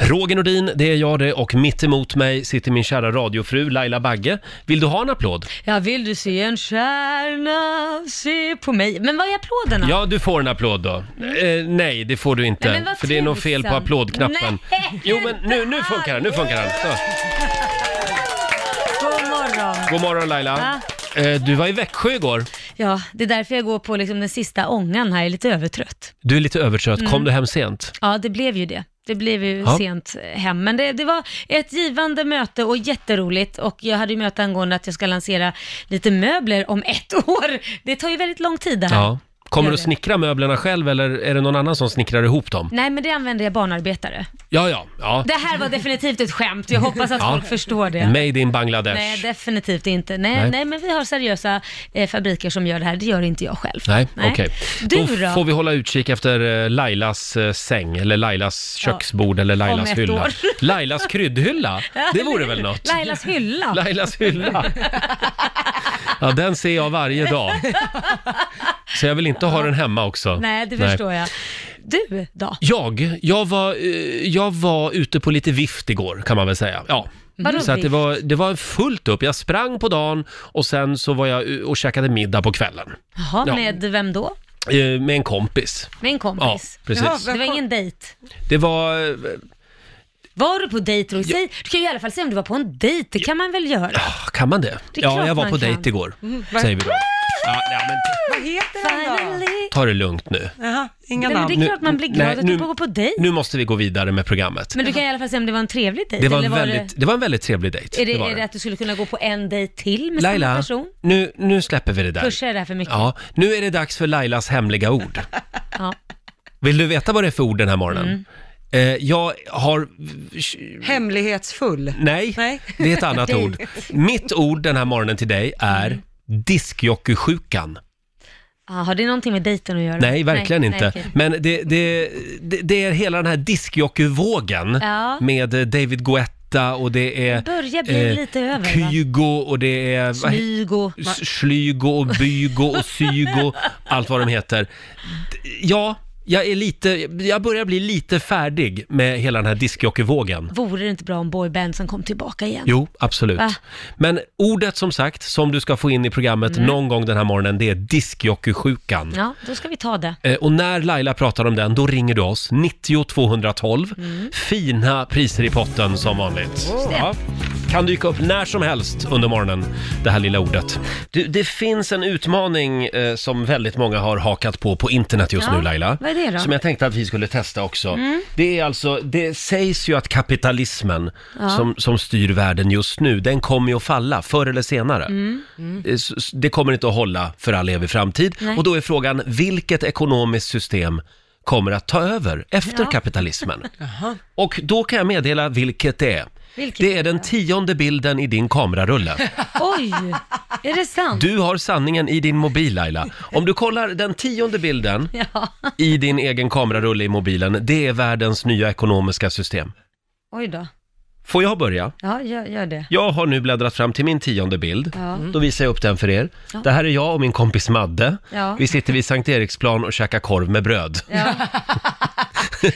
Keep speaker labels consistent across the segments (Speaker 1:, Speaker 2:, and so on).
Speaker 1: Roger Nordin, det är jag det och mitt emot mig sitter min kära radiofru Laila Bagge. Vill du ha en applåd?
Speaker 2: Ja, vill du se en stjärna, se på mig. Men vad är applåderna?
Speaker 1: Ja, du får en applåd då. Eh, nej, det får du inte.
Speaker 2: Nej, men vad
Speaker 1: för det är nog fel på
Speaker 2: tusan.
Speaker 1: applådknappen.
Speaker 2: Nej,
Speaker 1: Jo, men nu, nu funkar den, nu funkar den. Så.
Speaker 2: God morgon.
Speaker 1: God morgon Laila. Eh, du var i Växjö igår.
Speaker 2: Ja, det är därför jag går på liksom den sista ångan här, jag är lite övertrött.
Speaker 1: Du är lite övertrött,
Speaker 2: Mm.
Speaker 1: kom du hem sent?
Speaker 2: Ja, det blev ju det. Det blev ju
Speaker 1: Ja.
Speaker 2: sent hem, men det, det var ett givande möte och jätteroligt. Och jag hade ju möte angående att jag ska lansera lite möbler om ett år. Det tar ju väldigt lång tid det här.
Speaker 1: Ja. Kommer
Speaker 2: Gör
Speaker 1: du
Speaker 2: det.
Speaker 1: snickra möblerna själv eller är det någon annan som snickrar ihop dem?
Speaker 2: Nej, men det använder jag barnarbetare.
Speaker 1: Ja, ja, ja.
Speaker 2: Det här var definitivt ett skämt, jag hoppas att
Speaker 1: Ja.
Speaker 2: folk förstår det.
Speaker 1: Made in Bangladesh.
Speaker 2: Nej, definitivt inte. Nej,
Speaker 1: Nej.
Speaker 2: nej. men vi har seriösa eh, fabriker som gör det här. Det gör inte jag själv.
Speaker 1: Nej, okej.
Speaker 2: Du
Speaker 1: Då,
Speaker 2: då?
Speaker 1: får vi hålla utkik efter eh, Lailas eh, säng, eller Lailas
Speaker 2: Ja,
Speaker 1: köksbord, eller Lailas
Speaker 2: ett
Speaker 1: hylla.
Speaker 2: år.
Speaker 1: Lailas kryddhylla, det vore väl något?
Speaker 2: Lailas hylla.
Speaker 1: Lailas hylla. Ja, den ser jag varje dag. Så jag vill inte ha den hemma också.
Speaker 2: Nej, det förstår jag. Du då?
Speaker 1: Jag, jag var, eh, jag var ute på lite vift igår kan man väl säga. Ja.
Speaker 2: Vadå
Speaker 1: Så att det,
Speaker 2: vift?
Speaker 1: var, det var fullt upp. Jag sprang på dagen och sen så var jag eh, och käkade middag på kvällen.
Speaker 2: Jaha,
Speaker 1: Ja.
Speaker 2: med vem då?
Speaker 1: Eh, Med en kompis.
Speaker 2: Med en
Speaker 1: Ja,
Speaker 2: kompis?
Speaker 1: precis.
Speaker 3: Jaha,
Speaker 2: Det var ingen dejt.
Speaker 1: Det var... eh,
Speaker 2: Var du på dejt Roger? Säg- Du kan ju i alla fall säga om du var på en dejt, det kan man väl göra?
Speaker 1: ah, Kan man det?
Speaker 2: Det är
Speaker 1: ja,
Speaker 2: klart
Speaker 1: jag var
Speaker 2: man
Speaker 1: på
Speaker 2: kan. Mm,
Speaker 1: dejt igår, säger vi då. Ja, ja, men
Speaker 3: Vad heter den Mm, då?
Speaker 2: Finally!
Speaker 1: ta det lugnt nu.
Speaker 3: Jaha, inga
Speaker 2: Nej, men det
Speaker 3: namn.
Speaker 2: är klart man blir
Speaker 1: Nu-
Speaker 2: glad
Speaker 1: nej,
Speaker 2: att du
Speaker 1: nu-
Speaker 2: får gå på dejt.
Speaker 1: Nu måste vi gå vidare med programmet.
Speaker 2: Men du kan i alla fall säga om det var en trevlig dejt.
Speaker 1: Det var
Speaker 2: eller
Speaker 1: en väldigt, det var en väldigt trevlig dejt.
Speaker 2: är, det,
Speaker 1: det var
Speaker 2: är det
Speaker 1: det.
Speaker 2: att du skulle kunna gå på en dejt till med samma
Speaker 1: Laila,
Speaker 2: person?
Speaker 1: nu, nu släpper vi det där.
Speaker 2: Kursa är det här för mycket.
Speaker 1: Ja, nu är det dags för Lailas hemliga ord.
Speaker 2: Ja.
Speaker 1: Vill du veta vad det är för ord den här morgonen?
Speaker 2: Mm.
Speaker 1: Eh, jag har...
Speaker 3: Hemlighetsfull.
Speaker 1: Nej,
Speaker 3: Nej.
Speaker 1: det är ett annat ord. Mitt ord den här morgonen till dig är
Speaker 2: Mm.
Speaker 1: diskjockeysjukan.
Speaker 2: Ja, Ah, har det någonting med dejten att göra?
Speaker 1: Nej, verkligen
Speaker 2: Nej,
Speaker 1: inte.
Speaker 2: nej, okej.
Speaker 1: Men det, det, det, det är hela den här diskjockeyvågen
Speaker 2: Ja.
Speaker 1: med eh, David Guetta och det är
Speaker 2: Börjar bli
Speaker 1: Eh,
Speaker 2: lite över, va?
Speaker 1: Kygo och det är vad he-
Speaker 2: Smyg och...
Speaker 1: S- Schlygo och Bygo och Sygo, allt vad de heter. D- Ja, jag är lite, jag börjar bli lite färdig med hela den här diskjockeyvågen.
Speaker 2: Vore det inte bra om boybandsen kom tillbaka igen?
Speaker 1: Jo, absolut.
Speaker 2: Va?
Speaker 1: Men ordet som sagt, som du ska få in i programmet
Speaker 2: Mm.
Speaker 1: någon gång den här morgonen, det är diskjockeysjukan.
Speaker 2: Ja, då ska vi ta det.
Speaker 1: Eh, Och när Laila pratar om den, då ringer du oss, 90 212. Fina priser i potten som vanligt. Ja. Kan dyka upp när som helst under morgonen, det här lilla ordet. Du, det finns en utmaning eh, som väldigt många har hakat på på internet just
Speaker 2: Ja,
Speaker 1: nu Laila.
Speaker 2: vad är det då? Mm.
Speaker 1: Som jag tänkte att vi skulle testa också. Det är alltså, det sägs ju att kapitalismen som, som styr världen just nu, den kommer ju att falla förr eller senare.
Speaker 2: Mm.
Speaker 1: Eh, s- s- Det kommer inte att hålla för all evig framtid.
Speaker 2: Nej.
Speaker 1: Och då är frågan, vilket ekonomiskt system kommer att ta över efter
Speaker 2: Ja.
Speaker 1: kapitalismen? Och då kan jag meddela vilket det är.
Speaker 2: Vilket
Speaker 1: det
Speaker 2: det
Speaker 1: är
Speaker 2: är.
Speaker 1: den tionde bilden i din kamerarulle.
Speaker 2: Oj! Är det sant?
Speaker 1: Du har sanningen i din mobil Laila. Om du kollar den tionde bilden
Speaker 2: Ja.
Speaker 1: i din egen kamerarulle i mobilen, det är världens nya ekonomiska system.
Speaker 2: Oj då.
Speaker 1: Får jag börja?
Speaker 2: Ja, gör, gör det.
Speaker 1: Jag har nu bläddrat fram till min tionde bild.
Speaker 2: Ja. Mm.
Speaker 1: Då visar jag upp den för er. Det här är jag och min kompis Madde.
Speaker 2: Ja.
Speaker 1: Vi sitter vid Sankt Eriksplan och käkar korv med bröd.
Speaker 2: Ja,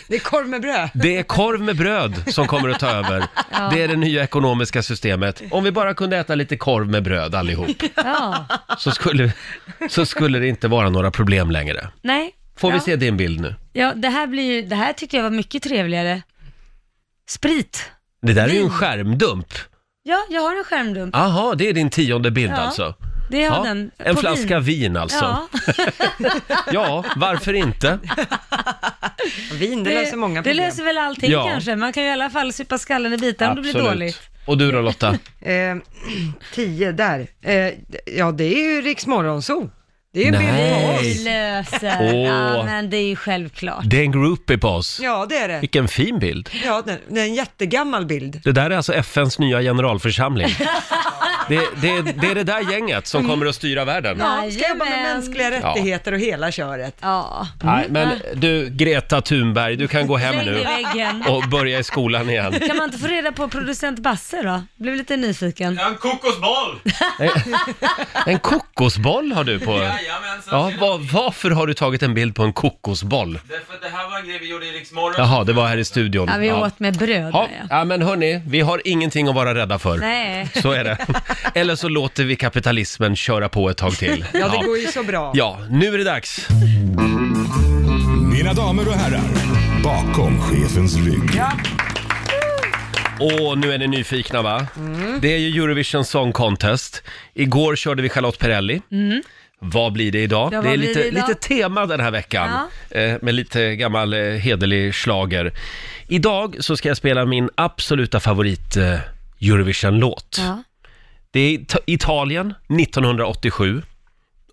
Speaker 3: Det är korv med bröd.
Speaker 1: Det är korv med bröd som kommer att ta över. Det är det nya ekonomiska systemet. Om vi bara kunde äta lite korv med bröd allihop
Speaker 2: ja.
Speaker 1: så skulle, så skulle det inte vara några problem längre.
Speaker 2: Nej.
Speaker 1: Får vi
Speaker 2: ja.
Speaker 1: se din bild nu?
Speaker 2: Ja, det här blir ju, det här tyckte jag var mycket trevligare. Sprit.
Speaker 1: Det där är ju en skärmdump.
Speaker 2: Ja, jag har en skärmdump.
Speaker 1: Aha, det är din tionde bild
Speaker 2: Ja.
Speaker 1: alltså.
Speaker 2: Det har
Speaker 1: Ja,
Speaker 2: den.
Speaker 1: en
Speaker 2: På
Speaker 1: flaska
Speaker 2: vin.
Speaker 1: vin alltså.
Speaker 2: Ja,
Speaker 1: ja, varför inte?
Speaker 3: Vin, det, löser många
Speaker 2: det
Speaker 3: problem.
Speaker 2: löser väl allting
Speaker 1: Ja.
Speaker 2: kanske. Man kan ju i alla fall supa skallen i bitar om det blir
Speaker 1: Absolut.
Speaker 2: dåligt.
Speaker 1: Och du då Lotta?
Speaker 3: Eh, tio där. Eh, ja, det är ju Riks Morgonzoo. Det är ju en bild på
Speaker 1: Nej.
Speaker 3: oss.
Speaker 2: Vi löser.
Speaker 1: Åh.
Speaker 2: Ja, men det är ju Alltså, självklart.
Speaker 1: Det är en groupie på oss.
Speaker 3: Ja, det är det.
Speaker 1: Vilken fin bild.
Speaker 3: Ja, det det är en jättegammal bild.
Speaker 1: Det där är alltså FNs nya generalförsamling. Det, det, det är det där gänget som kommer att styra världen.
Speaker 3: Ja, ska jobba med
Speaker 2: Jajamän.
Speaker 3: mänskliga rättigheter och hela köret.
Speaker 2: Ja.
Speaker 1: Nej, men du Greta Thunberg, du kan gå hem
Speaker 2: Släng i
Speaker 1: nu
Speaker 2: väggen.
Speaker 1: och börja i skolan igen.
Speaker 2: Kan man inte få reda på producent Basse då? Blev lite nyfiken.
Speaker 4: En kokosboll!
Speaker 1: En, en kok... kokosboll har du på...
Speaker 4: Jajamensan,
Speaker 1: Ja, va- varför har du tagit en bild på en kokosboll?
Speaker 4: därför att det här var en grej vi gjorde i Rix Morgon.
Speaker 1: Jaha, det var här i studion.
Speaker 2: Ja, vi
Speaker 1: Ja.
Speaker 2: åt med bröd.
Speaker 1: Ja,
Speaker 2: där, Ja.
Speaker 1: ja, men hörni, vi har ingenting att vara rädda för.
Speaker 2: Nej.
Speaker 1: Så är det. Eller så låter vi kapitalismen köra på ett tag till.
Speaker 3: Ja, det
Speaker 1: Ja.
Speaker 3: går ju så bra.
Speaker 1: Ja, nu är det dags.
Speaker 5: Mina damer och herrar, bakom chefens rygg.
Speaker 1: Och nu är ni nyfikna va? Det är ju Eurovision Song Contest. Igår körde vi Charlotte Perrelli. Vad blir det idag?
Speaker 2: Mm. Ja,
Speaker 1: det
Speaker 2: vad
Speaker 1: är
Speaker 2: blir
Speaker 1: lite,
Speaker 2: det idag?
Speaker 1: lite tema den här veckan. Eh, med lite gammal eh, hederlig slager. Idag så ska jag spela min absoluta favorit eh, Eurovision-låt.
Speaker 2: Ja.
Speaker 1: Det är It- Italien 1987.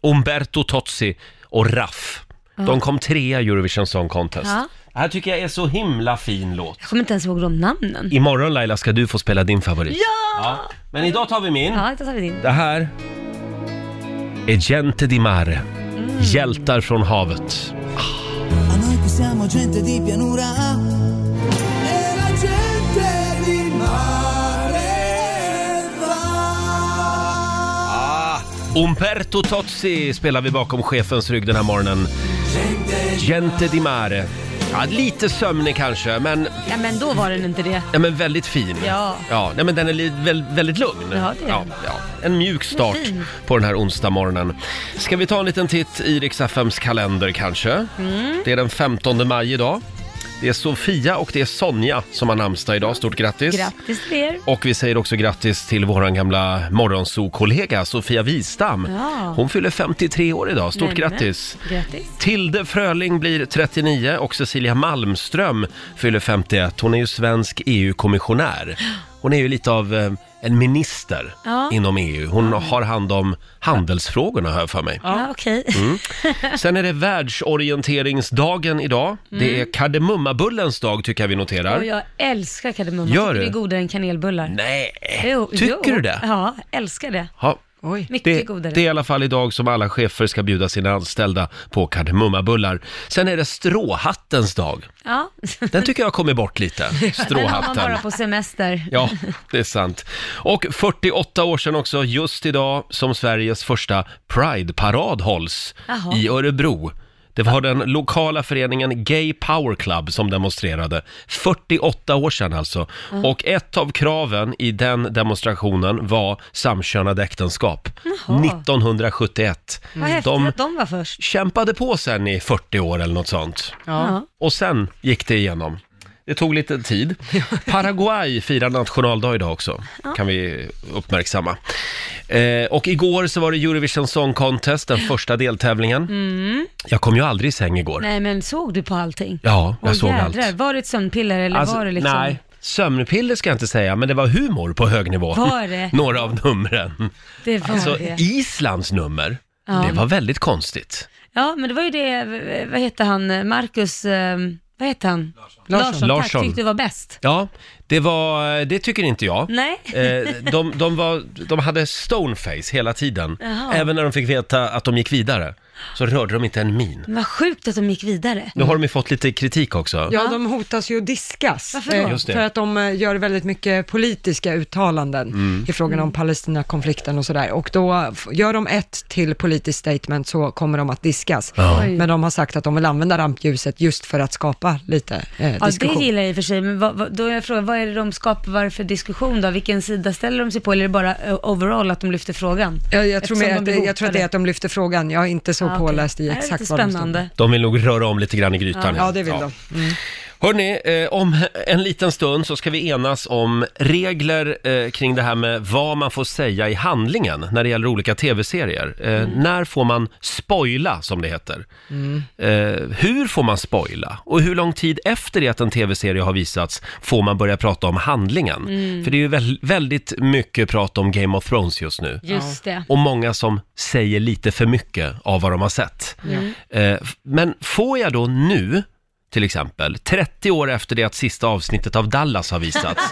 Speaker 1: Umberto Tozzi och Raff. De kom trea i Eurovision Song Contest.
Speaker 2: Ja.
Speaker 1: Det här tycker jag är så himla fin låt.
Speaker 2: Jag kommer inte ens ihåg de namnen.
Speaker 1: Imorgon Laila ska du få spela din favorit.
Speaker 2: Ja!
Speaker 1: Ja. Men idag tar vi min.
Speaker 2: Ja, då tar vi din.
Speaker 1: Det här är Gente di Mare.
Speaker 2: Mm.
Speaker 1: Hjältar från havet.
Speaker 6: Ma noi che siamo gente di pianura E la gente di mare va
Speaker 2: Ah.
Speaker 1: Umberto Tozzi spelar vi bakom chefens rygg den här morgonen. Gente di Mare. Ja, lite sömnig kanske, men,
Speaker 2: Ja, men då var den inte det.
Speaker 1: ja, men väldigt fin.
Speaker 2: Ja.
Speaker 1: ja nej, men den är li- väl, väldigt lugn.
Speaker 2: Ja, det är den.
Speaker 1: ja. En mjuk start
Speaker 2: Den är fin.
Speaker 1: på den här onsdag morgonen. Ska vi ta en liten titt i Rix FMs kalender kanske?
Speaker 2: Mm.
Speaker 1: Det är den 15 maj idag. Det är Sofia och det är Sonja som har namnsdag idag. Stort grattis!
Speaker 2: Grattis till er.
Speaker 1: Och vi säger också grattis till våran gamla morgonsokollega Sofia Wistam.
Speaker 2: Ja.
Speaker 1: Hon fyller 53 år idag. Stort
Speaker 2: Nämen.
Speaker 1: grattis!
Speaker 2: Grattis.
Speaker 1: Tilde Fröling blir 39 och Cecilia Malmström fyller 51. Hon är ju svensk EU-kommissionär. Hon är ju lite av eh, en minister
Speaker 2: Ja.
Speaker 1: inom EU. Hon har hand om handelsfrågorna här för mig. Mm.
Speaker 2: Ja, okej.
Speaker 1: Sen är det världsorienteringsdagen
Speaker 2: Mm.
Speaker 1: idag. Det är kardemummabullens dag tycker jag vi
Speaker 2: Och
Speaker 1: noterar.
Speaker 2: jag älskar kardemumma.
Speaker 1: Gör
Speaker 2: Jag tycker
Speaker 1: du?
Speaker 2: Det är godare än kanelbullar.
Speaker 1: Nej,
Speaker 2: Jo,
Speaker 1: tycker
Speaker 2: jo.
Speaker 1: du det?
Speaker 2: Ja, älskar det.
Speaker 1: Ja.
Speaker 3: Oj.
Speaker 2: Mycket
Speaker 1: Det,
Speaker 2: godare.
Speaker 1: det är i alla fall idag som alla chefer ska bjuda sina anställda på kardemummabullar. Sen är det stråhattens dag.
Speaker 2: Ja.
Speaker 1: Den tycker jag har kommit bort lite,
Speaker 2: Den har man bara
Speaker 1: stråhatten.
Speaker 2: på semester.
Speaker 1: Ja, det är sant. Och 48 år sedan också, just idag, som Sveriges första Pride-parad hålls
Speaker 2: Jaha.
Speaker 1: i Örebro. Det var den lokala föreningen Gay Power Club som demonstrerade. 48 år sedan alltså. Och ett av kraven i den demonstrationen var samkönade äktenskap.
Speaker 2: Jaha.
Speaker 1: 1971.
Speaker 2: Vad häftigt
Speaker 1: De
Speaker 2: att de var först.
Speaker 1: kämpade på sen i 40 år eller något sånt.
Speaker 2: Ja.
Speaker 1: Och sen gick det igenom. Det tog lite tid. Paraguay firar nationaldag idag också, kan vi uppmärksamma. Eh, och igår så var det Eurovision Song Contest, den första deltävlingen. Jag kom ju aldrig i säng igår.
Speaker 2: Mm. Nej, men såg du på allting?
Speaker 1: Ja, jag
Speaker 2: Åh,
Speaker 1: såg
Speaker 2: jädrar.
Speaker 1: allt.
Speaker 2: Var det ett sömnpiller eller
Speaker 1: Alltså,
Speaker 2: var det liksom...
Speaker 1: Nej, sömnpiller ska jag inte säga, men det var humor på hög nivå.
Speaker 2: Var det?
Speaker 1: Några av numren.
Speaker 2: Det var
Speaker 1: Alltså,
Speaker 2: det.
Speaker 1: Islands nummer,
Speaker 2: Ja.
Speaker 1: det var väldigt konstigt.
Speaker 2: Ja, men det var ju det, v- vad heter han, Marcus, eh, vad heter han? Larsson. Larsson, tack,
Speaker 1: Larsson.
Speaker 2: tyckte du var bäst.
Speaker 1: Ja, det var, det tycker inte jag.
Speaker 2: Nej.
Speaker 1: Eh, de, de, var, de hade stoneface hela tiden.
Speaker 2: Jaha.
Speaker 1: Även när de fick veta att de gick vidare så rörde de inte en min.
Speaker 2: Men vad sjukt att de gick vidare.
Speaker 1: Nu har de ju fått lite kritik också.
Speaker 3: Ja, de hotas ju att diskas.
Speaker 2: Varför då?
Speaker 3: eh,
Speaker 1: Just det.
Speaker 3: För att de eh, gör väldigt mycket politiska uttalanden
Speaker 1: Mm.
Speaker 3: i frågan om Palestinakonflikten och sådär. Och då f- gör de ett till politiskt statement så kommer de att diskas.
Speaker 1: Ja.
Speaker 2: Oj.
Speaker 3: Men de har sagt att de vill använda rampljuset just för att skapa lite eh,
Speaker 2: Ja, det
Speaker 3: diskussion.
Speaker 2: gillar jag i och för sig, men vad, vad, då är jag frågan, vad är det de skapar, vad är det för diskussion då? Vilken sida ställer de sig på, eller är det bara eh, overall att de lyfter frågan?
Speaker 3: jag, jag, tror
Speaker 2: Eftersom
Speaker 3: mer
Speaker 2: de
Speaker 3: att
Speaker 2: blir
Speaker 3: det, jag tror att det
Speaker 2: hotade.
Speaker 3: är att de lyfter frågan. Jag är inte så
Speaker 2: Ja, okej.
Speaker 3: påläst i
Speaker 2: Det här är
Speaker 3: exakt
Speaker 2: lite
Speaker 3: vad de står
Speaker 2: spännande.
Speaker 1: De vill nog röra om lite grann i grytan.
Speaker 3: Ja, det vill de.
Speaker 1: Hörni, eh, om en liten stund så ska vi enas om regler eh, kring det här med vad man får säga i handlingen när det gäller olika tv-serier. Eh,
Speaker 2: Mm.
Speaker 1: När får man spoila, som det heter?
Speaker 7: Mm.
Speaker 1: Eh, hur får man spoila? Och hur lång tid efter det att en tv-serie har visats får man börja prata om handlingen?
Speaker 2: Mm.
Speaker 1: För det är ju väl, väldigt mycket prat om Game of Thrones just nu.
Speaker 2: Just det.
Speaker 1: Och många som säger lite för mycket av vad de har sett. Eh, f- Men får jag då nu, till exempel, 30 år efter det att sista avsnittet av Dallas har visats,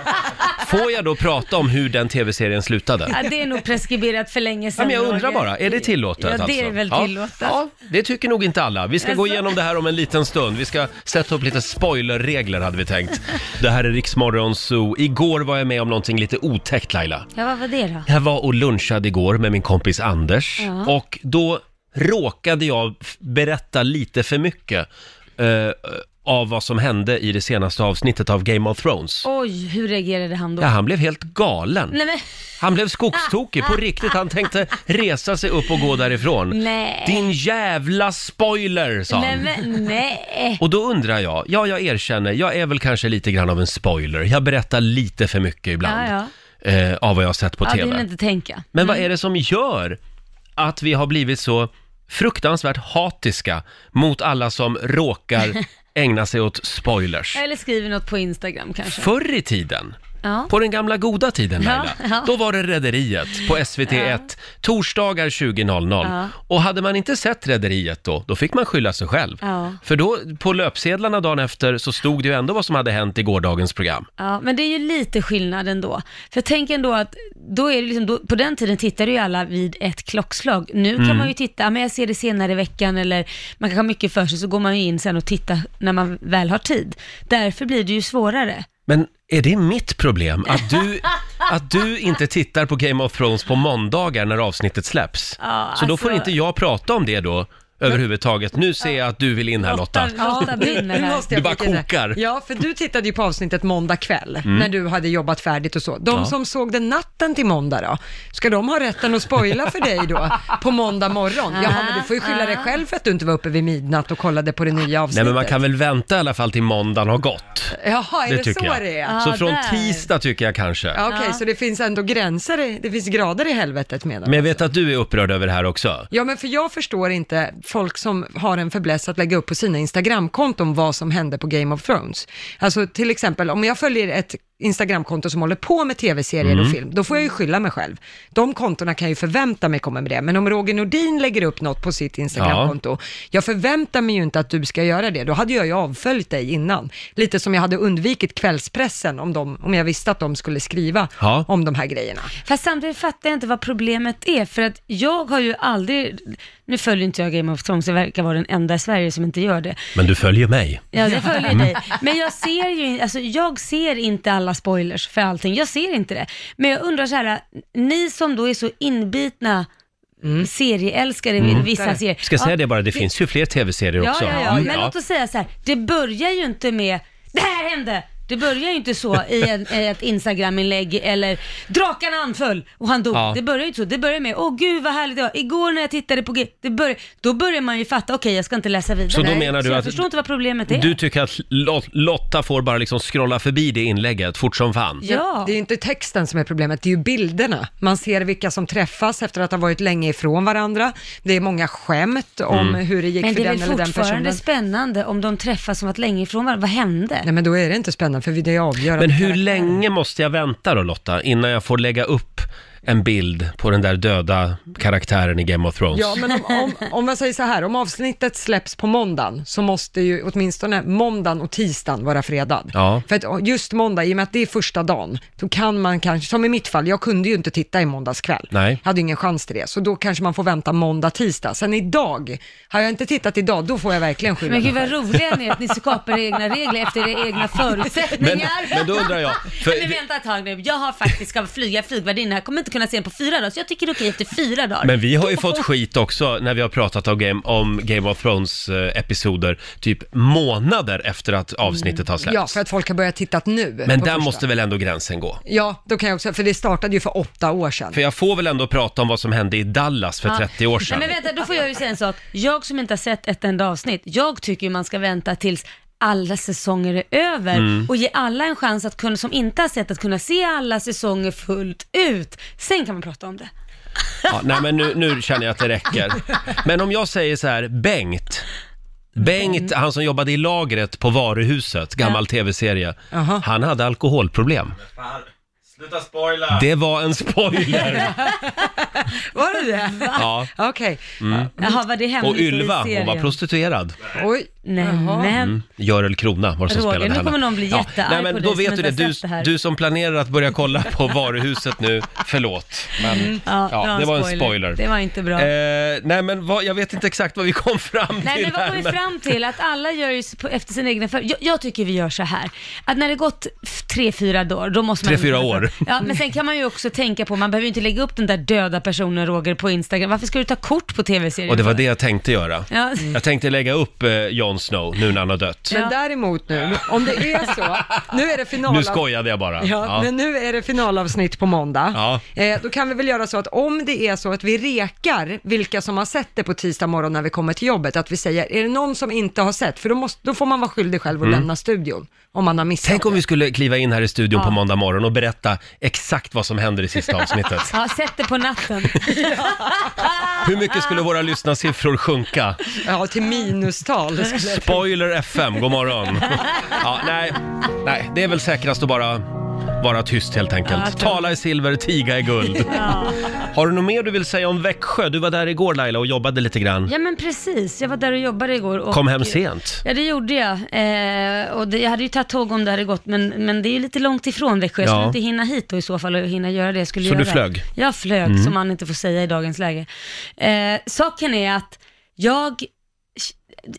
Speaker 1: Får jag då prata om hur den tv-serien slutade?
Speaker 2: Ja, det är nog preskriberat för länge
Speaker 1: Ja,
Speaker 2: sedan.
Speaker 1: men jag undrar
Speaker 2: Roger.
Speaker 1: bara, är det tillåtet
Speaker 2: Ja, det
Speaker 1: alltså?
Speaker 2: är väl tillåtet.
Speaker 1: Ja, det tycker nog inte alla. Vi ska gå
Speaker 2: Alltså.
Speaker 1: igenom det här om en liten stund. Vi ska sätta upp lite spoilerregler hade vi tänkt. Det här är Riksmorgon Zoo. Igår var jag med om någonting lite otäckt Laila.
Speaker 2: Ja, vad var det då?
Speaker 1: Jag var och lunchade igår med min kompis Anders
Speaker 2: Ja.
Speaker 1: och då råkade jag f- berätta lite för mycket eh, av vad som hände i det senaste avsnittet av Game of Thrones.
Speaker 2: Oj, hur reagerade han då?
Speaker 1: Ja, han blev helt galen.
Speaker 2: Nej, men,
Speaker 1: Han blev skogstokig
Speaker 2: Ah,
Speaker 1: på riktigt. Han tänkte resa sig upp och gå därifrån.
Speaker 2: nej.
Speaker 1: Din jävla spoiler, sa
Speaker 2: Nej,
Speaker 1: han.
Speaker 2: men, nej.
Speaker 1: Och då undrar jag, ja jag erkänner, jag är väl kanske lite grann av en spoiler. Jag berättar lite för mycket ibland
Speaker 2: Ja,
Speaker 1: Eh, av vad jag har sett på
Speaker 2: Ja, det Mm.
Speaker 1: TV.
Speaker 2: vill jag inte tänka.
Speaker 1: Men vad är det som gör att vi har blivit så fruktansvärt hatiska mot alla som råkar ägna sig åt spoilers?
Speaker 2: Eller skriver något på Instagram kanske.
Speaker 1: Förr i tiden,
Speaker 2: Ja.
Speaker 1: på den gamla goda tiden Laila,
Speaker 2: Ja, ja.
Speaker 1: då var det Rederiet på SVT1, torsdagar 20.00.
Speaker 2: Ja.
Speaker 1: Och hade man inte sett Rederiet då, då fick man skylla sig själv.
Speaker 2: Ja.
Speaker 1: För då, på löpsedlarna dagen efter, så stod det ju ändå vad som hade hänt i gårdagens program.
Speaker 2: Ja, men det är ju lite skillnad ändå. För tänk ändå att, då är det liksom, då, på den tiden tittade ju alla vid ett klockslag. Nu kan man ju titta, "Ah, men jag ser det senare i veckan eller man kan ha mycket för sig, så går man ju in sen och tittar när man väl har tid. Därför blir det ju svårare.
Speaker 1: Men är det mitt problem att du, att du inte tittar på Game of Thrones på måndagar när avsnittet släpps?
Speaker 2: Ja,
Speaker 1: Så då får
Speaker 2: alltså-
Speaker 1: inte jag prata om det då, överhuvudtaget. Nu ser jag att du vill in här Lotta.
Speaker 2: Lotta brinner
Speaker 3: nu
Speaker 2: här.
Speaker 3: måste jag
Speaker 1: Du bara
Speaker 3: flika in här.
Speaker 1: kokar. Mm.
Speaker 3: Ja, för du tittade ju på avsnittet måndag kväll, när du hade jobbat färdigt och så. De
Speaker 1: Ja.
Speaker 3: som såg den natten till måndag då, ska de ha rätten att spoila för dig då, på måndag morgon? Ja, men du får ju skylla dig själv för att du inte var uppe vid midnatt och kollade på det nya avsnittet.
Speaker 1: Nej men man kan väl vänta i alla fall till måndagen har gått.
Speaker 3: Jaha, är
Speaker 1: Det
Speaker 3: det,
Speaker 1: tycker
Speaker 3: så
Speaker 1: jag.
Speaker 3: det är?
Speaker 2: Ja,
Speaker 1: Så från
Speaker 2: Ah, där.
Speaker 1: tisdag tycker jag kanske.
Speaker 3: Ja, Okej, så det finns ändå gränser, i- det finns grader i helvetet menar
Speaker 1: Men jag vet att du är upprörd över det här också.
Speaker 3: Ja, men för jag förstår inte folk som har en fäbless att lägga upp på sina Instagramkonton vad som hände på Game of Thrones. Alltså till exempel, om jag följer ett Instagramkonto som håller på med tv-serier och film, då får jag ju skylla mig själv. De kontona kan jag ju förvänta mig kommer med det, men om Roger Nordin lägger upp något på sitt Instagramkonto, jag förväntar mig ju inte att du ska göra det, då hade jag ju avföljt dig innan. Lite som jag hade undvikit kvällspressen om, de, om jag visste att de skulle skriva
Speaker 1: Ja.
Speaker 3: om de här grejerna.
Speaker 2: Fast samtidigt fattar jag inte vad problemet är, för att jag har ju aldrig, nu följer inte jag Game of Thrones, jag verkar vara den enda i Sverige som inte gör det.
Speaker 1: Men du följer mig. Mm.
Speaker 2: Ja, det följer dig. Men jag ser ju alltså, jag ser inte alla spoilers för allting. Jag ser inte det. Men jag undrar så här, ni som då är så inbitna serieälskare i vissa serier.
Speaker 1: Mm. Ska säga det bara, det finns ju fler tv-serier
Speaker 2: ja,
Speaker 1: också.
Speaker 2: ja, ja,
Speaker 1: Mm,
Speaker 2: men låt oss säga så här, det börjar ju inte med det här hände! Det börjar ju inte så i, en, i ett Instagram-inlägg eller drakarna anföll och han dog.
Speaker 1: Ja.
Speaker 2: Det börjar ju inte så. Det börjar med, åh gud vad härligt det var. Igår när jag tittade på G, det börjar, då börjar man ju fatta, okej jag ska inte läsa vidare.
Speaker 1: Så då menar du
Speaker 2: jag
Speaker 1: att-
Speaker 2: förstår inte vad problemet är.
Speaker 1: Du tycker att Lot- Lotta får bara liksom scrolla förbi det inlägget fort som fan?
Speaker 2: ja.
Speaker 3: Det är ju inte texten som är problemet, det är ju bilderna. Man ser vilka som träffas efter att ha varit länge ifrån varandra. Det är många skämt om
Speaker 1: Mm.
Speaker 3: hur det gick
Speaker 2: Men
Speaker 3: för
Speaker 2: det är
Speaker 3: den
Speaker 2: väl
Speaker 3: eller den
Speaker 2: fortfarande
Speaker 3: personen.
Speaker 2: spännande om de träffas som att länge ifrån varandra. Vad hände?
Speaker 3: Nej men då är det inte spännande för det är avgörande.
Speaker 1: Men hur länge måste jag vänta då Lotta, innan jag får lägga upp en bild på den där döda karaktären i Game of Thrones?
Speaker 3: Ja, men om, om, om man säger så här, om avsnittet släpps på måndagen så måste ju åtminstone måndagen och tisdagen vara fredad.
Speaker 1: Ja.
Speaker 3: För att just måndag, i och med att det är första dagen, då kan man kanske, som i mitt fall, jag kunde ju inte titta i måndags kväll.
Speaker 1: Nej.
Speaker 3: Jag hade ju ingen chans till det, så då kanske man får vänta måndag, tisdag. Sen idag, har jag inte tittat idag, då får jag verkligen skylla
Speaker 2: Men
Speaker 3: mig
Speaker 2: gud vad roliga ni är att ni skapar egna regler efter era egna
Speaker 1: Men,
Speaker 2: förutsättningar.
Speaker 1: men då undrar jag, för,
Speaker 2: Men vänta ett tag nu, jag har faktiskt ska flyga flygvärdinna, jag kommer inte kunna se den på fyra dagar, så jag tycker det är okej efter fyra dagar.
Speaker 1: men vi har ju fått skit också när vi har pratat om Game, om Game of Thrones-episoder typ månader efter att
Speaker 2: Mm,
Speaker 1: avsnittet har släppts.
Speaker 3: Ja, för att folk har börjat titta nu.
Speaker 1: men
Speaker 3: på
Speaker 1: där
Speaker 3: första.
Speaker 1: måste väl ändå gränsen gå?
Speaker 3: Ja, då kan jag också, för det startade ju för åtta år sedan.
Speaker 1: För jag får väl ändå prata om vad som hände i Dallas för
Speaker 2: Ja.
Speaker 1: 30 år sedan?
Speaker 2: Nej, men vänta, då får jag ju säga en sak. Jag som inte har sett ett enda avsnitt, jag tycker ju man ska vänta tills alla säsonger är över
Speaker 1: Mm.
Speaker 2: och ge alla en chans att kunna, som inte har sett, att kunna se alla säsonger fullt ut. Sen kan man prata om det.
Speaker 1: Ja, nej men nu, nu känner jag att det räcker. Men om jag säger så här, Bengt.
Speaker 2: Mm.
Speaker 1: Bengt, han som jobbade i lagret på varuhuset, gammal tv-serie.
Speaker 3: Aha.
Speaker 1: Han hade alkoholproblem.
Speaker 4: Fan, sluta spoila!
Speaker 1: Det var en spoiler!
Speaker 3: Var det det?
Speaker 1: Ja.
Speaker 3: Okej.
Speaker 2: Jaha, var det hemligt
Speaker 1: Mm. Och Ylva,
Speaker 2: i serien?
Speaker 1: hon var prostituerad.
Speaker 3: Oj.
Speaker 2: Nämen.
Speaker 1: Mm. Görel Krona var det som
Speaker 2: Roger,
Speaker 1: spelade
Speaker 2: nu
Speaker 1: henne.
Speaker 2: kommer någon bli jättearg
Speaker 1: Nej, men
Speaker 2: på
Speaker 1: då
Speaker 2: dig
Speaker 1: vet
Speaker 2: som
Speaker 1: du det.
Speaker 2: inte har
Speaker 1: Du,
Speaker 2: sett det här.
Speaker 1: du som planerar att börja kolla på varuhuset nu, förlåt. Men,
Speaker 2: Mm. Ja,
Speaker 1: Mm. ja, det var en spoiler.
Speaker 2: Det var inte bra.
Speaker 1: Eh, nej, men vad, jag vet inte exakt vad vi kom fram
Speaker 2: Nej,
Speaker 1: till
Speaker 2: men vad kom vi
Speaker 1: men-
Speaker 2: fram till? Att alla gör ju på- efter sina egna för... jag, jag tycker vi gör så här, att när det gått f- tre, fyra dagar, då måste man...
Speaker 1: Tre, fyra år.
Speaker 2: Ja, men sen kan man ju också tänka på, man behöver ju inte lägga upp den där döda personen, Roger, på Instagram. Varför ska du ta kort på tv-serien?
Speaker 1: Och det var det jag tänkte göra.
Speaker 2: Ja.
Speaker 1: Jag tänkte lägga upp eh, Jon Snow nu när han har dött.
Speaker 3: Men
Speaker 2: Ja.
Speaker 3: däremot nu, om det är så, nu är det finalavsnitt.
Speaker 1: Nu skojade jag bara.
Speaker 3: Ja,
Speaker 1: Ja.
Speaker 3: men nu är det finalavsnitt på måndag.
Speaker 1: Ja.
Speaker 3: Eh, då kan vi väl göra så att om det är så att vi rekar vilka som har sett det på tisdag morgon när vi kommer till jobbet, att vi säger, är det någon som inte har sett? För då, måste, då får man vara skyldig själv och lämna studion, om man har missat
Speaker 1: Mm. Tänk om
Speaker 3: det.
Speaker 1: vi skulle kliva in här i studion på måndag morgon och berätta exakt vad som händer i sista avsnittet.
Speaker 2: Ja, sätt det på natten.
Speaker 1: Hur mycket skulle våra lyssnarsiffror sjunka?
Speaker 3: Ja, till minustal. skulle jag-
Speaker 1: Spoiler FM, god morgon. Ja, nej, nej, det är väl säkrast att bara vara tyst helt enkelt.
Speaker 2: Ja, jag tror-
Speaker 1: Tala i silver, tiga i guld. Har du något mer du vill säga om Växjö? Du var där igår Laila och jobbade lite grann.
Speaker 2: Ja, men precis. Jag var där och jobbade igår. Och
Speaker 1: Kom hem sent.
Speaker 2: Ja, det gjorde jag. Eh, och det, jag hade ju tagit tåg om det hade gått, men, men det är ju lite långt ifrån Växjö. Jag skulle
Speaker 1: Ja.
Speaker 2: inte hinna hit då i så fall och hinna göra det jag skulle
Speaker 1: Så du
Speaker 2: göra.
Speaker 1: flög? Mm.
Speaker 2: Jag flög, som man inte får säga i dagens läge. Eh, saken är att jag,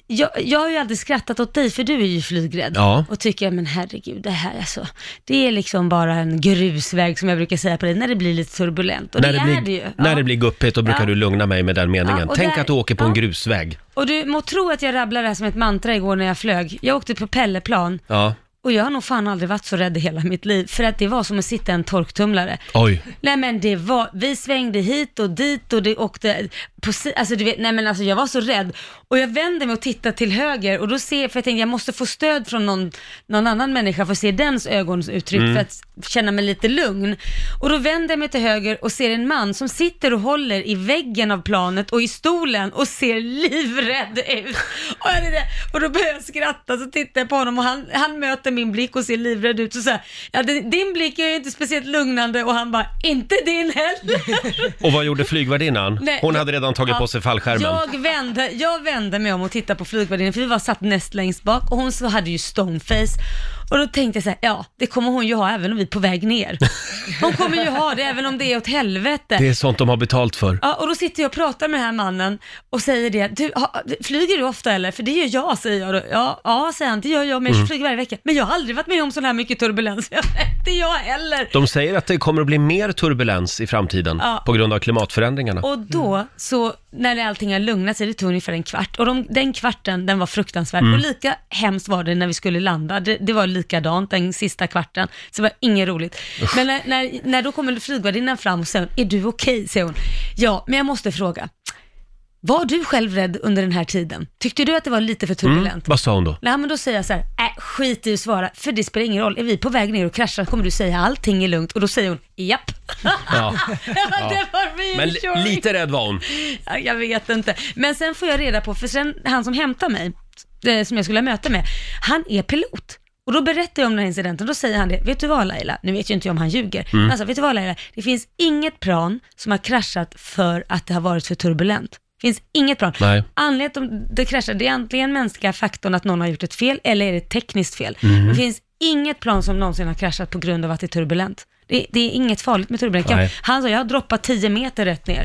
Speaker 2: jag, jag har ju aldrig skrattat åt dig, för du är ju flygrädd.
Speaker 1: Ja.
Speaker 2: Och tycker, men herregud, det här alltså, det är liksom bara en grusväg som jag brukar säga på dig, när det blir lite turbulent. Och
Speaker 1: När
Speaker 2: det,
Speaker 1: det,
Speaker 2: är det ju.
Speaker 1: blir, när
Speaker 2: Ja.
Speaker 1: det blir guppigt då brukar
Speaker 2: Ja.
Speaker 1: du lugna mig med den meningen.
Speaker 2: Ja, och
Speaker 1: Tänk
Speaker 2: där-
Speaker 1: att du åker på en
Speaker 2: ja.
Speaker 1: grusväg.
Speaker 2: Och du må tro att jag rabblade det här som ett mantra igår när jag flög. Jag åkte på Pelleplan
Speaker 1: Ja.
Speaker 2: och jag har nog fan aldrig varit så rädd i hela mitt liv, för att det var som att sitta i en torktumlare.
Speaker 1: Oj.
Speaker 2: Nej men det var, vi svängde hit och dit och det åkte på si- alltså du vet, nej men alltså jag var så rädd. Och jag vände mig och tittade till höger och då ser, för jag tänkte jag måste få stöd från någon, någon annan människa för att se dens ögonuttryck för att s- känna mig lite lugn. Och då vänder jag mig till höger och ser en man som sitter och håller i väggen av planet och i stolen och ser livrädd ut. Och, jag, är där- och då börjar jag skratta så tittar jag på honom och han, han möter min blick och ser livrädd ut. Så säger ja din, din blick är ju inte speciellt lugnande och han bara, inte din heller.
Speaker 1: Och vad gjorde flygvärdinnan?
Speaker 2: Nej,
Speaker 1: Hon
Speaker 2: jag-
Speaker 1: hade redan tagit
Speaker 2: ja,
Speaker 1: på sig fallskärmen.
Speaker 2: Jag vände, jag vände mig om och tittade på flygvärdinnan för vi var satt näst längst bak och hon så hade ju stoneface. Och då tänkte jag så här, ja det kommer hon ju ha även om vi är på väg ner. Hon kommer ju ha det även om det är åt helvete.
Speaker 1: Det är sånt de har betalt för.
Speaker 2: Ja, och då sitter jag och pratar med den här mannen och säger det, du, ha, flyger du ofta eller? För det gör jag, säger jag då. Ja, ja säger han, det gör jag, men
Speaker 1: Mm.
Speaker 2: jag flyger varje vecka. Men jag har aldrig varit med om sån här mycket turbulens, Jag vet, inte jag heller.
Speaker 1: De säger att det kommer att bli mer turbulens i framtiden
Speaker 2: Ja.
Speaker 1: på grund av klimatförändringarna.
Speaker 2: Och då, så när allting har lugnat sig, det tog ungefär en kvart. Och de, den kvarten, den var fruktansvärd. Och lika hemskt var det när vi skulle landa. Det, det var likadant den sista kvarten. Så det var inget roligt. Men när, när, när då kommer flygvärdinnan fram och säger, är du okej? säger hon. Ja, men jag måste fråga. Var du själv rädd under den här tiden? Tyckte du att det var lite för turbulent?
Speaker 1: Mm, Vad sa hon då?
Speaker 2: Nej men då säger jag så här, äh, skit i att svara, för det spelar ingen roll. Är vi på väg ner och kraschar kommer du säga allting är lugnt. Och då säger hon, japp.
Speaker 1: Ja.
Speaker 2: Jag bara, Det var
Speaker 1: Men li-
Speaker 2: reassuring."
Speaker 1: lite rädd var hon.
Speaker 2: Ja, Jag vet inte. Men sen får jag reda på, för sen han som hämtar mig, eh, som jag skulle ha möte med, han är pilot. Och då berättar jag om den här incidenten, då säger han det, vet du vad Laila, nu vet ju inte jag om han ljuger, men alltså vet du vad Laila, det finns inget plan som har kraschat för att det har varit för turbulent. Det finns inget plan.
Speaker 1: Nej.
Speaker 2: Anledningen till att det kraschar, det är antingen mänskliga faktorn att någon har gjort ett fel, eller är det ett tekniskt fel.
Speaker 1: Mm.
Speaker 2: Det finns inget plan som någonsin har kraschat på grund av att det är turbulent. Det, det är inget farligt med turbulent. Jag-
Speaker 1: Nej.
Speaker 2: Han sa, jag har droppat 10 meter rätt ner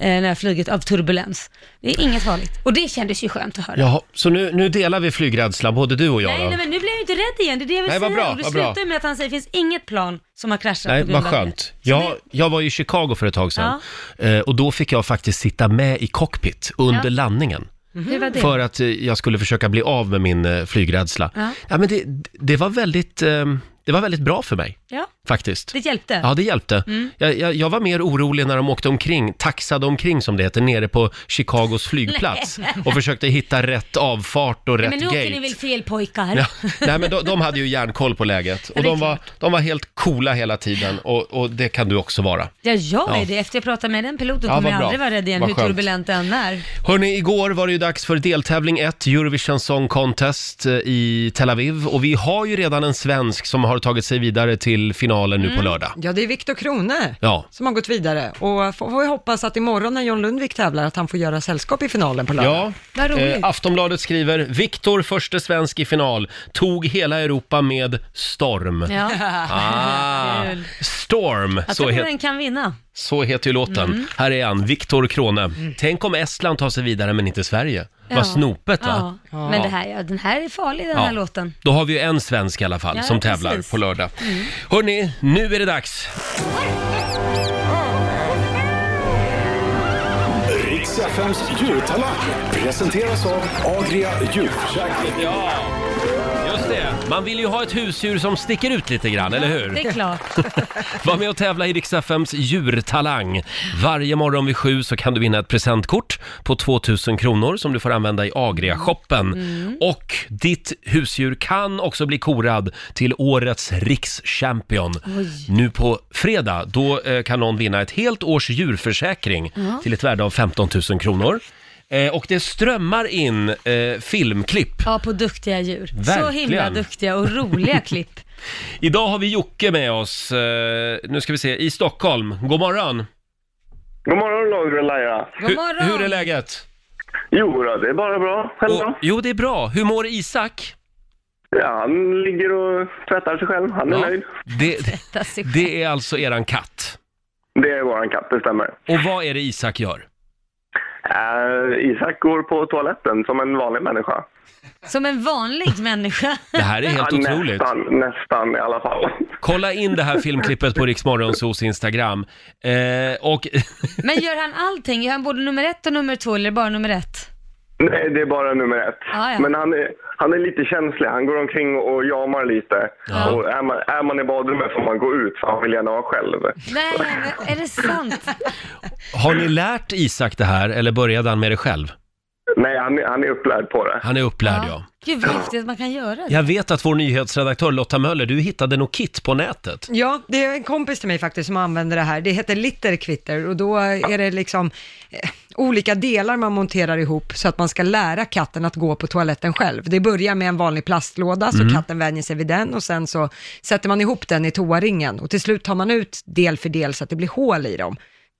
Speaker 2: eh, när jag flugit av turbulens. Det är inget farligt. Och det kändes ju skönt att höra.
Speaker 1: Jaha, så nu, nu delar vi flygrädsla, både du och jag
Speaker 2: Nej,
Speaker 1: då?
Speaker 2: nej, men nu blir jag ju inte rädd igen. Det är det jag vill
Speaker 1: Nej, vad
Speaker 2: säga.
Speaker 1: bra,
Speaker 2: och det
Speaker 1: vad bra.
Speaker 2: slutar ju med att han säger, det finns inget plan som har kraschat
Speaker 1: Nej,
Speaker 2: på grund
Speaker 1: vad
Speaker 2: av det.
Speaker 1: skönt.
Speaker 2: Så
Speaker 1: Jag,
Speaker 2: det-
Speaker 1: jag var i Chicago för ett tag sedan Eh, och då fick jag faktiskt sitta med i cockpit under
Speaker 2: Ja. Mhm.
Speaker 1: landningen.
Speaker 2: Hur var det?
Speaker 1: För att eh, jag skulle försöka bli av med min eh, flygrädsla. Ja.
Speaker 2: Ja.
Speaker 1: men det, det, var väldigt, eh, det var väldigt bra för mig,
Speaker 2: Ja,
Speaker 1: faktiskt.
Speaker 2: det Mm. hjälpte.
Speaker 1: Ja, det hjälpte. Jag, jag, jag var mer orolig när de åkte omkring, taxade omkring som det heter, nere på Chicagos flygplats och försökte hitta rätt avfart och rätt
Speaker 2: men nu
Speaker 1: gate.
Speaker 2: åker ni väl fel pojkar?
Speaker 1: Ja, nej men de, de hade ju järnkoll på läget och
Speaker 2: det är
Speaker 1: de var, de var helt coola hela tiden och, och det kan du också vara.
Speaker 2: Ja, jag är
Speaker 1: Ja.
Speaker 2: det. Efter jag pratade med den piloten
Speaker 1: Ja,
Speaker 2: kommer
Speaker 1: vad
Speaker 2: jag
Speaker 1: bra.
Speaker 2: aldrig vara rädd igen,
Speaker 1: Vad
Speaker 2: hur
Speaker 1: skönt.
Speaker 2: turbulent den är.
Speaker 1: Hörni, igår var det ju dags för deltävling 1, Eurovision Song Contest eh, i Tel Aviv. Och vi har ju redan en svensk som har tagit sig vidare till finalen nu på
Speaker 2: Mm.
Speaker 1: lördag.
Speaker 3: Mm. Ja, det är Viktor Krone
Speaker 1: Ja.
Speaker 3: som har gått vidare och får får vi hoppas att imorgon när John Lundvik tävlar att han får göra sällskap i finalen på lördag.
Speaker 1: Ja, eh,
Speaker 2: Vad roligt.
Speaker 1: Aftonbladet skriver “Viktor, förste svensk i final, tog hela Europa med storm”.
Speaker 2: Ja.
Speaker 1: Ah,
Speaker 2: Kul.
Speaker 1: storm,
Speaker 2: Jag
Speaker 1: så,
Speaker 2: tror
Speaker 1: het,
Speaker 2: den Mm. kan vinna.
Speaker 1: så heter ju låten. Här är han, Viktor Krone. Tänk om Estland tar sig vidare men inte Sverige.
Speaker 2: Mm. Ja.
Speaker 1: Vad snopet va?
Speaker 2: Ja. Men det här, ja, den här är farlig den
Speaker 1: Ja.
Speaker 2: här låten.
Speaker 1: Då har vi ju en svensk i alla fall
Speaker 2: Ja,
Speaker 1: som tävlar
Speaker 2: precis. Mm.
Speaker 1: på lördag. Hörni, nu är det dags.
Speaker 5: Riks FMs djurtalang presenteras av Agria djurförsäkring.
Speaker 1: Ja, just det. Man vill ju ha ett husdjur som sticker ut lite grann, eller hur?
Speaker 2: Det är klart.
Speaker 1: Var med och tävla i Rix FMs djurtalang. Varje morgon vid sju så kan du vinna ett presentkort på 2000 kronor som du får använda i Agria-shoppen. Och ditt husdjur kan också bli korad till årets rikschampion. Nu på fredag, då eh, kan någon vinna ett helt års djurförsäkring till ett värde av 15 000 kronor. Eh, Och det strömmar in eh, filmklipp.
Speaker 2: Ja, på duktiga djur. Så
Speaker 1: Verkligen.
Speaker 2: himla duktiga och roliga klipp.
Speaker 1: Idag har vi Jocke med oss, eh, nu ska vi se, i Stockholm. God morgon!
Speaker 4: God morgon Roger och Laila.
Speaker 2: God morgon!
Speaker 1: Hur, hur är läget?
Speaker 4: Jo då, det är bara bra. Själv
Speaker 1: Och-
Speaker 4: då?
Speaker 1: jo, det är bra. Hur mår Isak?
Speaker 4: Ja, han ligger och tvättar sig själv. Han är
Speaker 1: Ja.
Speaker 4: nöjd.
Speaker 1: Det,
Speaker 2: Tvätta sig själv.
Speaker 1: det är alltså eran katt.
Speaker 4: Det är våran katt, det stämmer.
Speaker 1: Och vad är det Isak gör?
Speaker 4: Eh, Isak går på toaletten som en vanlig människa.
Speaker 2: Som en vanlig människa.
Speaker 1: Det här är helt
Speaker 4: ja,
Speaker 1: otroligt.
Speaker 4: Nästan, nästan i alla fall.
Speaker 1: Kolla in det här filmklippet på Riksmorgonsos Instagram. Eh, och
Speaker 2: Men gör han allting? Gör han både nummer ett och nummer två eller bara nummer ett?
Speaker 4: Nej, det är bara nummer ett.
Speaker 3: Ah,
Speaker 2: Ja, ja.
Speaker 4: Men han är, han är lite känslig. Han går omkring och jamar lite.
Speaker 1: Ja.
Speaker 4: Och är man, är man i badrummet får man gå ut, för han vill gärna vara själv.
Speaker 2: Nej, men är det sant?
Speaker 1: har ni lärt Isak det här eller började han med det själv?
Speaker 4: Nej, han, är- han är upplärd på det.
Speaker 1: Han är upplärd ja.
Speaker 2: Gud vad häftigt att man kan göra det.
Speaker 1: Jag vet att vår nyhetsredaktör Lotta Möller, du hittade något kit på nätet.
Speaker 3: Ja, det är en kompis till mig faktiskt som använder det här. Det heter litterkvitter och då är det liksom eh, olika delar man monterar ihop så att man ska lära katten att gå på toaletten själv. Det börjar med en vanlig plastlåda så
Speaker 1: Mm.
Speaker 3: katten vänjer sig vid den och sen så sätter man ihop den i toaringen och till slut tar man ut del för del så att det blir hål i dem.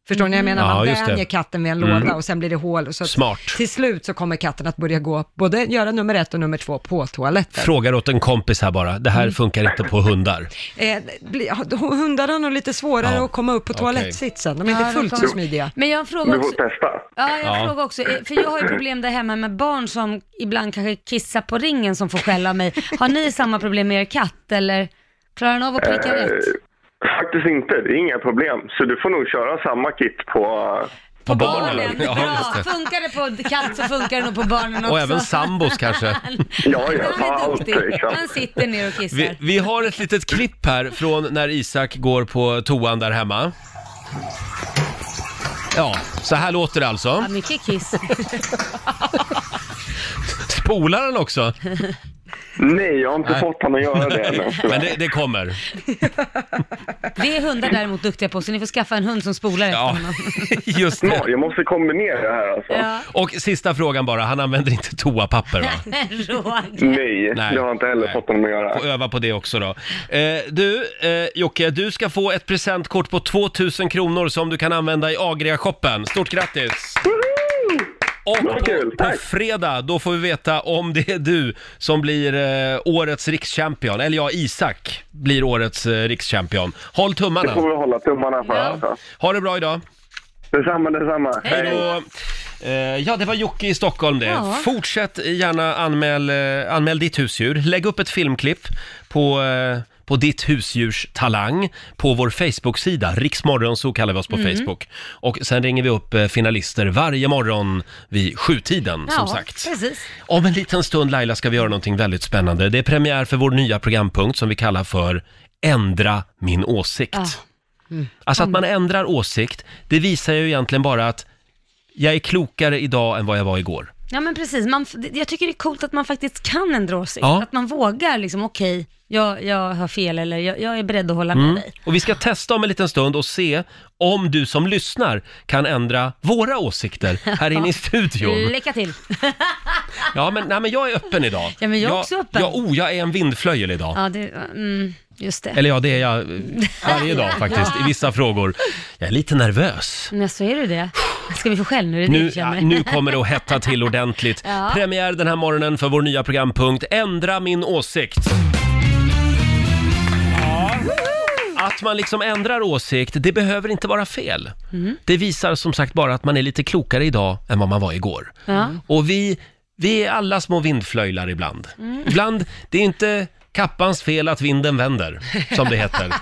Speaker 3: Förstår ni? vad Jag menar,
Speaker 1: Mm. Ja,
Speaker 3: man
Speaker 1: just det. Mm.
Speaker 3: vänjer katten vid en låda och sen blir det hål. Och så att
Speaker 1: Smart.
Speaker 3: Till slut så kommer katten att börja gå, både göra nummer ett och nummer två på toaletten.
Speaker 1: Frågar åt en kompis här bara, det
Speaker 2: Mm.
Speaker 1: här funkar inte på hundar.
Speaker 3: Eh, bli- ha- hundarna har nog lite svårare
Speaker 1: Ja.
Speaker 3: att komma upp på
Speaker 1: Okej.
Speaker 3: toalettsitsen. De är
Speaker 2: Ja, de
Speaker 3: inte fullt
Speaker 2: kommer-
Speaker 3: så smidiga.
Speaker 2: Men jag har en fråga
Speaker 4: Du får
Speaker 2: också.
Speaker 4: testa.
Speaker 2: Ja, jag
Speaker 1: Ja.
Speaker 2: frågar också, eh, för jag har ju problem där hemma med barn som ibland kanske kissar på ringen som får skälla mig. Har ni samma problem med er katt eller klarar den av att pricka rätt?
Speaker 4: Eh, Faktiskt inte, det är inga problem. Så du får nog köra samma kit på... eh,
Speaker 1: På Ja,
Speaker 2: Bra,
Speaker 1: just det.
Speaker 2: funkar det på katt så funkar det nog på barnen också.
Speaker 1: Och även sambos kanske.
Speaker 4: Ja, ja,
Speaker 2: Han
Speaker 4: ta
Speaker 2: är
Speaker 4: allt
Speaker 2: duktig.
Speaker 4: liksom.
Speaker 2: Han sitter ner och kissar.
Speaker 1: Vi, vi har ett litet klipp här från när Isak går på toan där hemma. Ja, så här låter det alltså.
Speaker 2: Ja, mycket kiss.
Speaker 1: Spolar han också?
Speaker 4: Nej, jag har inte fått honom att göra det ännu.
Speaker 1: Men det, det kommer.
Speaker 2: Det är hundar däremot duktiga på, så ni får skaffa en hund som spolar efter
Speaker 1: Ja,
Speaker 2: honom.
Speaker 1: just
Speaker 4: Ja,
Speaker 1: det.
Speaker 4: jag måste kombinera det här alltså.
Speaker 2: Ja.
Speaker 1: Och sista frågan bara, han använder inte toapapper va?
Speaker 2: Men Roger.
Speaker 4: Nej,
Speaker 1: Nej.
Speaker 4: det har jag inte heller
Speaker 1: Nej.
Speaker 4: fått honom att göra.
Speaker 1: Får öva på det också då. Eh, du, eh, Jocke, du ska få ett presentkort på 2000 kronor som du kan använda i Agria-shoppen. Stort grattis! Och
Speaker 4: Vad
Speaker 1: på,
Speaker 4: kul,
Speaker 1: på
Speaker 4: tack.
Speaker 1: fredag, då får vi veta om det är du som blir eh, årets rikschampion. Eller ja, Isak blir årets eh, rikschampion. Håll
Speaker 4: Det får
Speaker 1: tummarna.
Speaker 4: vi hålla tummarna för
Speaker 2: Ja.
Speaker 4: alltså.
Speaker 1: Ha det bra idag.
Speaker 4: Detsamma, detsamma.
Speaker 1: Hej då. Eh, ja, det var Jocke i Stockholm det.
Speaker 2: Ja.
Speaker 1: Fortsätt gärna anmäl, eh, anmäl ditt husdjur. Lägg upp ett filmklipp på, eh, på ditt husdjurs talang på vår Facebook-sida. Riksmorgon, så kallar vi oss på
Speaker 2: Mm.
Speaker 1: Facebook. Och sen ringer vi upp eh, finalister varje morgon vid sjutiden, som sagt.
Speaker 2: precis.
Speaker 1: Om en liten stund Laila ska vi göra någonting väldigt spännande. Det är premiär för vår nya programpunkt som vi kallar för Ändra min åsikt.
Speaker 2: Ja.
Speaker 7: Mm.
Speaker 1: Alltså
Speaker 2: Mm.
Speaker 1: att man ändrar åsikt, det visar ju egentligen bara att jag är klokare idag än vad jag var igår.
Speaker 2: Ja men precis, man, f- jag tycker det är coolt att man faktiskt kan ändra åsikt.
Speaker 1: Ja.
Speaker 2: Att man vågar liksom, okej, jag, jag har fel eller jag, jag är beredd att hålla med dig.
Speaker 1: Mm. Och vi ska testa om en liten stund och se om du som lyssnar kan ändra våra åsikter här inne i studion.
Speaker 2: Lycka till.
Speaker 1: Ja, men, nej, men jag är öppen idag.
Speaker 2: Ja, men jag är också öppen.
Speaker 1: Jag, oh, jag är en vindflöjel idag.
Speaker 2: Ja, det, mm, just det.
Speaker 1: Eller ja, det är jag eh, varje dag faktiskt, i vissa frågor. Jag är lite nervös.
Speaker 2: Men så är du det. Ska vi få skäll nu? Det är det
Speaker 1: Nu,
Speaker 2: vi känner.
Speaker 1: ja, nu kommer det att hetta till ordentligt.
Speaker 2: Ja.
Speaker 1: Premiär den här morgonen för vår nya programpunkt Ändra min åsikt. Ja. Att man liksom ändrar åsikt, det behöver inte vara fel.
Speaker 2: Mm.
Speaker 1: Det visar som sagt bara att man är lite klokare idag än vad man var igår.
Speaker 2: Ja.
Speaker 1: Och vi, vi är alla små vindflöjlar ibland.
Speaker 2: Mm.
Speaker 1: Ibland, det är inte kappans fel att vinden vänder, som det heter.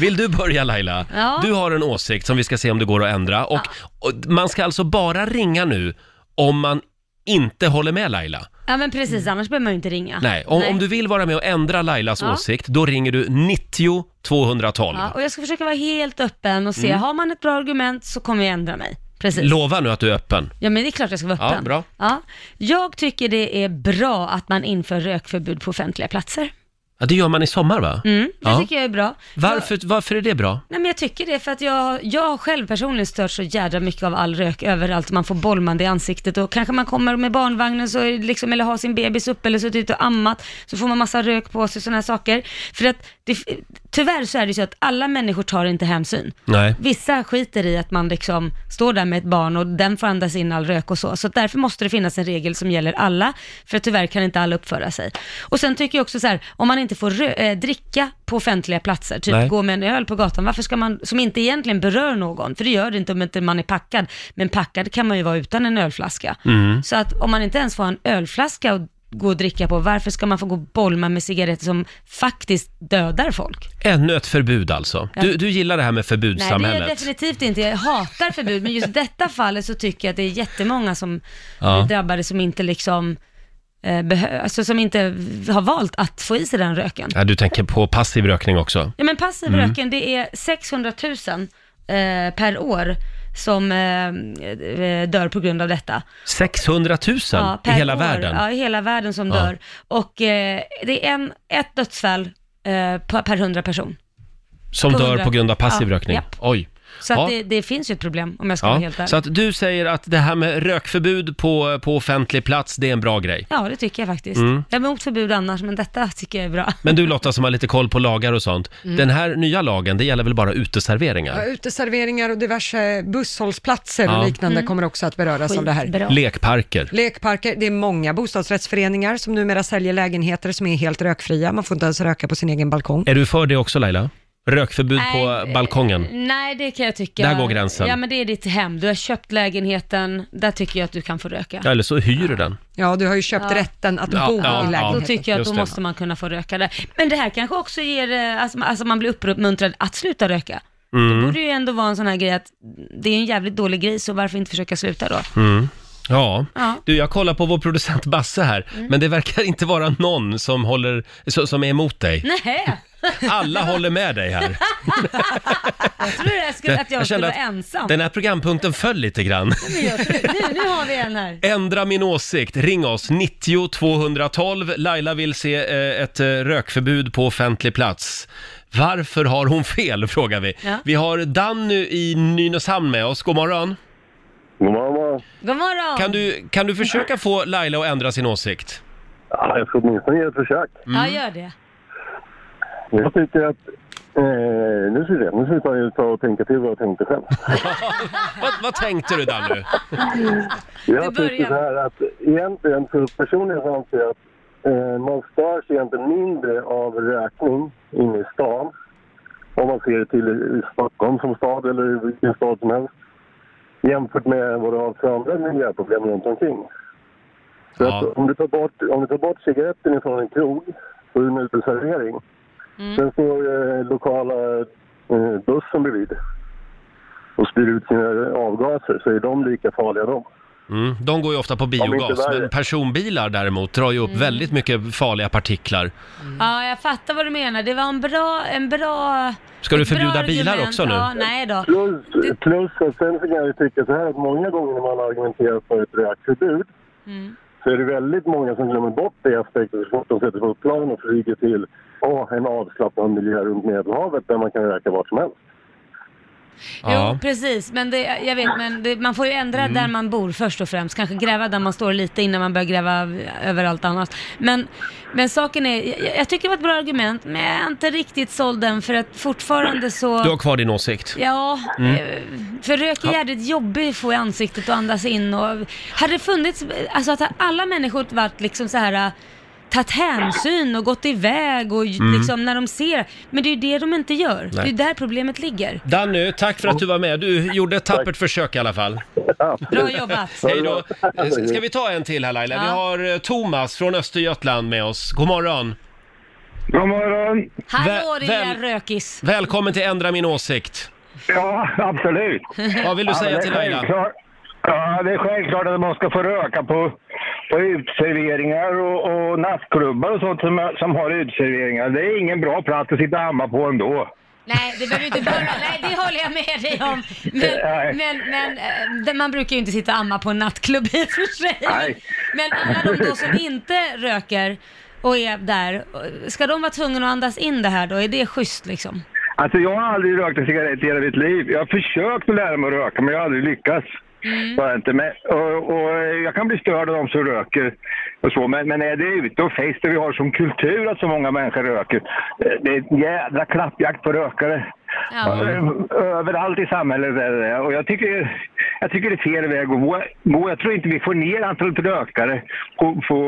Speaker 1: Vill du börja Laila?
Speaker 2: Ja.
Speaker 1: Du har en åsikt som vi ska se om det går att ändra. Och, och man ska alltså bara ringa nu om man inte håller med Laila.
Speaker 2: ja, men precis. Annars behöver man ju inte ringa.
Speaker 1: Nej, om, om du vill vara med och ändra Lailas
Speaker 2: Ah, Ja.
Speaker 1: åsikt, då ringer du 90 212.
Speaker 2: Ja, och jag ska försöka vara helt öppen och se, har man ett bra argument så kommer jag ändra mig. Precis.
Speaker 1: Mm. Lova nu att du är öppen.
Speaker 2: Ja, men det är klart jag ska vara
Speaker 1: Ja,
Speaker 2: öppen.
Speaker 1: bra.
Speaker 2: Ja. Jag tycker det är bra att man inför rökförbud på offentliga platser.
Speaker 1: Ja, det gör man i sommar va?
Speaker 2: Mm, det
Speaker 1: Ja.
Speaker 2: tycker jag är bra.
Speaker 1: Varför, varför är det bra?
Speaker 2: Nej men jag tycker det, för att jag, jag själv personligen stört så jädra mycket av all rök överallt. Man får bollmande i ansiktet och kanske man kommer med barnvagnen så är det liksom, eller har sin bebis uppe eller suttit ute och ammat, så får man massa rök på sig och sådana här saker. För att det, tyvärr så är det så att alla människor tar inte hänsyn.
Speaker 1: Nej.
Speaker 2: Vissa skiter i att man liksom står där med ett barn och den får andas in all rök och så. Så att därför måste det finnas en regel som gäller alla, för att tyvärr kan inte alla uppföra sig. Och sen tycker jag också så här, om man inte får rö- eh, dricka på offentliga platser, typ
Speaker 1: Nej.
Speaker 2: gå med en öl på gatan, varför ska man, som inte egentligen berör någon, för det gör det inte om inte man är packad, men packad kan man ju vara utan en ölflaska.
Speaker 1: Mm.
Speaker 2: Så att om man inte ens får ha en ölflaska och gå och dricka på, varför ska man få gå och bolma med cigaretter som faktiskt dödar folk?
Speaker 1: Ännu ett förbud alltså. Du, du gillar det här med
Speaker 2: Nej, det
Speaker 1: förbudssamhället?
Speaker 2: är jag definitivt inte. Jag hatar förbud, men just detta fallet så tycker jag att det är jättemånga som
Speaker 1: Ja.
Speaker 2: blir drabbade som inte liksom eh, behö- alltså som inte har valt att få i sig den röken.
Speaker 1: Ja, du tänker på passiv rökning också.
Speaker 2: Ja, men passiv
Speaker 1: Mm.
Speaker 2: röken, det är 600 000 eh, per år som eh, eh, dör på grund av detta.
Speaker 1: 600 000 i
Speaker 2: per
Speaker 1: hela
Speaker 2: år.
Speaker 1: världen.
Speaker 2: Ja, i hela världen som
Speaker 1: Ja.
Speaker 2: dör. Och eh, det är en, ett dödsfall eh, per per 100 person.
Speaker 1: som
Speaker 2: på
Speaker 1: dör
Speaker 2: hundra.
Speaker 1: på grund av passiv
Speaker 2: Ja,
Speaker 1: rökning.
Speaker 2: japp.
Speaker 1: Oj.
Speaker 2: Så
Speaker 1: Ja.
Speaker 2: att det, det finns ju ett problem om jag ska vara
Speaker 1: Ja.
Speaker 2: helt ärlig.
Speaker 1: Så att du säger att det här med rökförbud på, på offentlig plats, det är en bra grej.
Speaker 2: Ja, det tycker jag faktiskt.
Speaker 1: Mm.
Speaker 2: Jag är emot förbud annars, men detta tycker jag är bra.
Speaker 1: Men du Lotta som har lite koll på lagar och sånt.
Speaker 2: Mm.
Speaker 1: Den här nya lagen, det gäller väl bara
Speaker 3: Ja,
Speaker 1: uteserveringar?
Speaker 3: uteserveringar och diverse busshållplatser
Speaker 1: Ja.
Speaker 3: och liknande
Speaker 2: Mm.
Speaker 3: kommer också att beröras av det här.
Speaker 2: Bra.
Speaker 1: Lekparker.
Speaker 3: Lekparker, det är många bostadsrättsföreningar som numera säljer lägenheter som är helt rökfria. Man får inte ens röka på sin egen balkong.
Speaker 1: Är du för det också Laila? Rökförbud på
Speaker 2: Nej,
Speaker 1: balkongen?
Speaker 2: Nej, det kan jag tycka.
Speaker 1: Där går gränsen.
Speaker 2: Ja, men det är ditt hem. Du har köpt lägenheten. Där tycker jag att du kan få röka.
Speaker 1: Ja, eller så hyr du den.
Speaker 3: Ja, du har ju köpt
Speaker 2: Ja.
Speaker 3: rätten att
Speaker 1: Ja,
Speaker 3: bo
Speaker 1: ja, ja.
Speaker 3: i
Speaker 2: Då
Speaker 3: lägenheten.
Speaker 2: tycker jag att
Speaker 1: Just
Speaker 2: då
Speaker 1: det.
Speaker 2: måste man kunna få röka där. Men det här kanske också ger, eh, alltså, alltså man blir uppmuntrad att sluta röka.
Speaker 1: Mm.
Speaker 2: Det borde ju ändå vara en sån här grej att det är en jävligt dålig grej, så varför inte försöka sluta då?
Speaker 1: Ja.
Speaker 2: Ja. Mm.
Speaker 1: Du, jag kollar på vår producent Basse här, men det verkar inte vara någon som, håller, så- som är emot dig.
Speaker 2: Nej,
Speaker 1: Alla håller med dig här.
Speaker 2: jag trodde det här skulle, att jag, skulle
Speaker 1: Jag kände
Speaker 2: vara
Speaker 1: att
Speaker 2: ensam.
Speaker 1: Den här programpunkten föll lite grann.
Speaker 2: Men jag tror- Nu, nu har vi en här.
Speaker 1: Ändra min åsikt, ring oss 90 212. Laila vill se eh, ett eh, rökförbud på offentlig plats. Varför har hon fel, frågar vi.
Speaker 2: Ja.
Speaker 1: Vi har Danny i Nynäshamn med oss, god morgon.
Speaker 4: God morgon, god morgon.
Speaker 2: God morgon.
Speaker 1: Kan du, kan du försöka få Laila att ändra sin åsikt?
Speaker 4: Ja, jag ska åtminstone ge ett försök.
Speaker 2: Ja,
Speaker 1: Mm.
Speaker 2: gör det.
Speaker 4: Jag tycker att... Eh, nu ska vi se, nu ska vi ta- ta och tänka till vad jag tänkte själv.
Speaker 1: Vad, vad tänkte du Danny?
Speaker 4: Jag
Speaker 2: Vi börjar.
Speaker 4: tycker så här att egentligen, för personligen så anser jag att eh, man störs egentligen mindre av rökning inne i stan. Om man ser till i Stockholm som stad eller i vilken stad som helst. Jämfört med vad du har för andra miljöproblem runt omkring. Så
Speaker 1: Ja.
Speaker 4: att om, du tar bort, om du tar bort cigaretten ifrån en krog och en uteservering.
Speaker 2: Mm.
Speaker 4: Sen står eh, lokala eh, bussen bredvid och spyr ut sina avgaser så är de lika farliga de.
Speaker 1: Mm, de går ju ofta på biogas,
Speaker 4: värre.
Speaker 1: men personbilar däremot drar ju
Speaker 2: Mm.
Speaker 1: upp väldigt mycket farliga partiklar.
Speaker 2: Ja, jag fattar vad du menar. Det var en bra... En bra
Speaker 1: Ska du
Speaker 2: ett bra
Speaker 1: förbjuda bilar
Speaker 2: argument.
Speaker 1: också nu?
Speaker 2: Ja, nej då.
Speaker 4: Plus, plus och sen så kan jag ju tycka så här att många gånger när man argumenterar för ett rökförbud
Speaker 2: Mm.
Speaker 4: så är det väldigt många som glömmer bort det aspekten så fort de sätter sig på ett plan och flyger till åh, en avslappnad miljö runt Medelhavet där man kan röka vart som helst.
Speaker 1: Ja. Mm.
Speaker 2: Jo, precis. Men det, jag vet, men det, man får ju ändra där man bor först och främst. Kanske gräva där man står lite innan man börjar gräva överallt annat. Men, men saken är, jag, jag tycker det var ett bra argument, men jag är inte riktigt såld den för att fortfarande så...
Speaker 1: Du har kvar din åsikt. Mm.
Speaker 2: Ja, eh, för rök är jävligt jobbigt att få i ansiktet och andas in och hade det funnits, alltså att alla människor varit liksom så här eh, tagit hänsyn och gått iväg och
Speaker 1: Mm.
Speaker 2: liksom när de ser, men det är ju det de inte gör. Det är ju där problemet ligger.
Speaker 1: Danny, tack för att du var med. Du gjorde ett tappert försök i alla fall.
Speaker 2: Bra jobbat!
Speaker 1: Hej då. Eh, s- Ska vi ta en till här Laila? Vi
Speaker 2: Ja.
Speaker 1: har eh, Thomas från Östergötland med oss. God morgon.
Speaker 8: God morgon!
Speaker 2: Hallå
Speaker 1: Vä-
Speaker 2: din
Speaker 1: vem-
Speaker 2: lilla rökis!
Speaker 1: Välkommen till Ändra min åsikt.
Speaker 8: Ja, absolut.
Speaker 1: Vad vill du säga till Laila?
Speaker 8: självklart, ja, det är självklart att man ska få röka på, på utserveringar och, och nattklubbar och sånt som, som har utserveringar. Det är ingen bra plats att sitta och amma på ändå.
Speaker 2: Nej, det behöver du inte bara, nej det håller jag med dig om.
Speaker 8: Nej.
Speaker 2: Men, men, men eh, det- man brukar ju inte sitta och amma på en nattklubb i och för sig.
Speaker 8: Nej.
Speaker 2: Men alla de då som inte röker och är där, ska de vara tvungna att andas in det här då? Är det schysst liksom?
Speaker 8: Alltså jag har aldrig rökt en cigarett i hela mitt liv. Jag har försökt att lära mig att röka men jag har aldrig lyckats. Bara inte. Men, och, och jag kan bli störd av de som röker och så. Men, men är det ute och fest där vi har som kultur att så många människor röker. eh, Det är en jädra klappjakt på rökare.
Speaker 2: Ja.
Speaker 8: Ö- Överallt i samhället är det Och jag tycker, jag tycker det är fel väg att gå. gå. Jag tror inte vi får ner antalet rökare på, på,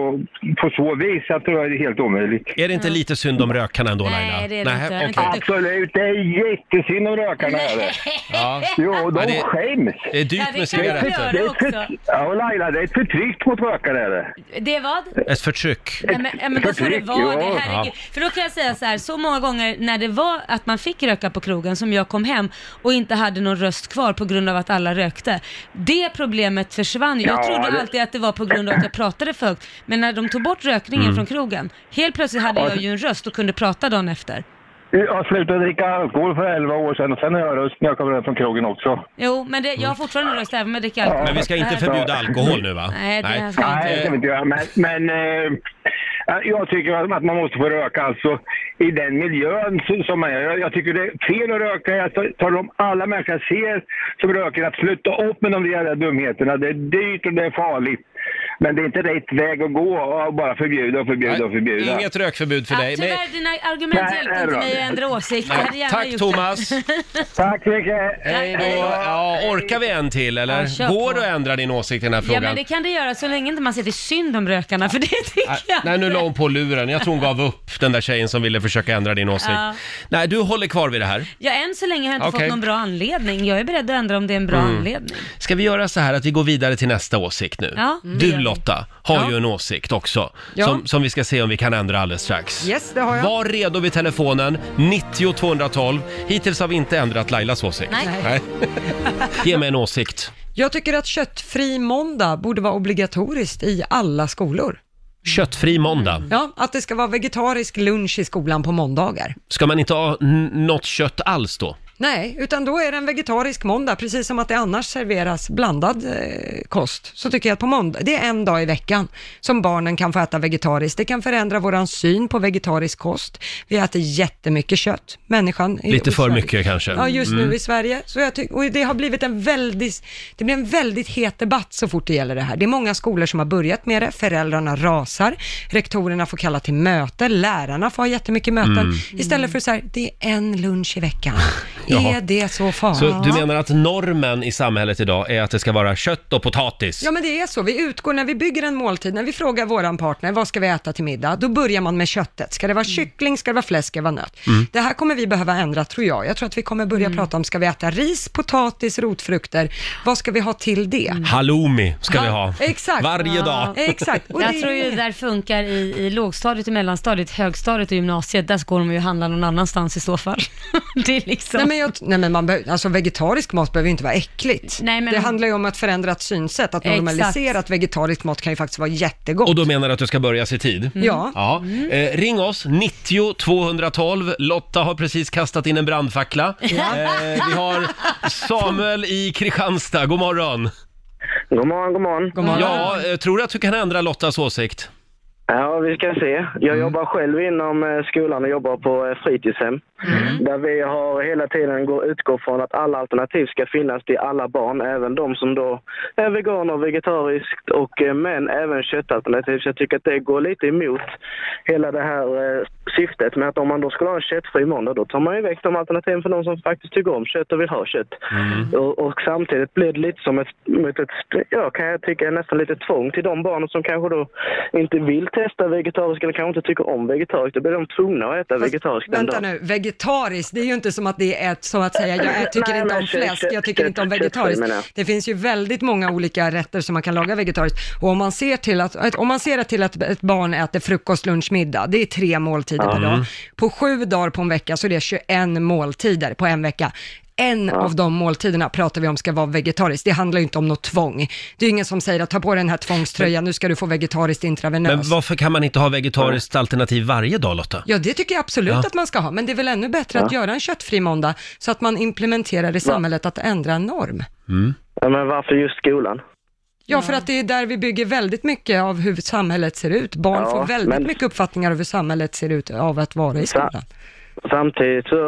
Speaker 8: på så vis. Jag tror det är helt omöjligt.
Speaker 1: Är det inte lite synd om rökarna ändå
Speaker 2: Nej,
Speaker 1: Laila?
Speaker 2: det är det inte.
Speaker 1: okej.
Speaker 2: Inte-
Speaker 8: Absolut, det är jättesynd om rökarna. är det.
Speaker 1: Ja.
Speaker 8: Jo, de
Speaker 1: Ja, det-
Speaker 8: skäms.
Speaker 1: Det är
Speaker 2: Ja,
Speaker 1: dyrt
Speaker 2: det
Speaker 1: med
Speaker 2: kan jag
Speaker 1: cigaretter.
Speaker 2: göra.
Speaker 8: Det är
Speaker 2: också.
Speaker 8: för, ja, och Laila, det är ett förtryck mot rökare. Är det.
Speaker 2: Det är vad?
Speaker 1: Ett förtryck.
Speaker 2: Nej, men, ja, men då får det
Speaker 8: Förtryck,
Speaker 2: vara det,
Speaker 8: ja.
Speaker 2: herregud.
Speaker 1: Ja.
Speaker 2: För då kan jag säga så här, så många gånger när det var att man fick röka på krogen som jag kom hem och inte hade någon röst kvar på grund av att alla rökte. Det problemet försvann ju. Jag
Speaker 8: Ja,
Speaker 2: trodde
Speaker 8: det-
Speaker 2: alltid att det var på grund av att jag pratade för högt. Men när de tog bort rökningen
Speaker 8: Mm.
Speaker 2: från krogen, helt plötsligt hade jag ju en röst och kunde prata dagen efter.
Speaker 8: Jag slutade dricka alkohol för 11 år sedan och sen har jag röst när jag kommer hem från krogen också.
Speaker 2: Jo, men det, jag har fortfarande en röst även om jag dricker alkohol.
Speaker 1: Mm. Men vi ska inte
Speaker 2: Nej.
Speaker 1: förbjuda alkohol nu va?
Speaker 2: Nej, det här ska vi
Speaker 8: Nej, det kan vi inte göra. Men, men eh, jag tycker att man måste få röka alltså i den miljön som- som man är. Jag, jag tycker det är fel att röka. Jag tar- talar om alla människor jag ser som röker att sluta upp med de där jävla dumheterna. Det är dyrt och det är farligt. Men det är inte rätt väg att gå och bara förbjuda och förbjuda och förbjuda.
Speaker 1: Inget rökförbud för
Speaker 2: Ja,
Speaker 1: dig.
Speaker 2: tyvärr,
Speaker 1: Nej.
Speaker 2: dina argument
Speaker 8: Nej,
Speaker 2: hjälpte
Speaker 8: nej,
Speaker 2: inte
Speaker 8: bra.
Speaker 2: mig att ändra åsikt. Jag hade
Speaker 1: Nej.
Speaker 2: gärna
Speaker 1: Tack
Speaker 2: gjort
Speaker 1: Thomas!
Speaker 8: Tack så mycket!
Speaker 1: Hej då! Ja, orkar vi en till
Speaker 2: Ja,
Speaker 1: eller?
Speaker 2: kör
Speaker 1: Går
Speaker 2: på.
Speaker 1: det att ändra din åsikt i den här
Speaker 2: Ja men
Speaker 1: frågan?
Speaker 2: det kan det göra så länge inte man säger synd om rökarna för det tycker
Speaker 1: Nej,
Speaker 2: jag.
Speaker 1: Nej, nu la hon på luren. Jag tror hon gav upp, den där tjejen som ville försöka ändra din åsikt.
Speaker 2: Ja.
Speaker 1: Nej, du håller kvar vid det här.
Speaker 2: Ja än så länge har jag inte
Speaker 1: Okej. Mm.
Speaker 2: fått någon bra anledning. Jag är beredd att ändra om det är en bra anledning.
Speaker 1: Ska vi göra så här att vi går vidare till nästa åsikt nu? Mm.
Speaker 2: Ja,
Speaker 3: Mm.
Speaker 2: det gör
Speaker 1: du
Speaker 2: vi.
Speaker 1: Lotta har
Speaker 3: Ja.
Speaker 1: ju en åsikt också,
Speaker 3: Ja.
Speaker 1: som, som vi ska se om vi kan ändra alldeles strax.
Speaker 3: Yes, det har jag.
Speaker 1: Var redo vid telefonen, 90 212. Hittills har vi inte ändrat Lailas åsikt.
Speaker 2: Nej.
Speaker 1: Ge mig en åsikt.
Speaker 3: Jag tycker att köttfri måndag borde vara obligatoriskt i alla skolor.
Speaker 1: Köttfri måndag.
Speaker 3: Ja, att det ska vara vegetarisk lunch i skolan på måndagar.
Speaker 1: Ska man inte ha n- något kött alls då?
Speaker 3: Nej, utan då är det en vegetarisk måndag, precis som att det annars serveras blandad eh, kost. Så tycker jag att på måndag, det är en dag i veckan som barnen kan få äta vegetariskt. Det kan förändra våran syn på vegetarisk kost. Vi äter jättemycket kött, människan. i-
Speaker 1: Lite
Speaker 3: i
Speaker 1: för
Speaker 3: Sverige.
Speaker 1: mycket kanske. Mm.
Speaker 3: Ja, just nu i Sverige. Så jag tyck- och det har blivit en väldigt, det blir en väldigt het debatt så fort det gäller det här. Det är många skolor som har börjat med det, föräldrarna rasar, rektorerna får kalla till möte, lärarna får ha jättemycket möten.
Speaker 1: Mm.
Speaker 3: Istället för så här, det är en lunch i veckan.
Speaker 1: Jaha.
Speaker 3: är det så farligt?
Speaker 1: Så du menar att normen i samhället idag är att det ska vara kött och potatis?
Speaker 3: Ja men det är så, vi utgår när vi bygger en måltid, när vi frågar våran partner vad ska vi äta till middag, då börjar man med köttet. Ska det vara kyckling, ska det vara fläsk, ska det vara nöt?
Speaker 1: Mm.
Speaker 3: Det här kommer vi behöva ändra tror jag. Jag tror att vi kommer börja prata om, ska vi äta ris, potatis, rotfrukter, vad ska vi ha till det?
Speaker 1: Halloumi ska vi ha.
Speaker 3: Exakt.
Speaker 1: Varje dag.
Speaker 3: Exakt. Och
Speaker 2: jag
Speaker 3: det-
Speaker 2: tror ju det där funkar i, i lågstadiet och mellanstadiet, högstadiet och gymnasiet. Där går de ju handla någon annanstans i så fall. det är liksom...
Speaker 3: Nej men, jag, nej men man behöver, alltså vegetarisk mat behöver ju inte vara äckligt.
Speaker 2: Nej, men-
Speaker 3: det handlar ju om ett förändrat synsätt, att
Speaker 2: Exakt.
Speaker 3: normalisera att vegetarisk mat kan ju faktiskt vara jättegott. Mm.
Speaker 1: Och då menar du att du ska börja se tid?
Speaker 3: Ja.
Speaker 1: Ja. Eh, ring oss, 90 212. Lotta har precis kastat in en brandfackla. Eh, vi har Samuel i Kristianstad, god morgon.
Speaker 7: God morgon, god morgon.
Speaker 3: God morgon.
Speaker 1: Ja, eh, tror du att du kan ändra Lottas åsikt?
Speaker 7: Ja, vi ska se. Jag jobbar själv inom eh, skolan och jobbar på eh, fritidshem. Där vi har hela tiden går, utgår från att alla alternativ ska finnas till alla barn, även de som då är veganer, vegetariskt och eh, men även köttalternativ. Så jag tycker att det går lite emot hela det här eh, syftet med att om man då skulle ha en köttfri måndag, då tar man ju väck de alternativen för de som faktiskt tycker om kött och vill ha kött. Och, och samtidigt blir det lite som ett, mot ett, ja, kan jag tycka, nästan lite tvång till de barnen som kanske då inte vill testa vegetariskt eller kanske inte tycker om vegetariskt. Då blir de tvungna att äta vegetariskt den
Speaker 3: Vänta
Speaker 7: dagen.
Speaker 3: nu, vegetariskt, det är ju inte som att det är ett, som att säga jag tycker
Speaker 7: Nej,
Speaker 3: inte
Speaker 7: men
Speaker 3: om
Speaker 7: kött-
Speaker 3: fläsk, jag tycker
Speaker 7: kött-
Speaker 3: inte om
Speaker 7: kött-
Speaker 3: vegetariskt.
Speaker 7: menar jag.
Speaker 3: Det finns ju väldigt många olika rätter som man kan laga vegetariskt. Och om man ser till att, ett- om man ser att till att ett barn äter frukost, lunch, middag, det är tre måltider per
Speaker 1: Mm.
Speaker 3: dag. På sju dagar på en vecka så är det 21 måltider på en vecka. En av de måltiderna pratar vi om ska vara vegetariskt. Det handlar ju inte om något tvång. Det är ju ingen som säger att ta på dig den här tvångströjan, nu ska du få vegetariskt intravenöst.
Speaker 1: Men varför kan man inte ha vegetariskt alternativ varje dag Lotta?
Speaker 3: Ja, det tycker jag absolut att man ska ha, men det är väl ännu bättre att göra en köttfri måndag så att man implementerar i samhället att ändra en norm.
Speaker 1: Mm.
Speaker 7: Ja, men varför just skolan?
Speaker 3: Ja, för att det är där vi bygger väldigt mycket av hur samhället ser ut. Barn
Speaker 7: Ja,
Speaker 3: får väldigt
Speaker 7: men-
Speaker 3: mycket uppfattningar av hur samhället ser ut av att vara i skolan.
Speaker 7: Samtidigt så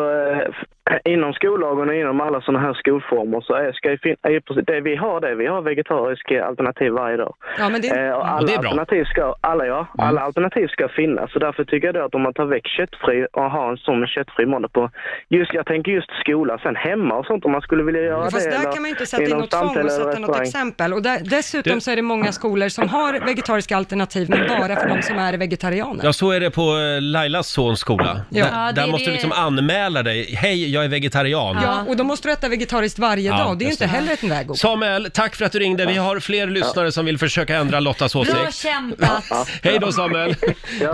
Speaker 7: eh, inom skollagen och inom alla sådana här skolformer så är, ska ju fin- är ju precis, det vi har det, vi har vegetariska alternativ varje dag.
Speaker 3: Ja, men det är...
Speaker 7: Eh, och alla
Speaker 1: det är bra.
Speaker 7: alternativ ska, alla, ja,
Speaker 3: Mm.
Speaker 7: alla alternativ ska finnas. Så därför tycker jag då att om man tar väck köttfri och har en sån köttfri måndag på just, jag tänker just skola, sen hemma och sånt om man skulle vilja göra
Speaker 3: Mm. Fast
Speaker 7: det.
Speaker 3: där
Speaker 7: eller
Speaker 3: kan man ju inte sätta in
Speaker 7: inom
Speaker 3: något tvång och
Speaker 7: samtale eller
Speaker 3: sätta något
Speaker 7: restaurang.
Speaker 3: exempel. Och där, dessutom
Speaker 1: Du-
Speaker 3: så är det många skolor som har vegetariska alternativ, men bara för de som är vegetarianer.
Speaker 1: Ja, så är det på eh, Lailas sons skola.
Speaker 3: Ja.
Speaker 1: Där,
Speaker 2: Ja, det-
Speaker 1: där måste du
Speaker 2: det-
Speaker 1: liksom anmäla dig. Hej, jag är vegetarian.
Speaker 3: Ja, och då måste du äta vegetariskt varje
Speaker 1: Ja,
Speaker 3: dag. Det är ju
Speaker 1: just
Speaker 3: inte heller en väg att gå.
Speaker 1: Samuel, tack för att du ringde. Vi har fler lyssnare som vill försöka ändra Lottas
Speaker 2: Bra
Speaker 1: åsikt.
Speaker 2: kämpat!
Speaker 1: Hej då Samuel!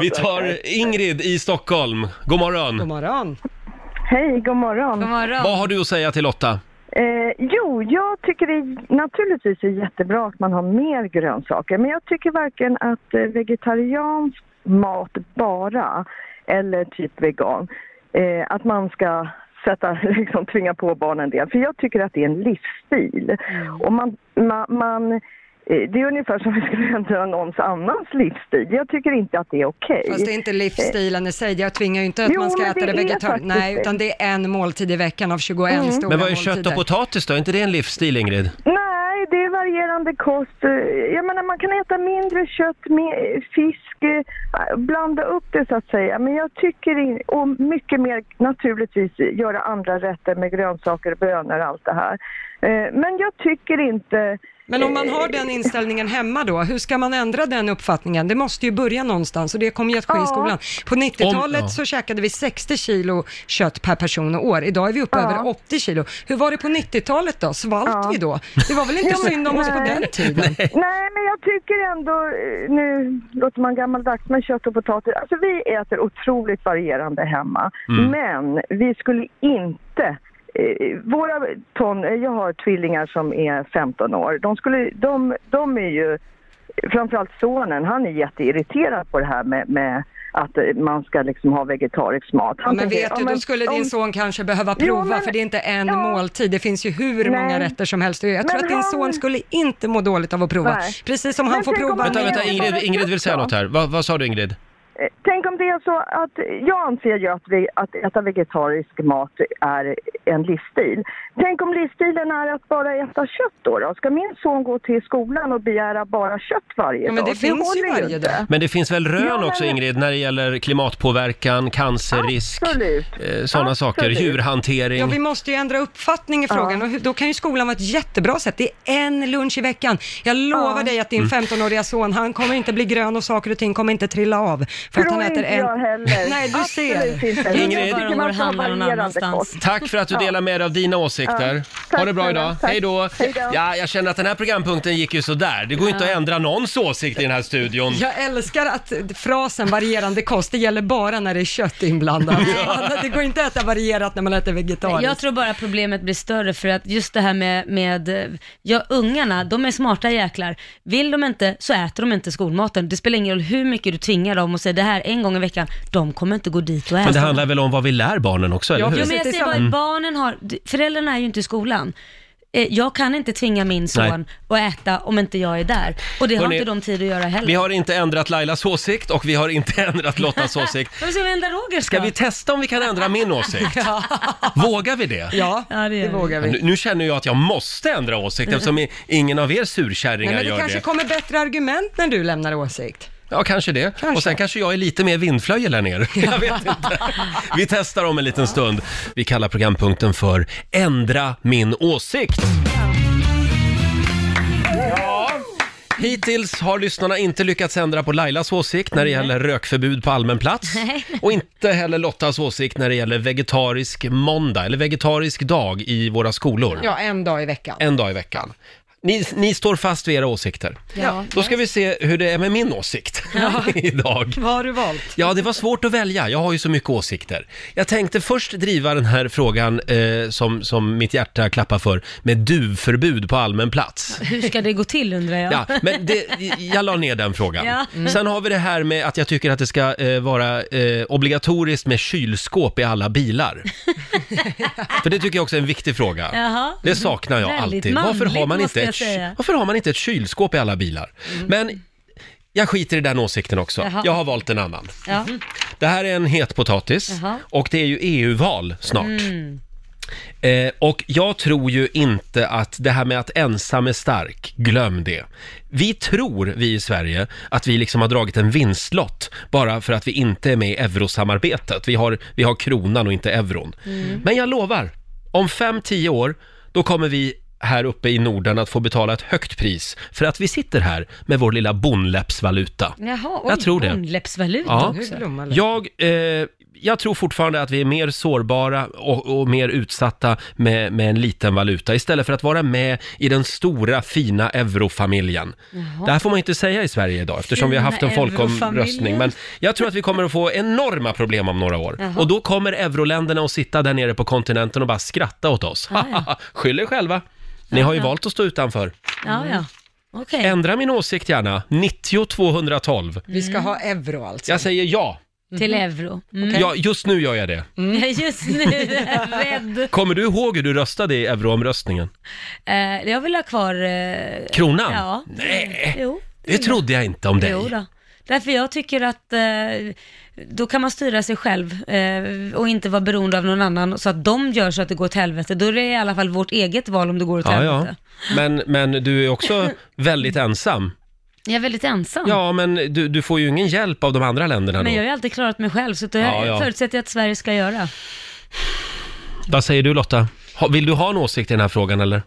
Speaker 1: Vi tar Ingrid i Stockholm. God
Speaker 3: God
Speaker 1: morgon!
Speaker 3: morgon.
Speaker 9: Hej, god morgon.
Speaker 2: God
Speaker 1: Vad
Speaker 2: morgon.
Speaker 1: har du att säga till Lotta?
Speaker 9: Eh, jo, jag tycker det är, naturligtvis är jättebra att man har mer grönsaker. Men jag tycker varken att eh, vegetariansk mat bara, eller typ vegan, eh, att man ska sätta, liksom, tvinga på barnen det. För jag tycker att det är en livsstil.
Speaker 2: Mm.
Speaker 9: Och man, ma, man, eh, det är ungefär som om vi skulle ändra någons annans livsstil. Jag tycker inte att det är okej.
Speaker 3: Fast det är inte livsstilen i sig. Jag tvingar ju inte att
Speaker 9: Jo,
Speaker 3: man ska
Speaker 9: men
Speaker 3: äta
Speaker 9: det
Speaker 3: det
Speaker 9: är
Speaker 3: vegetariskt.
Speaker 9: faktiskt
Speaker 3: Nej,
Speaker 9: det. Mm.
Speaker 3: utan det är en måltid i veckan av 21 stora
Speaker 1: Men vad är
Speaker 3: måltider.
Speaker 1: kött och potatis då? Är inte det en livsstil Ingrid?
Speaker 9: Nej, det är varierande kost. Eh, Jag menar, man kan äta mindre kött, mer fisk, eh, blanda upp det så att säga. Men jag tycker, in, och mycket mer naturligtvis, göra andra rätter med grönsaker, bönor och allt det här. Eh, Men jag tycker inte...
Speaker 3: Men om man har den inställningen hemma då, hur ska man ändra den uppfattningen? Det måste ju börja någonstans och det kommer ju att ske i
Speaker 9: Ja.
Speaker 3: skolan. På 90-talet
Speaker 1: Om- ja.
Speaker 3: så käkade vi 60 kilo kött per person och år. Idag är vi uppe över 80 kilo. Hur var det på 90-talet då? Svalt vi då? Det var väl inte synd om oss på den tiden?
Speaker 9: Nej, men jag tycker ändå, eh, nu låter man gammaldags, men kött och potatis. Alltså vi äter otroligt varierande hemma. Men vi skulle inte eh, våra ton, eh, jag har tvillingar som är 15 år. De, skulle, de, de är ju, framförallt sonen, han är jätteirriterad på det här med, med att eh, man ska liksom ha vegetarisk mat.
Speaker 3: Ja,
Speaker 9: Han
Speaker 3: men
Speaker 9: tänker,
Speaker 3: vet
Speaker 9: ja,
Speaker 3: du, då
Speaker 9: men
Speaker 3: skulle
Speaker 9: om-
Speaker 3: din son kanske behöva
Speaker 9: Jo,
Speaker 3: prova,
Speaker 9: men-
Speaker 3: för det är inte en
Speaker 9: ja.
Speaker 3: måltid. Det finns ju hur många
Speaker 9: Nej.
Speaker 3: rätter som helst. Jag tror
Speaker 9: Men
Speaker 3: att din
Speaker 9: han-
Speaker 3: son skulle inte må dåligt av att prova.
Speaker 9: Nej.
Speaker 3: Precis som han
Speaker 9: Men
Speaker 3: får
Speaker 9: tänk om
Speaker 3: prova
Speaker 9: han-
Speaker 1: Vänta,
Speaker 3: nu.
Speaker 9: men
Speaker 1: vänta,
Speaker 9: jag-
Speaker 1: Ingrid, Ingrid vill säga
Speaker 9: Ja.
Speaker 1: något här. Vad, vad sa du Ingrid?
Speaker 9: Eh, Tänk om det är så att jag anser ju att, vi, att äta vegetarisk mat är en livsstil. Tänk om livsstilen är att bara äta kött då? då? Ska min son gå till skolan och begära bara kött varje
Speaker 3: Ja,
Speaker 9: dag?
Speaker 3: men det finns ju
Speaker 9: håller
Speaker 3: varje
Speaker 9: inte.
Speaker 3: dag.
Speaker 1: Men det finns väl rön
Speaker 9: Ja, men-
Speaker 1: också Ingrid när det gäller klimatpåverkan, cancerrisk,
Speaker 9: Absolut.
Speaker 1: sådana saker,
Speaker 9: Absolut.
Speaker 1: djurhantering.
Speaker 3: Ja, vi måste ju ändra uppfattning i frågan och hur- då kan ju skolan vara ett jättebra sätt. Det är en lunch i veckan. Jag lovar dig att din 15-åriga son, han kommer inte bli grön och saker och ting kommer inte trilla av. För att han
Speaker 9: Tror
Speaker 3: äter
Speaker 9: inte jag
Speaker 3: en...
Speaker 9: heller.
Speaker 3: Nej, du ser.
Speaker 9: Absolut inte. Jag
Speaker 1: Ingrid.
Speaker 9: tycker
Speaker 2: Bara om
Speaker 9: man
Speaker 2: att
Speaker 9: ska ha
Speaker 2: handla någon
Speaker 9: varierande
Speaker 2: annanstans.
Speaker 9: kost.
Speaker 1: Tack för att du delar med dig av dina åsikter.
Speaker 9: tack
Speaker 1: ha det bra
Speaker 9: snälla.
Speaker 1: idag.
Speaker 9: Tack.
Speaker 1: Hej då.
Speaker 9: Hej då.
Speaker 1: Ja, jag känner att den här programpunkten gick ju sådär. Det går ju inte att ändra någons åsikt i den här studion.
Speaker 3: Jag älskar att frasen varierande kost, det gäller bara när det är kött inblandat. Det går inte att äta varierat när man äter vegetariskt.
Speaker 2: Jag tror bara problemet blir större för att just det här med, med eh, ja, ungarna, de är smarta jäklar. Vill de inte så äter de inte skolmaten. Det spelar ingen roll hur mycket du tvingar dem och säger det här en gång i veckan, de kommer inte gå dit och äta.
Speaker 1: Men det handlar väl om vad vi lär barnen också, eller
Speaker 3: Ja,
Speaker 1: hur?
Speaker 2: Alltså- Jo,
Speaker 3: precis.
Speaker 2: men jag
Speaker 3: Det är samma-
Speaker 2: säger bara, barnen har, föräldrarna är ju inte i skolan. eh, jag kan inte tvinga min son att äta om inte jag är där. Och det har
Speaker 1: Hörrni,
Speaker 2: inte de tid att göra heller.
Speaker 1: Mm. Vi har inte ändrat Lailas åsikt och vi har inte ändrat Lottas åsikt.
Speaker 2: Men vi ska vända Rogers
Speaker 1: Ska
Speaker 2: då?
Speaker 1: vi testa om vi kan ändra min åsikt?
Speaker 2: Ja.
Speaker 1: Vågar vi det?
Speaker 3: Ja,
Speaker 2: Ja, det
Speaker 3: det
Speaker 2: gör vi.
Speaker 3: vågar
Speaker 1: Nu,
Speaker 3: vi.
Speaker 1: nu känner jag att jag måste ändra åsikt eftersom i- ingen av er surkärringar
Speaker 3: Nej, men det
Speaker 1: gör
Speaker 3: kanske
Speaker 1: det.
Speaker 3: kommer bättre argument när du lämnar åsikt.
Speaker 1: Ja, kanske det. Och sen kanske jag är lite mer vindflöjel här nere. Jag vet inte. Vi testar om en liten stund. Vi kallar programpunkten för Ändra min åsikt. Ja. Hittills har lyssnarna inte lyckats ändra på Lailas åsikt när det gäller rökförbud på allmän plats. Och inte heller Lottas åsikt när det gäller vegetarisk måndag, eller vegetarisk dag i våra skolor.
Speaker 3: Ja, en dag i veckan.
Speaker 1: En dag i veckan. Ni, ni står fast vid era åsikter.
Speaker 2: Ja.
Speaker 1: Då ska vi se hur det är med min åsikt idag.
Speaker 3: Vad har du valt?
Speaker 1: Ja, det var svårt att välja. Jag har ju så mycket åsikter. Jag tänkte först driva den här frågan eh, som, som mitt hjärta klappar för, med duvförbud på allmän plats.
Speaker 2: Hur ska det gå till undrar jag?
Speaker 1: Ja, men det, jag la ner den frågan.
Speaker 2: Ja.
Speaker 3: Mm.
Speaker 1: Sen har vi det här med att jag tycker att det ska eh, vara eh, obligatoriskt med kylskåp i alla bilar. För det tycker jag också är en viktig fråga.
Speaker 2: Jaha.
Speaker 1: Det saknar jag
Speaker 2: Väldigt
Speaker 1: alltid. Varför har, man
Speaker 2: manligt,
Speaker 1: inte
Speaker 2: måste jag
Speaker 1: ett,
Speaker 2: säga. Mm.
Speaker 1: ky- varför har man inte ett kylskåp i alla bilar? Men jag skiter i den åsikten också.
Speaker 2: Jaha.
Speaker 1: Jag har valt en annan.
Speaker 2: Ja.
Speaker 1: Det här är en het potatis
Speaker 2: Jaha. Mm.
Speaker 1: och det är ju EU-val snart. Eh, och jag tror ju inte att det här med att ensam är stark, glöm det. Vi tror, vi i Sverige, att vi liksom har dragit en vinstlott bara för att vi inte är med i eurosamarbetet. Vi har, vi har kronan och inte euron. Men jag lovar, om 5-10 år, då kommer vi här uppe i Norden att få betala ett högt pris för att vi sitter här med vår lilla bonläppsvaluta.
Speaker 2: Jaha, oj,
Speaker 1: Jag tror det.
Speaker 2: Bonläppsvaluta
Speaker 1: Ja.
Speaker 3: Nu
Speaker 2: också.
Speaker 3: blommar det.
Speaker 1: Jag, eh, jag tror fortfarande att vi är mer sårbara och, och mer utsatta med, med en liten valuta istället för att vara med i den stora fina eurofamiljen. Det här får man inte säga i Sverige idag eftersom vi har haft en
Speaker 2: Fina
Speaker 1: folkomröstning.
Speaker 2: eurofamiljen.
Speaker 1: Men jag tror att vi kommer att få enorma problem om några år.
Speaker 2: Jaha.
Speaker 1: Och då kommer euroländerna att sitta där nere på kontinenten och bara skratta åt oss.
Speaker 2: Ah, ja.
Speaker 1: Skyll er själva. Ni har ju valt att stå utanför.
Speaker 2: Ja, ja. Okej.
Speaker 1: Ändra min åsikt gärna. 90 212.
Speaker 3: Vi ska ha euro alltså. Mhm.
Speaker 1: Jag säger ja.
Speaker 2: Mm. Till euro. Mm.
Speaker 1: Ja, just nu gör jag det.
Speaker 2: Just nu är jag rädd.
Speaker 1: Kommer du ihåg hur du röstade i euroomröstningen?
Speaker 2: Eh, jag vill ha kvar... Eh,
Speaker 1: Kronan?
Speaker 2: ja.
Speaker 1: Nej,
Speaker 2: Jo.
Speaker 1: det trodde jag inte om dig.
Speaker 2: Jo då. Därför jag tycker att eh, då kan man styra sig själv eh, och inte vara beroende av någon annan så att de gör så att det går åt helvete. Då är det i alla fall vårt eget val om det går åt
Speaker 1: Ja, ja.
Speaker 2: helvete.
Speaker 1: Men, men du är också väldigt ensam.
Speaker 2: Jag är väldigt ensam.
Speaker 1: Ja, men du, du får ju ingen hjälp av de andra länderna
Speaker 2: Men jag har
Speaker 1: då.
Speaker 2: ju alltid klarat mig själv, så det
Speaker 1: Ja, ja.
Speaker 2: förutsätter jag att Sverige ska göra.
Speaker 1: Vad säger du Lotta? Ha, vill du ha en åsikt i den här frågan eller?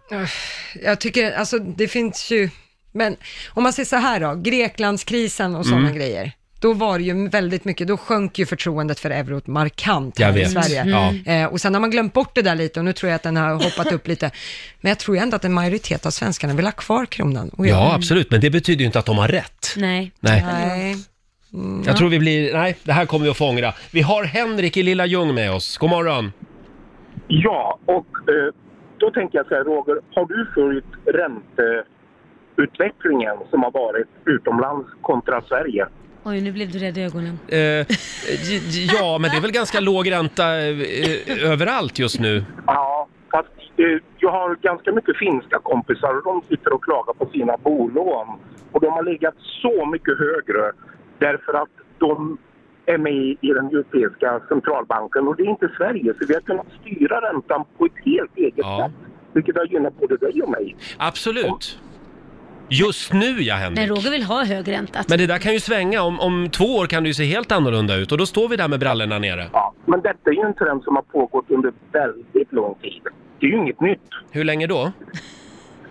Speaker 3: Jag tycker, alltså det finns ju, men om man säger så här då, Greklandskrisen och
Speaker 1: Mm.
Speaker 3: sådana grejer. Då var det ju väldigt mycket, då sjönk ju förtroendet för eurot markant
Speaker 1: Jag
Speaker 3: här i
Speaker 1: vet. Mm.
Speaker 3: Sverige.
Speaker 1: Ja.
Speaker 3: Eh, och sen har man glömt bort det där lite och nu tror jag att den har hoppat upp lite. Men jag tror ändå att en majoritet av svenskarna vill ha kvar kronan.
Speaker 2: Oh,
Speaker 3: Och jag,
Speaker 1: Ja, absolut, men det betyder ju inte att de har rätt.
Speaker 2: Nej.
Speaker 1: Nej,
Speaker 3: Nej.
Speaker 2: Mm.
Speaker 1: jag tror vi blir... Nej, det här kommer vi att få ångra. Vi har Henrik i Lilla Ljung med oss. God morgon.
Speaker 4: Ja, och eh, då tänker jag så här, Roger, har du följt ränteutvecklingen som har varit utomlands kontra Sverige?
Speaker 2: Oj, nu blev du rädd i ögonen.
Speaker 1: Eh, j- j- ja, men det är väl ganska låg ränta eh, överallt just nu.
Speaker 4: Ja, fast eh, jag har ganska mycket finska kompisar och de sitter och klagar på sina bolån. Och de har legat så mycket högre därför att de är med i den europeiska centralbanken och det är inte Sverige så vi har kunnat styra räntan på ett helt eget
Speaker 1: Ja.
Speaker 4: sätt. Vilket har gynnat både dig och mig.
Speaker 1: Absolut. Just nu ja,
Speaker 2: Men
Speaker 1: Henrik.
Speaker 2: Roger vill ha hög ränta.
Speaker 1: Men det där kan ju svänga. Om, om två år kan det ju se helt annorlunda ut och då står vi där med brallorna nere.
Speaker 4: Ja, men detta är ju en trend som har pågått under väldigt lång tid. Det är ju inget nytt.
Speaker 1: Hur länge då?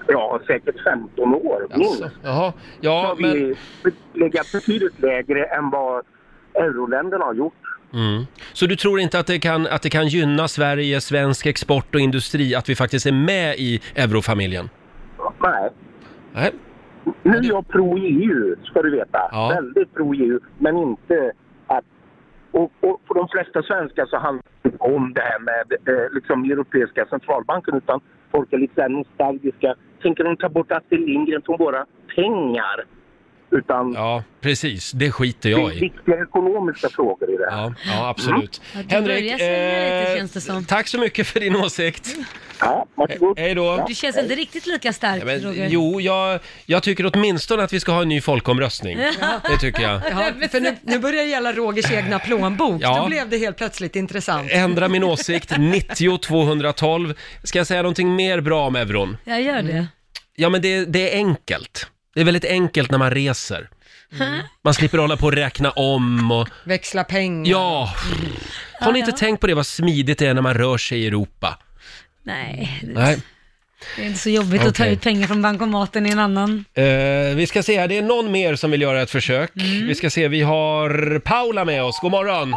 Speaker 4: Ja, säkert 15 år minst.
Speaker 1: Alltså, Jaha.
Speaker 4: Så
Speaker 1: Ja,
Speaker 4: har
Speaker 1: men...
Speaker 4: vi legat betydligt lägre än vad euroländerna har gjort.
Speaker 1: Mm. Så du tror inte att det, kan, att det kan gynna Sverige, svensk export och industri att vi faktiskt är med i eurofamiljen?
Speaker 4: Nej.
Speaker 1: Nej.
Speaker 4: Nu är jag pro-EU, ska du veta.
Speaker 1: Ja.
Speaker 4: Väldigt pro-EU, men inte att... Och, och för de flesta svenskar så handlar det inte om det här med eh, liksom Europeiska centralbanken utan folk är lite så här nostalgiska. Tänker de ta bort Astrid Lindgren från våra pengar? utan
Speaker 1: Ja, precis. Det skiter
Speaker 4: det är
Speaker 1: jag i.
Speaker 4: viktiga ekonomiska frågor i det här.
Speaker 1: Ja, ja absolut.
Speaker 2: Ja, du
Speaker 1: Henrik,
Speaker 2: börjar
Speaker 1: eh,
Speaker 2: svänga lite, känns det som.
Speaker 1: tack så mycket för din åsikt.
Speaker 4: Ja, varsågod.
Speaker 1: Hej då.
Speaker 2: Du känns inte riktigt lika stark,
Speaker 1: Ja, Men,
Speaker 2: Roger.
Speaker 1: jo, jag, jag tycker åtminstone att vi ska ha en ny folkomröstning. Det tycker jag.
Speaker 3: Ja, för nu, nu börjar det gälla Rogers egna plånbok.
Speaker 1: Ja.
Speaker 3: Då blev det helt plötsligt intressant.
Speaker 1: Ändra min åsikt, 90 212. Ska jag säga någonting mer bra om euron?
Speaker 2: Jag gör det.
Speaker 1: Ja, men det, det är enkelt. Det är väldigt enkelt när man reser. Man slipper hålla på och räkna om och...
Speaker 3: Mm. Växla pengar.
Speaker 1: Ja! Har ni inte tänkt på det, vad smidigt det är när man rör sig i Europa?
Speaker 2: Nej,
Speaker 1: Nej.
Speaker 2: det är inte så jobbigt att ta
Speaker 1: Okej.
Speaker 2: ut pengar från bankomaten i en annan.
Speaker 1: Eh, vi ska se här, det är någon mer som vill göra ett försök. Vi ska se, vi har Paula med oss. God morgon!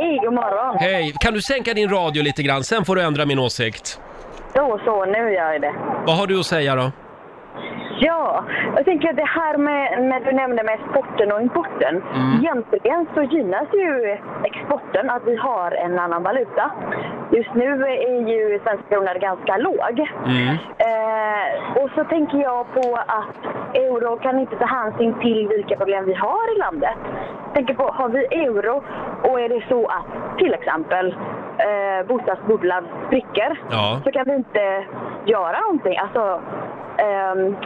Speaker 9: Hej, god morgon.
Speaker 1: Hej! Kan du sänka din radio lite grann, sen får du ändra min åsikt.
Speaker 9: Då så, nu gör jag det.
Speaker 1: Vad har du att säga då?
Speaker 9: Ja, jag tänker att det här med när du nämnde med exporten och importen. Egentligen så gynnas ju exporten att vi har en annan valuta. Just nu är ju svenska kronan ganska låg. Eh, och så tänker jag på att euro kan inte ta hänsyn till vilka problem vi har i landet. Jag tänker på, har vi euro och är det så att till exempel eh, bostadsbubblan spricker
Speaker 1: Ja.
Speaker 9: så kan vi inte göra någonting. Alltså, ehm,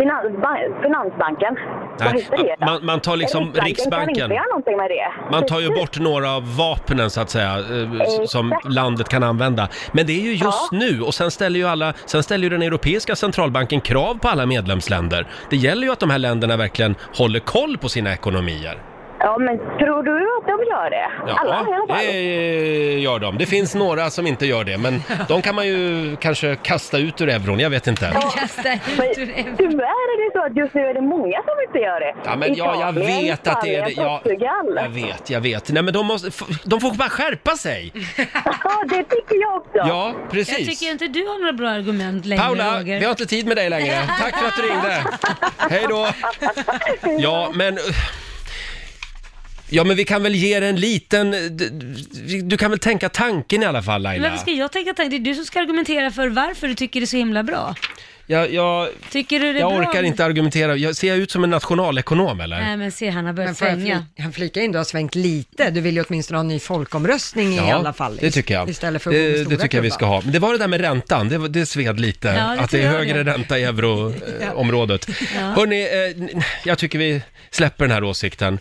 Speaker 9: finansba- Finansbanken, vad
Speaker 1: Nej,
Speaker 9: heter det? då?
Speaker 1: man- man tar liksom
Speaker 9: kan
Speaker 1: Riksbanken.
Speaker 9: inte göra någonting med det.
Speaker 1: Man tar ju
Speaker 9: Precis.
Speaker 1: bort några av vapnen så att säga, eh, s- som
Speaker 9: Exakt.
Speaker 1: landet kan använda. Men det är ju just nu och sen ställer ju alla, sen ställer ju den Europeiska centralbanken krav på alla medlemsländer. Det gäller ju att de här länderna verkligen håller koll på sina ekonomier.
Speaker 9: Ja, men tror du att de gör det? Alla i alla fall.
Speaker 1: det gör de. Det finns några som inte gör det, men de kan man ju kanske kasta ut ur euron, jag vet inte.
Speaker 2: Kasta
Speaker 9: Men
Speaker 2: ut ur det.
Speaker 9: tyvärr är det så att just nu är det många som inte gör det.
Speaker 1: Ja, men ja, jag
Speaker 9: Italien,
Speaker 1: vet att det är det.
Speaker 9: Spanien,
Speaker 1: Ja,
Speaker 9: Portugal.
Speaker 1: jag vet, jag vet. Nej, men de, måste, f- de får bara skärpa sig.
Speaker 9: Ja, det tycker jag också.
Speaker 1: Ja,
Speaker 2: Jag
Speaker 1: precis.
Speaker 2: tycker inte du har några bra argument längre,
Speaker 1: Paula,
Speaker 2: Roger.
Speaker 1: vi har inte tid med dig längre. Tack för att du ringde. Hej då. Ja, men... Ja, men vi kan väl ge dig en liten... d- d- Du kan väl tänka tanken i alla
Speaker 2: Men
Speaker 1: fall, Laila?
Speaker 2: Varför ska jag tänka tanken? Det är du som ska argumentera för varför du tycker det är så himla bra.
Speaker 1: Jag, jag,
Speaker 2: Tycker du det är
Speaker 1: jag
Speaker 2: bra?
Speaker 1: orkar inte argumentera. Jag, ser jag ut som en nationalekonom, eller?
Speaker 2: Nej men se, han har
Speaker 3: Men
Speaker 2: börjat
Speaker 3: får jag
Speaker 2: svänga.
Speaker 3: flika, han flika in, du har svängt lite. Du vill ju åtminstone ha en ny folkomröstning i alla fall.
Speaker 1: det tycker jag.
Speaker 3: Istället för att gå med
Speaker 1: det,
Speaker 3: stora
Speaker 1: det tycker jag vi
Speaker 3: klubban.
Speaker 1: ska ha. Men det var det där med räntan, det, var- det sved lite.
Speaker 2: Ja, det
Speaker 1: att det är
Speaker 2: tror jag
Speaker 1: högre
Speaker 2: det.
Speaker 1: ränta i euroområdet. ja. Hörni, eh, n- jag tycker vi släpper den här åsikten.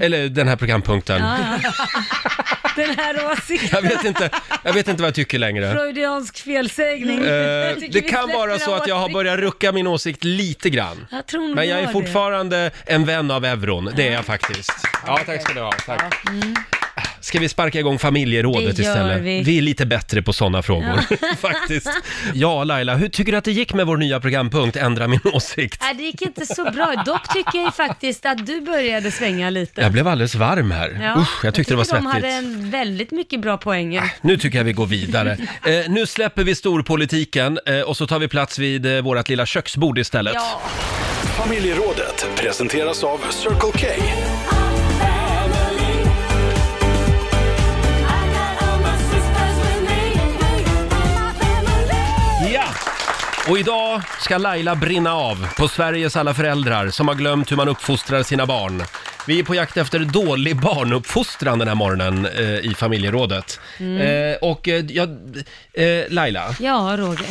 Speaker 1: Eller den här programpunkten.
Speaker 2: Den här åsikten.
Speaker 1: Jag, vet inte, jag vet inte vad jag tycker längre.
Speaker 2: Freudiansk felsägning.
Speaker 1: Eh,
Speaker 2: Jag tycker vi
Speaker 1: det kan
Speaker 2: släpper
Speaker 1: vara
Speaker 2: den
Speaker 1: så att jag har
Speaker 2: åsikten.
Speaker 1: börjat rucka min åsikt lite grann.
Speaker 2: Jag tror nog
Speaker 1: Men
Speaker 2: du
Speaker 1: jag är
Speaker 2: har
Speaker 1: fortfarande en vän av euron, det är jag faktiskt. Ja, tack ska du ha. Tack.
Speaker 2: Mm.
Speaker 1: Ska vi sparka igång familjerådet
Speaker 2: Det gör
Speaker 1: istället?
Speaker 2: vi.
Speaker 1: är lite bättre på sådana frågor, faktiskt. Ja, Laila, hur tycker du att det gick med vår nya programpunkt Ändra min åsikt?
Speaker 2: det. Nej, det gick inte så bra. Dock tycker jag ju faktiskt att du började svänga lite.
Speaker 1: Jag blev alldeles varm här.
Speaker 2: Ja,
Speaker 1: Usch, jag tyckte det var
Speaker 2: tycker
Speaker 1: svettigt. Ah,
Speaker 2: De hade en väldigt mycket bra poänger.
Speaker 1: Nu tycker jag vi går vidare. Eh, nu släpper vi storpolitiken eh, och så tar vi plats vid eh, vårt lilla köksbord istället.
Speaker 2: Ja,
Speaker 5: Familjerådet presenteras av Circle K.
Speaker 1: Ja! Och idag ska Laila brinna av på Sveriges alla föräldrar som har glömt hur man uppfostrar sina barn. Vi är på jakt efter dålig barnuppfostran den här morgonen eh, i familjerådet.
Speaker 2: Mm.
Speaker 1: Eh, och eh, ja, eh, Laila,
Speaker 2: ja Roger.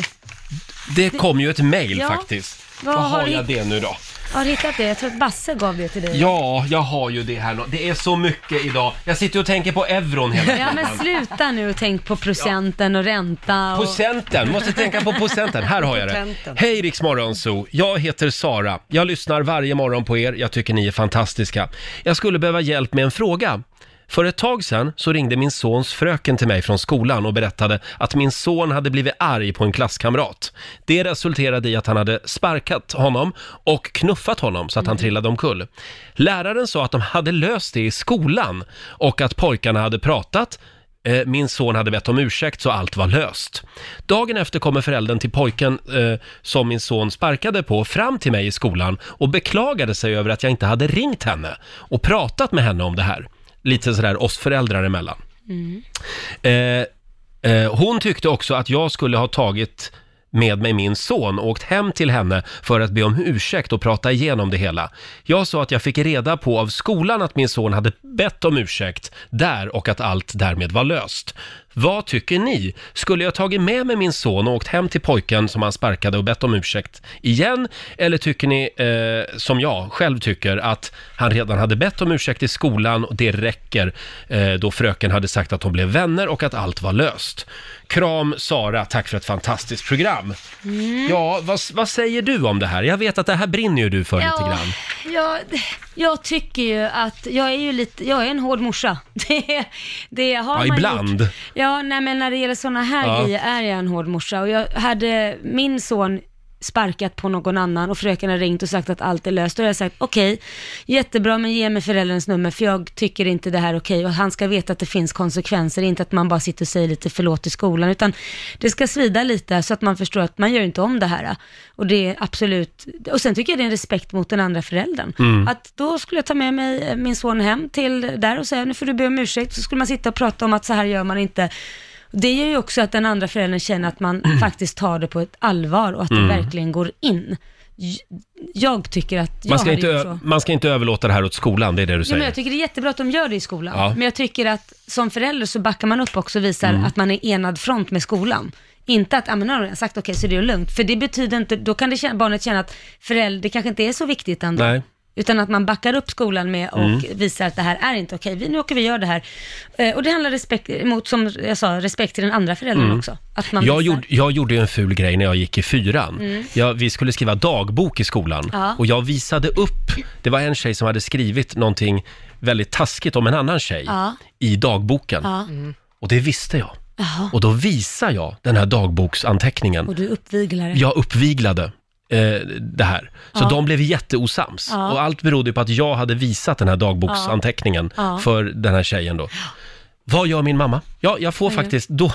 Speaker 1: det kom ju ett mejl
Speaker 2: Ja.
Speaker 1: faktiskt.
Speaker 2: Vad
Speaker 1: Vad
Speaker 2: har
Speaker 1: har
Speaker 2: du-
Speaker 1: jag det nu då?
Speaker 2: Har du hittat det? Jag tror att Basse gav det till dig.
Speaker 1: Ja, jag har ju det här. nå- Det är så mycket idag. Jag sitter och tänker på euron hela tiden.
Speaker 2: Ja, men sluta nu och tänk på procenten och ränta. Och...
Speaker 1: Procenten, måste tänka på procenten. Här har jag det.
Speaker 3: Procenten.
Speaker 1: Hej Rix Morgonzoo, jag heter Sara. Jag lyssnar varje morgon på er, jag tycker ni är fantastiska. Jag skulle behöva hjälp med en fråga. För ett tag sedan så ringde min sons fröken till mig från skolan och berättade att min son hade blivit arg på en klasskamrat. Det resulterade i att han hade sparkat honom och knuffat honom så att han trillade omkull. Läraren sa att de hade löst det i skolan och att pojkarna hade pratat Eh, Min son hade bett om ursäkt så allt var löst. Dagen efter kommer föräldern till pojken eh, som min son sparkade på fram till mig i skolan och beklagade sig över att jag inte hade ringt henne och pratat med henne om det här. Lite sådär oss föräldrar emellan. Eh, eh, hon tyckte också att jag skulle ha tagit med mig min son åkt hem till henne för att be om ursäkt och prata igenom det hela. Jag sa att jag fick reda på av skolan att min son hade bett om ursäkt där och att allt därmed var löst. Vad tycker ni? Skulle jag tagit med mig min son och åkt hem till pojken som han sparkade och bett om ursäkt igen? Eller tycker ni, eh, som jag själv tycker, att han redan hade bett om ursäkt i skolan och det räcker eh, då fröken hade sagt att de blev vänner och att allt var löst? Kram Sara, tack för ett fantastiskt program.
Speaker 2: Mm.
Speaker 1: Ja, vad, vad säger du om det här? Jag vet att det här brinner ju du för lite grann.
Speaker 2: Jag, jag tycker ju att, jag är ju lite, jag är en hård morsa. Det, det har man
Speaker 1: Ja, ibland.
Speaker 2: Gjort. Ja, nej men när det gäller sådana här
Speaker 1: Ja.
Speaker 2: grejer är jag en hård morsa. Och jag hade min son sparkat på någon annan och fröken har ringt och sagt att allt är löst. Och jag har sagt okej, jättebra men ge mig förälderns nummer för jag tycker inte det här är okej. Och han ska veta att det finns konsekvenser, inte att man bara sitter och säger lite förlåt i skolan. Utan det ska svida lite så att man förstår att man gör inte om det här. Och det är absolut, och sen tycker jag det är en respekt mot den andra föräldern.
Speaker 10: Mm.
Speaker 2: Att då skulle jag ta med mig eh, min son hem till där och säga nu får du be om ursäkt. Så skulle man sitta och prata om att så här gör man inte. Det gör ju också att den andra föräldern känner att man faktiskt tar det på ett allvar och att
Speaker 1: Mm.
Speaker 2: det verkligen går in. J- Jag tycker att jag
Speaker 1: Man ska,
Speaker 2: hade
Speaker 1: inte
Speaker 2: gjort
Speaker 1: ö-
Speaker 2: så.
Speaker 1: man ska inte överlåta det här åt skolan, det är det du
Speaker 2: Ja, men
Speaker 1: säger.
Speaker 2: jag tycker det är jättebra att de gör det i skolan.
Speaker 1: Ja.
Speaker 2: Men jag tycker att som förälder så backar man upp också och visar
Speaker 1: Mm.
Speaker 2: att man är enad front med skolan. Inte att, ja men nu har de sagt okej så det är lugnt. För det betyder inte, då kan det känna, barnet känna att förälder, det kanske inte är så viktigt ändå.
Speaker 1: Nej.
Speaker 2: Utan att man backar upp skolan med och
Speaker 1: Mm.
Speaker 2: visar att det här är inte okej. Vi, nu åker vi och gör det här. Eh, och det handlar respekt, mot, som jag sa, respekt till den andra föräldern
Speaker 1: Mm.
Speaker 2: också. Att man
Speaker 1: jag,
Speaker 2: visar-
Speaker 1: gjorde, jag gjorde ju en ful grej när jag gick i fyran.
Speaker 2: Mm.
Speaker 1: Jag, vi skulle skriva dagbok i skolan
Speaker 2: Ja.
Speaker 1: och jag visade upp, det var en tjej som hade skrivit någonting väldigt taskigt om en annan tjej
Speaker 2: Ja.
Speaker 1: i dagboken.
Speaker 2: Ja.
Speaker 1: Och det visste jag.
Speaker 2: Jaha.
Speaker 1: Och då visade jag den här dagboksanteckningen.
Speaker 2: Och du uppviglare.
Speaker 1: Jag uppviglade eh, det här. Så
Speaker 2: Ja.
Speaker 1: de blev jätteosams.
Speaker 2: Ja.
Speaker 1: Och allt berodde ju på att jag hade visat den här dagboksanteckningen
Speaker 2: Ja. Ja.
Speaker 1: för den här tjejen då. Vad gör min mamma? Ja, jag får
Speaker 2: Vad gör-
Speaker 1: faktiskt då,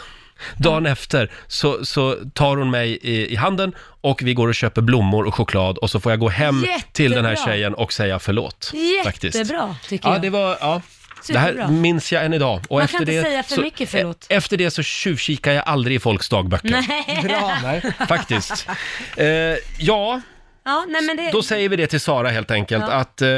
Speaker 1: dagen efter så, så tar hon mig i, i handen och vi går och köper blommor och choklad och så får jag gå hem till den här
Speaker 2: Jättebra.
Speaker 1: tjejen och säga förlåt.
Speaker 2: Jättebra,
Speaker 1: faktiskt.
Speaker 2: tycker
Speaker 1: ja,
Speaker 2: jag.
Speaker 1: Det var, ja, det
Speaker 2: Superbra.
Speaker 1: här minns jag än idag. Och
Speaker 2: Man
Speaker 1: efter
Speaker 2: kan inte
Speaker 1: det,
Speaker 2: säga för mycket förlåt.
Speaker 1: e- Efter det så tjuvkikar jag aldrig i folks dagböcker.
Speaker 2: Nej.
Speaker 1: Nej, faktiskt. Eh, ja,
Speaker 2: Ja, nej men det...
Speaker 1: då säger vi det till Sara helt enkelt,
Speaker 2: Eh. Ja.
Speaker 1: att eh,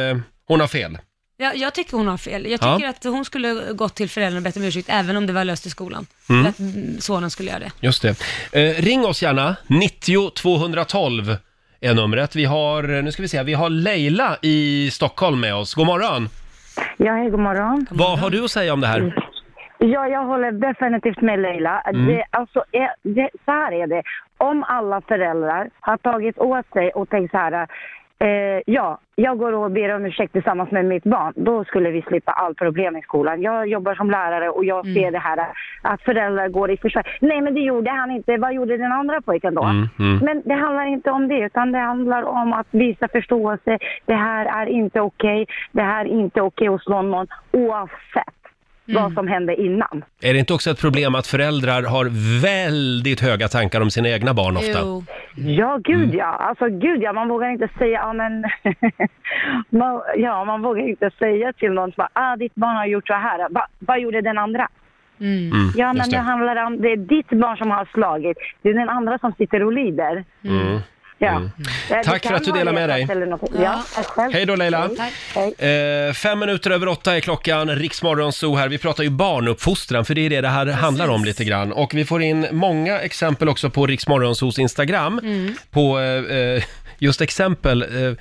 Speaker 1: hon har fel.
Speaker 2: Jag, jag tycker hon har fel. Jag
Speaker 1: Ja.
Speaker 2: tycker att hon skulle gått till föräldrarna och bett om ursäkt, även om det var löst i skolan.
Speaker 1: Mm.
Speaker 2: För att mm, sonen skulle göra det.
Speaker 1: Just det. Eh, ring oss gärna, 90 212 är numret. Vi har, nu ska vi se, vi har Leila i Stockholm med oss. God morgon!
Speaker 11: Ja, hej, god morgon.
Speaker 1: Vad har du att säga om det här?
Speaker 11: Ja, jag håller definitivt med Leila.
Speaker 1: Mm.
Speaker 11: Det, alltså, är, det, så här är det. Om alla föräldrar har tagit åt sig och tänkt så här, eh, ja, jag går och ber om ursäkt tillsammans med mitt barn, då skulle vi slippa all problem i skolan. Jag jobbar som lärare och jag ser det här att föräldrar går i försvar. Nej, men det gjorde han inte. Vad gjorde den andra pojken då?
Speaker 10: Mm, mm.
Speaker 11: Men det handlar inte om det, utan det handlar om att visa förståelse. Det här är inte okej. Det här är inte okej att slå någon oavsett vad som hände innan.
Speaker 1: Är det inte också ett problem att föräldrar har väldigt höga tankar om sina egna barn ofta? Mm.
Speaker 11: Ja, gud ja. Alltså gud ja, man vågar inte säga, ja men... man, ja, man vågar inte säga till någon som bara, ah ditt barn har gjort så här. Va, vad gjorde den andra?
Speaker 10: Mm,
Speaker 11: ja,
Speaker 10: just
Speaker 11: men det
Speaker 10: det.
Speaker 11: handlar om, det är ditt barn som har slagit. Det är den andra som sitter och lider.
Speaker 1: Mm.
Speaker 11: Ja. Ja, det
Speaker 1: Tack för
Speaker 11: kan
Speaker 1: att du
Speaker 11: vara
Speaker 1: delar med
Speaker 11: elakt
Speaker 1: dig.
Speaker 11: eller något. Ja, tack själv.
Speaker 1: Hej då, Leila.
Speaker 11: Hej. Hej.
Speaker 1: Eh, fem minuter över åtta är klockan, Riksmorgon Zoo här. Vi pratar ju barnuppfostran, för det är det det här handlar om lite grann. Och vi får in många exempel också på Riksmorgon Zoos Instagram.
Speaker 2: Mm.
Speaker 1: På eh, eh, just exempel eh,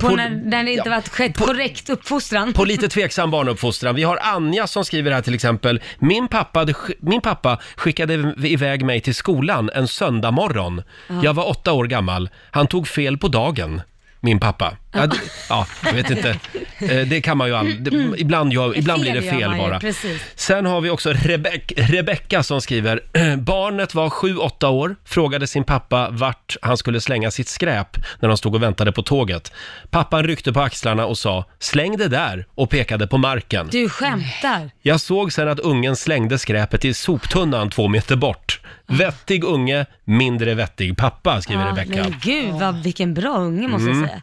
Speaker 2: På,
Speaker 1: På-
Speaker 2: när, när det inte varit skett korrekt uppfostran.
Speaker 1: på lite tveksam barnuppfostran. Vi har Anja som skriver här till exempel. Min pappa, hade sk- min pappa skickade iv- iväg mig till skolan en söndag morgon.
Speaker 2: Ja.
Speaker 1: Jag var åtta år gammal. Han tog fel på dagen. Min pappa. Ja, d- ja jag vet inte. Eh, Det kan man ju
Speaker 2: Mm.
Speaker 1: aldrig. Ibland, gör- ibland blir det
Speaker 2: gör
Speaker 1: fel
Speaker 2: man ju,
Speaker 1: bara.
Speaker 2: Precis.
Speaker 1: Sen har vi också Rebek- Rebecka som skriver, barnet var 7-8 år, frågade sin pappa vart han skulle slänga sitt skräp när de stod och väntade på tåget. Pappan ryckte på axlarna och sa, släng det där och pekade på marken.
Speaker 2: Du skämtar.
Speaker 1: Jag såg sen att ungen slängde skräpet i soptunnan två meter bort. Vettig unge, mindre vettig pappa, skriver
Speaker 2: Ja,
Speaker 1: Rebecka.
Speaker 2: Men gud, vad, vilken bra unge måste
Speaker 1: Mm.
Speaker 2: jag säga.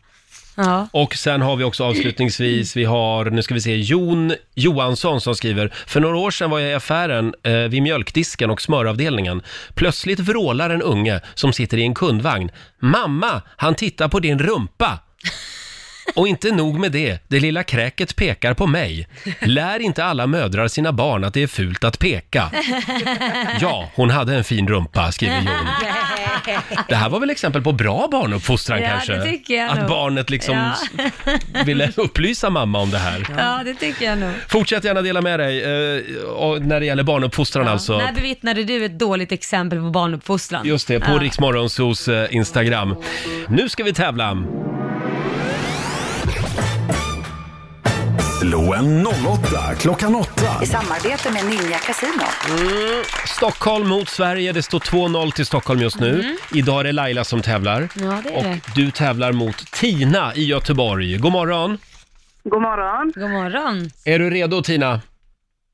Speaker 2: Ja.
Speaker 1: Och sen har vi också avslutningsvis, vi har, nu ska vi se, Jon Johansson som skriver, för några år sedan var jag i affären eh, vid mjölkdisken och smöravdelningen. Plötsligt vrålar en unge som sitter i en kundvagn. Mamma, han tittar på din rumpa! Och inte nog med det, det lilla kräket pekar på mig. Lär inte alla mödrar sina barn att det är fult att peka. Ja, hon hade en fin rumpa, skriver Jon. Det här var väl exempel på bra barnuppfostran
Speaker 2: Ja,
Speaker 1: kanske?
Speaker 2: det tycker jag
Speaker 1: Att
Speaker 2: nog.
Speaker 1: barnet liksom
Speaker 2: Ja.
Speaker 1: s- ville upplysa mamma om det här.
Speaker 2: ja, det tycker jag nog.
Speaker 1: Fortsätt gärna dela med dig eh, och när det gäller barnuppfostran alltså.
Speaker 2: När bevittnade du ett dåligt exempel på barnuppfostran?
Speaker 1: Just det, på
Speaker 2: Ja.
Speaker 1: ja. Riksmorgonsos eh, Instagram. Nu ska vi tävla! Mm.
Speaker 5: Loen 08, klockan 8.
Speaker 10: I samarbete med Ninja Casino.
Speaker 1: Stockholm mot Sverige, det står 2-0 till Stockholm just nu.
Speaker 10: Mhm.
Speaker 1: Idag är det Laila som tävlar.
Speaker 10: Ja, det är
Speaker 1: och
Speaker 10: det.
Speaker 1: du tävlar mot Tina i Göteborg. God morgon!
Speaker 12: God morgon.
Speaker 2: God morgon.
Speaker 1: Är du redo Tina?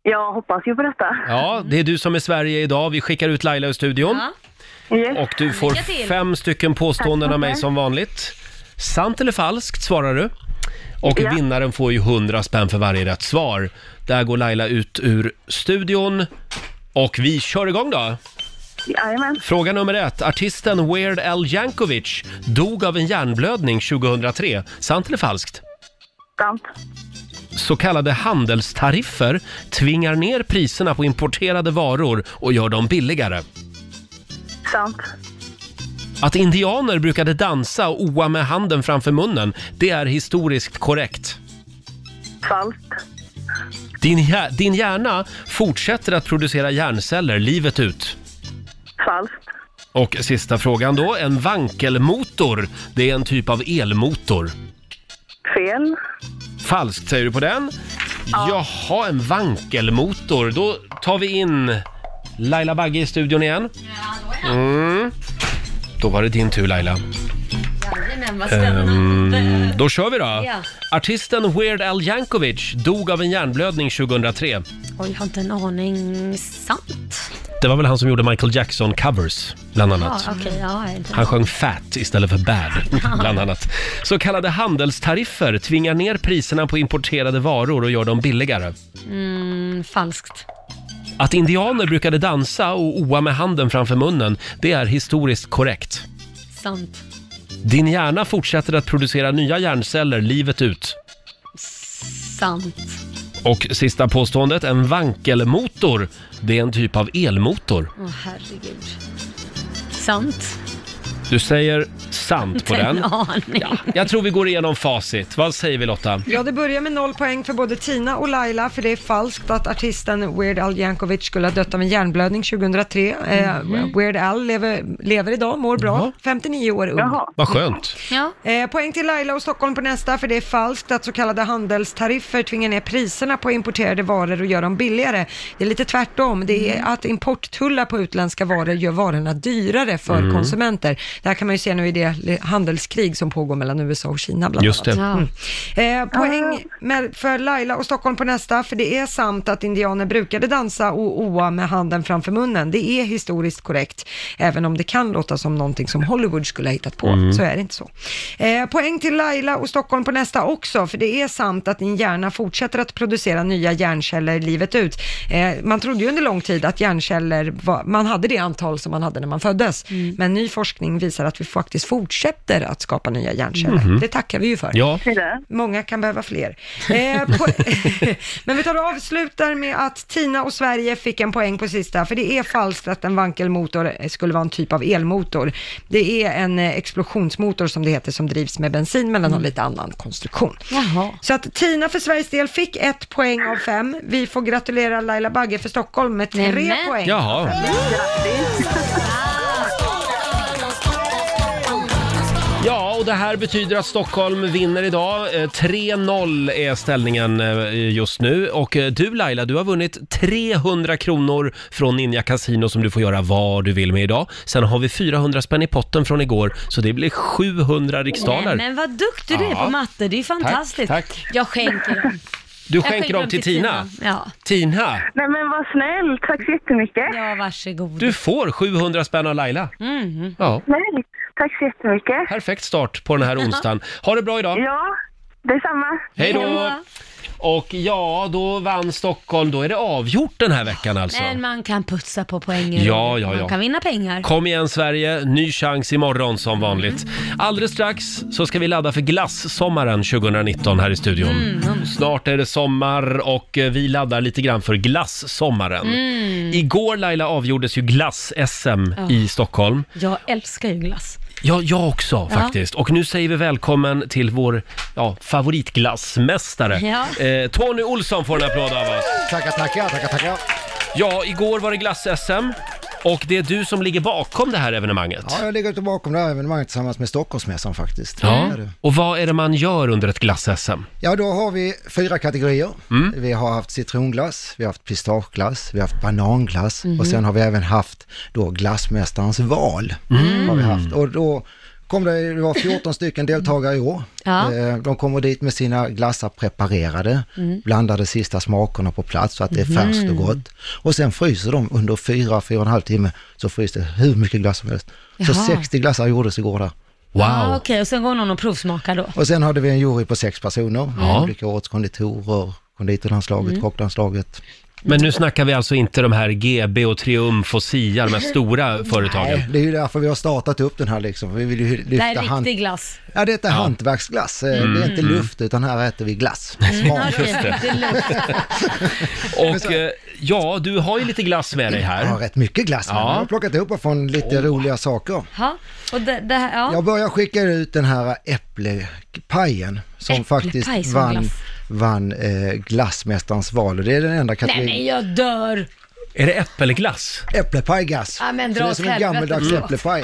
Speaker 12: Jag hoppas ju på detta.
Speaker 1: Ja, det är du som är Sverige idag. Vi skickar ut Laila ur studion.
Speaker 12: Yes.
Speaker 1: Och du får
Speaker 12: Lycka till.
Speaker 1: fem stycken påståenden
Speaker 12: Tack
Speaker 1: av mig
Speaker 12: så mycket.
Speaker 1: som vanligt. Sant eller falskt svarar du. Och
Speaker 12: Ja.
Speaker 1: vinnaren får ju 100 spänn för varje rätt svar. Där går Laila ut ur studion. Och vi kör igång då!
Speaker 12: Jajamän.
Speaker 1: Fråga nummer ett. Artisten Weird Al Yankovic dog av en hjärnblödning 2003. Sant eller falskt?
Speaker 12: Sant.
Speaker 1: Så kallade handelstariffer tvingar ner priserna på importerade varor och gör dem billigare.
Speaker 12: Sant.
Speaker 1: Att indianer brukade dansa och oa med handen framför munnen, det är historiskt korrekt.
Speaker 12: Falskt.
Speaker 1: Din, hjär, din hjärna fortsätter att producera hjärnceller livet ut.
Speaker 12: Falskt.
Speaker 1: Och sista frågan då, en vankelmotor, det är en typ av elmotor.
Speaker 12: Fel.
Speaker 1: Falskt säger du på den. Jaha, en vankelmotor. Då tar vi in Laila Bagge i studion igen. Mm. Då var det din tur Laila.
Speaker 2: Jajamän, vad
Speaker 1: Ehm, då kör vi då.
Speaker 2: Ja.
Speaker 1: Artisten Weird Al Yankovic dog av en hjärnblödning 2003.
Speaker 2: Oj, jag har inte en aning. Sant?
Speaker 1: Det var väl han som gjorde Michael Jackson-covers, bland annat.
Speaker 2: Ja, okej, ja, jag är inte-
Speaker 1: Han sjöng Fat istället för Bad, bland annat. Så kallade handelstariffer tvingar ner priserna på importerade varor och gör dem billigare.
Speaker 2: Mm, falskt.
Speaker 1: Att indianer brukade dansa och oa med handen framför munnen, det är historiskt korrekt.
Speaker 2: Sant.
Speaker 1: Din hjärna fortsätter att producera nya hjärnceller livet ut.
Speaker 2: Sant.
Speaker 1: Och sista påståendet, en vankelmotor, det är en typ av elmotor.
Speaker 2: Åh, herregud. Sant.
Speaker 1: Du säger sant på
Speaker 2: Inte
Speaker 1: den.
Speaker 2: en aning.
Speaker 1: Ja, jag tror vi går igenom facit. Vad säger vi Lotta?
Speaker 3: Ja, det börjar med noll poäng för både Tina och Laila, för det är falskt att artisten Weird Al Yankovic skulle ha dött av en hjärnblödning 2003. Eh, Weird Al lever, lever idag, mår bra, 59 år ung.
Speaker 1: Vad skönt.
Speaker 3: Eh, poäng till Laila och Stockholm på nästa, för det är falskt att så kallade handelstariffer tvingar ner priserna på importerade varor och gör dem billigare. Det är lite tvärtom, det är att importtullar på utländska varor gör varorna dyrare för
Speaker 1: Mm.
Speaker 3: konsumenter. Det här kan man ju se nu i det li- handelskrig som pågår mellan USA och Kina bland
Speaker 1: Just det.
Speaker 3: annat. Mm. Eh, poäng med, för Laila och Stockholm på nästa, för det är sant att indianer brukade dansa och oa med handen framför munnen. Det är historiskt korrekt, även om det kan låta som någonting som Hollywood skulle ha hittat på.
Speaker 13: Mm.
Speaker 3: Så är det inte så. Eh, poäng till Laila och Stockholm på nästa också, för det är sant att din hjärna fortsätter att producera nya hjärnceller livet ut. Eh, man trodde ju under lång tid att hjärnceller, var, man hade det antal som man hade när man föddes, men ny forskning visar att vi faktiskt fortsätter att skapa nya hjärnceller.
Speaker 1: Mhm.
Speaker 3: Det tackar vi ju för.
Speaker 1: Ja.
Speaker 3: Många kan behöva fler. Eh, po- men vi tar och avslutar med att Tina och Sverige fick en poäng på sista, för det är falskt att en vankelmotor skulle vara en typ av elmotor. Det är en eh, explosionsmotor som det heter, som drivs med bensin, men den har
Speaker 13: Mm.
Speaker 3: lite annan konstruktion. Så att Tina för Sveriges del fick ett poäng av fem. Vi får gratulera Laila Bagge för Stockholm med tre
Speaker 1: Nämen.
Speaker 3: poäng.
Speaker 1: Jaha. Ja, och det här betyder att Stockholm vinner idag. Eh, 3-0 är ställningen eh, just nu. Och eh, du Laila, du har vunnit 300 kronor från Ninja Casino som du får göra vad du vill med idag. Sen har vi 400 spänn i potten från igår, så det blir 700
Speaker 2: Nej,
Speaker 1: riksdaler.
Speaker 2: men vad duktig du är
Speaker 1: Ja.
Speaker 2: på matte, det är ju fantastiskt.
Speaker 1: Tack, tack.
Speaker 2: Jag skänker dem.
Speaker 1: Du
Speaker 2: Jag
Speaker 1: skänker dem till Tina.
Speaker 2: Ja.
Speaker 1: Tina,
Speaker 12: Nej men vad snäll. Tack så jättemycket.
Speaker 2: Ja, varsågod.
Speaker 1: du får 700 spänn av Laila.
Speaker 2: Mm.
Speaker 1: Ja.
Speaker 12: Nej, Tack så jättemycket.
Speaker 1: Perfekt start på den här onsdagen. Ha det bra idag!
Speaker 12: Ja, detsamma.
Speaker 1: Hej då! Och ja, då vann Stockholm. Då är det avgjort den här veckan alltså.
Speaker 2: Men man kan putsa på poängen.
Speaker 1: Ja, ja, ja.
Speaker 2: Man kan vinna pengar.
Speaker 1: Kom igen Sverige, ny chans imorgon som vanligt. Alldeles strax så ska vi ladda för glassommaren 2019 här i studion. Snart är det sommar och eh, vi laddar lite grann för glassommaren.
Speaker 2: Mm.
Speaker 1: Igår Laila avgjordes ju glass-SM
Speaker 2: Ja.
Speaker 1: i Stockholm.
Speaker 2: Jag älskar ju glass.
Speaker 1: Ja, jag också
Speaker 2: Ja.
Speaker 1: faktiskt. Och nu säger vi välkommen till vår ja, favoritglassmästare.
Speaker 13: Ja.
Speaker 1: Eh, Tony Olsson får en applåd av oss.
Speaker 13: Tackar, tackar, tackar, tackar.
Speaker 1: Ja, igår var det glass-SM och det är du som ligger bakom det här evenemanget.
Speaker 13: Ja, jag ligger ute bakom det här evenemanget tillsammans med Stockholmsmässan faktiskt.
Speaker 1: Ja.
Speaker 13: Det är det.
Speaker 1: Och vad är det man gör under ett glass-SM?
Speaker 13: Ja, då har vi fyra kategorier.
Speaker 14: Mm.
Speaker 13: Vi har haft citronglass, vi har haft pistageglass, vi har haft bananglass
Speaker 14: Mhm.
Speaker 13: och sen har vi även haft då glassmästarens val.
Speaker 14: Mm.
Speaker 13: Har vi haft. Och då kom det, det var 14 stycken deltagare i år.
Speaker 14: Ja.
Speaker 13: Eh, De kommer dit med sina glassar preparerade,
Speaker 14: Mm.
Speaker 13: blandade sista smakerna på plats så att det är
Speaker 2: Mm.
Speaker 13: färskt
Speaker 14: Mhm.
Speaker 13: och gott. Och sen fryser de under fyra, fyra och en halv timme så fryser det hur mycket glass som helst. Så
Speaker 2: Jaha.
Speaker 13: 60 glassar gjordes igår där.
Speaker 2: Ah, Okej, och sen går någon och provsmakar då.
Speaker 13: Och sen hade vi en jury på sex personer,
Speaker 1: Ja.
Speaker 13: olika årets konditorer, konditorlandslaget,
Speaker 2: Mm.
Speaker 13: kocklandslaget.
Speaker 1: Men nu snackar vi alltså inte de här GB och Triumf och SIA, de här stora företagen.
Speaker 13: Nej, det är ju därför vi har startat upp den här liksom, för vi vill ju lyfta
Speaker 2: Det här är
Speaker 13: hand...
Speaker 2: riktig glass.
Speaker 13: Ja, detta är hantverksglass. Eh,
Speaker 1: Mm.
Speaker 13: Det är inte
Speaker 1: Mm.
Speaker 13: luft, utan här äter vi glass.
Speaker 2: Mm. Ja,
Speaker 1: just det.
Speaker 2: är luft.
Speaker 1: Och eh, ja, du har ju lite glass med dig här.
Speaker 13: Jag har rätt mycket glass med.
Speaker 1: Ja.
Speaker 13: Jag har plockat ihop från lite
Speaker 2: Oh.
Speaker 13: roliga saker.
Speaker 2: Ja, och det, det här, ja.
Speaker 13: Jag börjar skicka ut den här äpplepajen som faktiskt
Speaker 2: som
Speaker 13: vann,
Speaker 2: glass.
Speaker 13: vann eh, glassmästarens val och det är den enda
Speaker 2: Nej
Speaker 13: kategorin.
Speaker 2: men jag dör!
Speaker 1: Är det äppelglass?
Speaker 13: Äpplepajglass.
Speaker 2: Ja, men
Speaker 13: Så
Speaker 2: dra
Speaker 13: det är
Speaker 2: åt
Speaker 13: som en
Speaker 2: helvete.
Speaker 13: gammeldags
Speaker 2: Mm.
Speaker 13: äpplepaj.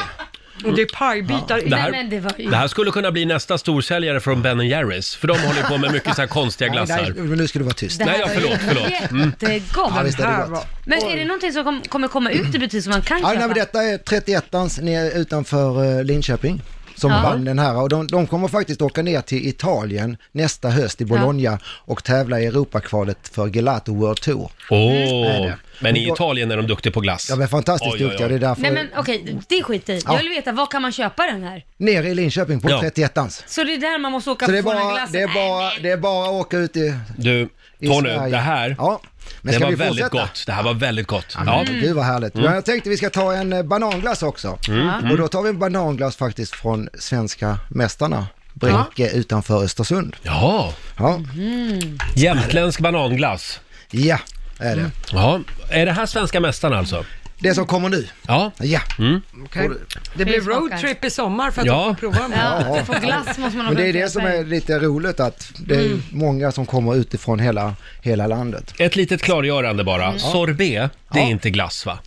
Speaker 3: Och det är pajbitar i.
Speaker 1: Det här,
Speaker 2: men det var ju-
Speaker 1: det här skulle kunna bli nästa storsäljare från Ben Jerrys, för de håller på med mycket så här konstiga glassar.
Speaker 13: Nej, nej, men nu ska du vara tyst.
Speaker 2: Det här
Speaker 1: Nej, ja,
Speaker 2: var
Speaker 1: förlåt,
Speaker 2: ju
Speaker 1: förlåt. Mm.
Speaker 2: Jättegott.
Speaker 13: Ja, visst är det Den här gott. var-
Speaker 2: Men är det någonting som kom, kommer komma ut i butik som man kan
Speaker 13: Ja, nej,
Speaker 2: köpa?
Speaker 13: men detta är 31ans nere utanför eh, Linköping som
Speaker 2: Ja.
Speaker 13: vann den här och de, de kommer faktiskt åka ner till Italien nästa höst i Bologna och tävla i Europakvalet för Gelato World Tour. Mm.
Speaker 1: Åh,
Speaker 13: Är det.
Speaker 1: men i Italien är de duktiga på glass.
Speaker 13: Ja, men fantastiskt
Speaker 1: Oj, oj, oj.
Speaker 13: duktiga, det är därför
Speaker 2: Nej men okej, det skiter jag i.
Speaker 13: Ja.
Speaker 2: Jag vill veta, var kan man köpa den här?
Speaker 13: nere i Linköping på
Speaker 1: Ja.
Speaker 13: 31ans.
Speaker 2: Så det är där man måste åka
Speaker 13: Så det är,
Speaker 2: för att få den här
Speaker 13: bara,
Speaker 2: glassen?
Speaker 13: det, är bara, det är bara att åka ut i...
Speaker 1: Du,
Speaker 13: I
Speaker 1: Tony,
Speaker 13: Sverige.
Speaker 1: det här,
Speaker 13: Ja, men
Speaker 1: det
Speaker 13: ska
Speaker 1: var
Speaker 13: vi
Speaker 1: väldigt
Speaker 13: fortsätta?
Speaker 1: gott. Det här var väldigt gott.
Speaker 13: Ja, men Gud vad härligt.
Speaker 1: Mm.
Speaker 13: Men jag tänkte vi ska ta en eh, bananglass också.
Speaker 1: Mm. Ja.
Speaker 13: Och då tar vi en bananglass faktiskt från svenska mästarna, Brinke utanför Östersund.
Speaker 1: Jaha.
Speaker 13: Ja,
Speaker 1: Mm. Jämtländsk bananglass.
Speaker 13: ja är det.
Speaker 1: Ja, är det här svenska mästaren alltså?
Speaker 13: Det som kommer nu.
Speaker 1: Ja.
Speaker 13: Ja.
Speaker 1: Mm.
Speaker 3: Okej. Det blir roadtrip i sommar för att
Speaker 1: Ja.
Speaker 3: prova dem.
Speaker 13: Ja.
Speaker 2: För glass måste man ha
Speaker 13: Men det är det
Speaker 2: börjat köpa
Speaker 13: som
Speaker 2: den.
Speaker 13: är lite roligt att det är
Speaker 2: Mm.
Speaker 13: många som kommer utifrån hela, hela landet.
Speaker 1: Ett litet klargörande bara.
Speaker 13: Mm.
Speaker 1: Sorbet, det är inte glass va?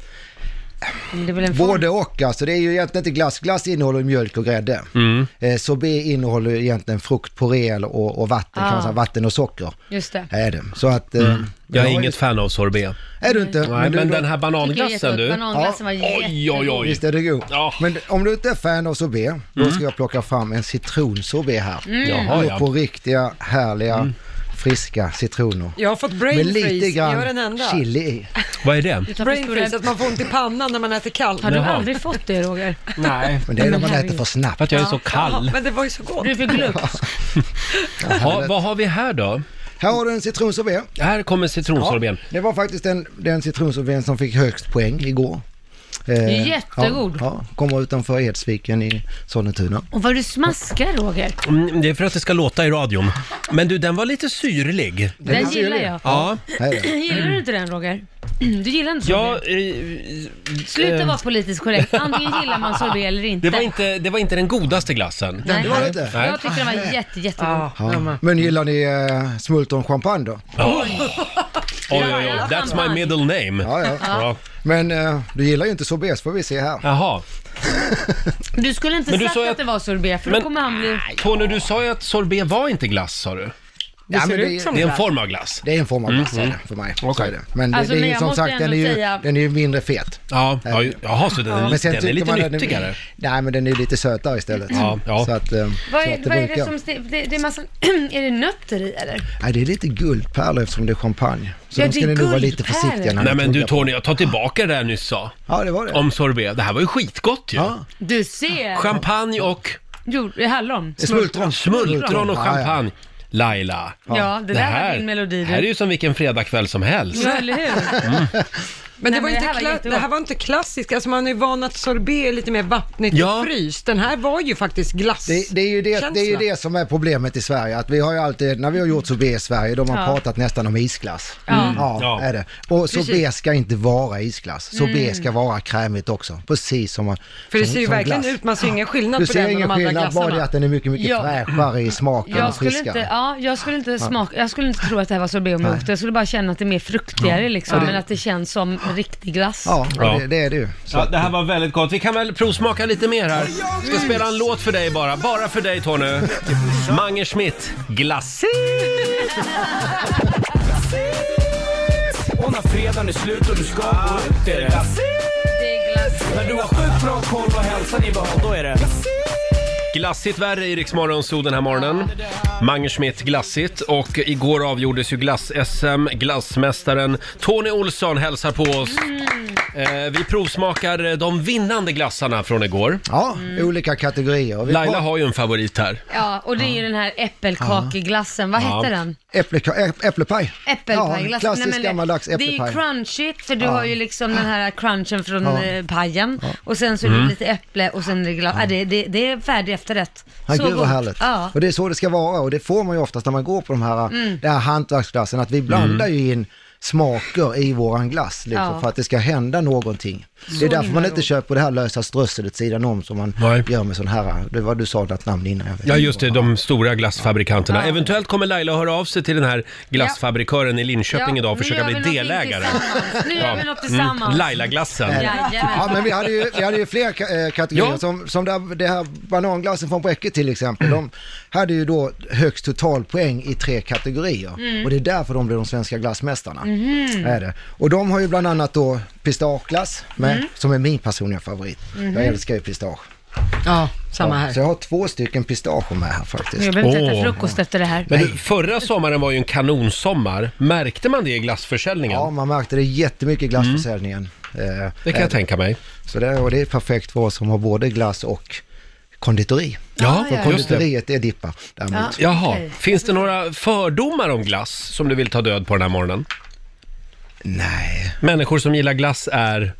Speaker 13: Både och alltså, det är ju egentligen inte glass. Glass innehåller mjölk och grädde.
Speaker 1: Mm.
Speaker 13: Eh, sorbet innehåller ju egentligen frukt, puré och, och vatten, kan
Speaker 2: Ah.
Speaker 13: man säga, vatten och socker.
Speaker 2: Just det.
Speaker 13: Är det. Så att... eh,
Speaker 1: Mm. Jag är
Speaker 13: har ju-
Speaker 1: inget fan av sorbet.
Speaker 13: Är du inte?
Speaker 1: Nej, men,
Speaker 13: du- då-
Speaker 1: den här bananglassen du.
Speaker 2: Bananglassen var
Speaker 1: Oj, oj, oj.
Speaker 13: Visst är det god? Men om du inte är fan av sorbet,
Speaker 1: Mm.
Speaker 13: då ska jag plocka fram en citronsorbet här.
Speaker 3: Mm. Jaha, ja.
Speaker 13: På riktiga, härliga,
Speaker 1: Mm.
Speaker 13: friska citroner.
Speaker 3: Jag har fått
Speaker 13: Med
Speaker 3: brain freeze,
Speaker 13: lite
Speaker 3: jag är den
Speaker 13: grann
Speaker 3: enda.
Speaker 13: chili i.
Speaker 1: Vad är det?
Speaker 3: Brain freeze, att man får ont i pannan när man äter kallt.
Speaker 13: Har du Jaha. aldrig
Speaker 2: fått det Roger?
Speaker 1: Nej.
Speaker 13: Men det är när man äter för snabbt.
Speaker 1: För att jag är så
Speaker 3: Ja,
Speaker 1: kall.
Speaker 3: men det var ju så gott.
Speaker 2: Du fick lukt.
Speaker 1: Ha, vad har vi här då?
Speaker 13: Här har du en citronsorbet.
Speaker 1: Här kommer citronsorbet.
Speaker 13: Ja, det var faktiskt den, den citronsorbeten som fick högst poäng igår. Eh,
Speaker 2: Jättegod.
Speaker 13: Ja, ja, kommer utanför Edsviken i Sollentuna.
Speaker 2: Och vad du smaskar Roger.
Speaker 1: Mm, Det är för att det ska låta i radion. Men du, den var lite syrlig.
Speaker 2: Den Den är gillar syrlig. jag.
Speaker 1: Ja.
Speaker 13: Mm.
Speaker 2: Gillar du inte den Roger? Du gillar inte
Speaker 1: Ja, eh,
Speaker 2: sorbet? Sluta vara politiskt korrekt. Antingen gillar man sorbet eller inte.
Speaker 1: Mm. Eh, Det var inte, det var inte den godaste glassen.
Speaker 2: Nej.
Speaker 1: Nej.
Speaker 2: Jag tyckte den var jätte, jättegod.
Speaker 13: Ja. Men gillar ni eh, smultronchampagne då?
Speaker 1: Ja. Oj, oj, oj. That's my middle name.
Speaker 13: Ja, ja.
Speaker 1: Ja.
Speaker 13: Men eh, du gillar ju inte sorbet, får vi se här.
Speaker 1: Jaha.
Speaker 2: Du skulle inte
Speaker 1: Men du
Speaker 2: sagt
Speaker 1: sa
Speaker 2: att
Speaker 1: att-
Speaker 2: det var sorbet för
Speaker 1: Men-
Speaker 2: då kommer han bli...
Speaker 1: Tony, du sa ju att sorbet var inte glass, sa du.
Speaker 13: Ja, men det,
Speaker 1: det är en form av glass.
Speaker 13: Det är en form av
Speaker 1: Mm.
Speaker 13: glass är det för mig. Så är det. Men det,
Speaker 2: Alltså,
Speaker 13: det är
Speaker 2: men
Speaker 13: ju
Speaker 2: jag
Speaker 13: som
Speaker 2: måste
Speaker 13: sagt, den är ju,
Speaker 2: ändå säga-
Speaker 13: den är ju mindre fet.
Speaker 1: Ja, ja, ju- jaha, så den är-
Speaker 13: Men sen
Speaker 1: den är
Speaker 13: tycker
Speaker 1: lite
Speaker 13: man att
Speaker 1: nyttigare.
Speaker 13: Nej, men den är ju lite sötare istället.
Speaker 1: Ja, ja.
Speaker 13: Så att, eh,
Speaker 2: Vad
Speaker 13: så
Speaker 2: är,
Speaker 13: att det
Speaker 2: vad är det
Speaker 13: brukar-
Speaker 2: som, det, det det är massa, är det nötter i eller?
Speaker 13: Nej, det är lite guldpärlor eftersom det är champagne. Så
Speaker 2: Ja,
Speaker 13: de ska
Speaker 2: det
Speaker 13: ni
Speaker 2: är
Speaker 13: nog vara lite
Speaker 2: guldpärlor.
Speaker 13: försiktiga när
Speaker 1: Nej
Speaker 13: ni
Speaker 1: men du
Speaker 13: tuggar på.
Speaker 1: Tony, jag tar tillbaka det där jag nyss sa.
Speaker 13: Ja, det var det.
Speaker 1: Om sorbet. Det här var ju skitgott ju.
Speaker 2: Du ser!
Speaker 1: Champagne och
Speaker 2: Jo, hallon.
Speaker 1: smultron. Smultron och champagne. Laila,
Speaker 2: Ja, det där var
Speaker 1: här,
Speaker 2: din melodi,
Speaker 1: det
Speaker 2: du.
Speaker 1: här är ju som vilken fredagkväll som helst. Mm.
Speaker 2: Ja, eller hur?
Speaker 3: Men det,
Speaker 2: Nej,
Speaker 3: var
Speaker 2: men
Speaker 3: inte
Speaker 2: det här var
Speaker 3: kla-
Speaker 2: jättegott.
Speaker 3: det här var inte klassiskt, alltså man är ju van att sorbet är lite mer vattnigt
Speaker 13: Ja.
Speaker 3: och fryst. Den här var ju faktiskt glass.
Speaker 13: Det, det, är ju det, det är ju
Speaker 3: Känsla.
Speaker 13: det som är problemet i Sverige, att vi har ju alltid, när vi har gjort sorbet i Sverige, då har man
Speaker 3: Ja.
Speaker 13: pratat nästan om isglass.
Speaker 3: Ja. Mm.
Speaker 13: Ja,
Speaker 3: Ja.
Speaker 13: är det. Och
Speaker 3: Precis.
Speaker 13: sorbet ska inte vara isglass, sorbet
Speaker 3: Mm.
Speaker 13: ska vara krämigt också, precis som man
Speaker 3: För det
Speaker 13: som-
Speaker 3: ser ju
Speaker 13: som
Speaker 3: verkligen
Speaker 13: glass.
Speaker 3: ut, man ser ingen skillnad
Speaker 13: Du
Speaker 3: på
Speaker 13: ser
Speaker 3: den och
Speaker 13: ingen
Speaker 3: de andra
Speaker 13: skillnad, bara det
Speaker 3: glassarna.
Speaker 13: att den är mycket, mycket
Speaker 2: Ja.
Speaker 13: fräschare i smaken
Speaker 2: Jag
Speaker 13: och
Speaker 2: skulle,
Speaker 13: friskare.
Speaker 2: inte, ja, jag, skulle inte
Speaker 13: Ja.
Speaker 2: smaka, jag skulle inte tro att det här var sorbet om jag åt. Jag skulle bara känna att det är mer fruktigare liksom,
Speaker 1: Ja.
Speaker 2: men att det känns som riktig glass.
Speaker 13: Ja,
Speaker 1: Ja.
Speaker 13: Det, det är det ju.
Speaker 1: Ja, det här var väldigt gott. Vi kan väl provsmaka lite mer här. Ska spela en låt för dig bara. Bara för dig Tony. Mange Schmidt, glass.
Speaker 14: Och när fredagen är slut och du ska gå ut är det När du har sjukt bra koll och hälsan i behåll, då är det
Speaker 1: Glassigt värre i Rix Morgonzoo den här morgonen. Mange Schmidt glassigt och igår avgjordes ju glass-SM. Glassmästaren Tony Olsson hälsar på oss. Eh, vi provsmakar eh, de vinnande glassarna från igår.
Speaker 13: Ja, olika kategorier. Vi
Speaker 1: Laila har ju en favorit här.
Speaker 2: Ja, och det är ju den här äppelkakeglassen. Vad
Speaker 1: Ja.
Speaker 2: hette den?
Speaker 13: Äppleka- äpp- Äpplepaj.
Speaker 2: Äppelpajglass.
Speaker 13: Ja, klassisk
Speaker 2: Nej, men
Speaker 13: gammaldags
Speaker 2: Det är ju
Speaker 13: äppelpaj.
Speaker 2: crunchigt för du
Speaker 13: Ja.
Speaker 2: har ju liksom den här crunchen från
Speaker 13: Ja.
Speaker 2: eh, pajen och sen så är det
Speaker 13: Mm.
Speaker 2: lite äpple och sen är det glass. Ja. det, det, det är färdig efterrätt.
Speaker 13: Ja, gud
Speaker 2: gott.
Speaker 13: vad härligt.
Speaker 2: Ja.
Speaker 13: Och det är så det ska vara och det får man ju oftast när man går på de här,
Speaker 2: Mm.
Speaker 13: den här hantverksglassen, att vi blandar
Speaker 2: Mm.
Speaker 13: ju in smaker i våran glass liksom,
Speaker 2: Ja.
Speaker 13: för att det ska hända någonting.
Speaker 2: Så
Speaker 13: det är därför
Speaker 2: himla
Speaker 13: man
Speaker 2: roligt.
Speaker 13: inte köper det här lösa strösselet sidan om som man gör med sån här, det var du sa något namn innan. Jag vet.
Speaker 1: Ja just det, de stora glassfabrikanterna.
Speaker 13: Ja.
Speaker 1: Eventuellt kommer Laila höra av sig till den här glassfabrikören i Linköping
Speaker 2: Ja,
Speaker 1: idag och
Speaker 2: nu
Speaker 1: försöka
Speaker 2: gör vi
Speaker 1: bli
Speaker 2: någonting
Speaker 1: delägare. Mm.
Speaker 2: Nu gör vi något tillsammans.
Speaker 1: Laila-glassen.
Speaker 2: Jajamän.
Speaker 13: Ja, men vi hade ju, vi hade ju fler ka- eh, kategorier,
Speaker 1: Ja.
Speaker 13: som, som det här, det här bananglassen från Bräcke till exempel. De hade ju då högst totalpoäng i tre kategorier
Speaker 6: Mm.
Speaker 13: och det är därför de blev de svenska glassmästarna.
Speaker 6: Mhm.
Speaker 13: Är det. Och de har ju bland annat då pistageglass, med,
Speaker 3: Mm.
Speaker 13: som är min personliga favorit.
Speaker 3: Mhm.
Speaker 13: Jag älskar ju pistage.
Speaker 3: Ja, samma
Speaker 13: Ja,
Speaker 3: här.
Speaker 13: Så jag har två stycken pistager med här faktiskt.
Speaker 2: Jag behöver inte äta frukost efter det här.
Speaker 1: Men du, förra sommaren var ju en kanonsommar. Märkte man det i glassförsäljningen?
Speaker 13: Ja, man märkte det jättemycket i glassförsäljningen. Eh,
Speaker 1: Mm. Det kan jag
Speaker 13: är
Speaker 1: tänka mig.
Speaker 13: Så det, och det är perfekt för oss som har både glass och konditori.
Speaker 1: Ja,
Speaker 13: för
Speaker 1: ja, ja.
Speaker 13: konditoriet är dippar däremot.
Speaker 1: Jaha, finns det några fördomar om glass som du vill ta död på den här morgonen?
Speaker 13: Nej.
Speaker 1: Människor som gillar glass är?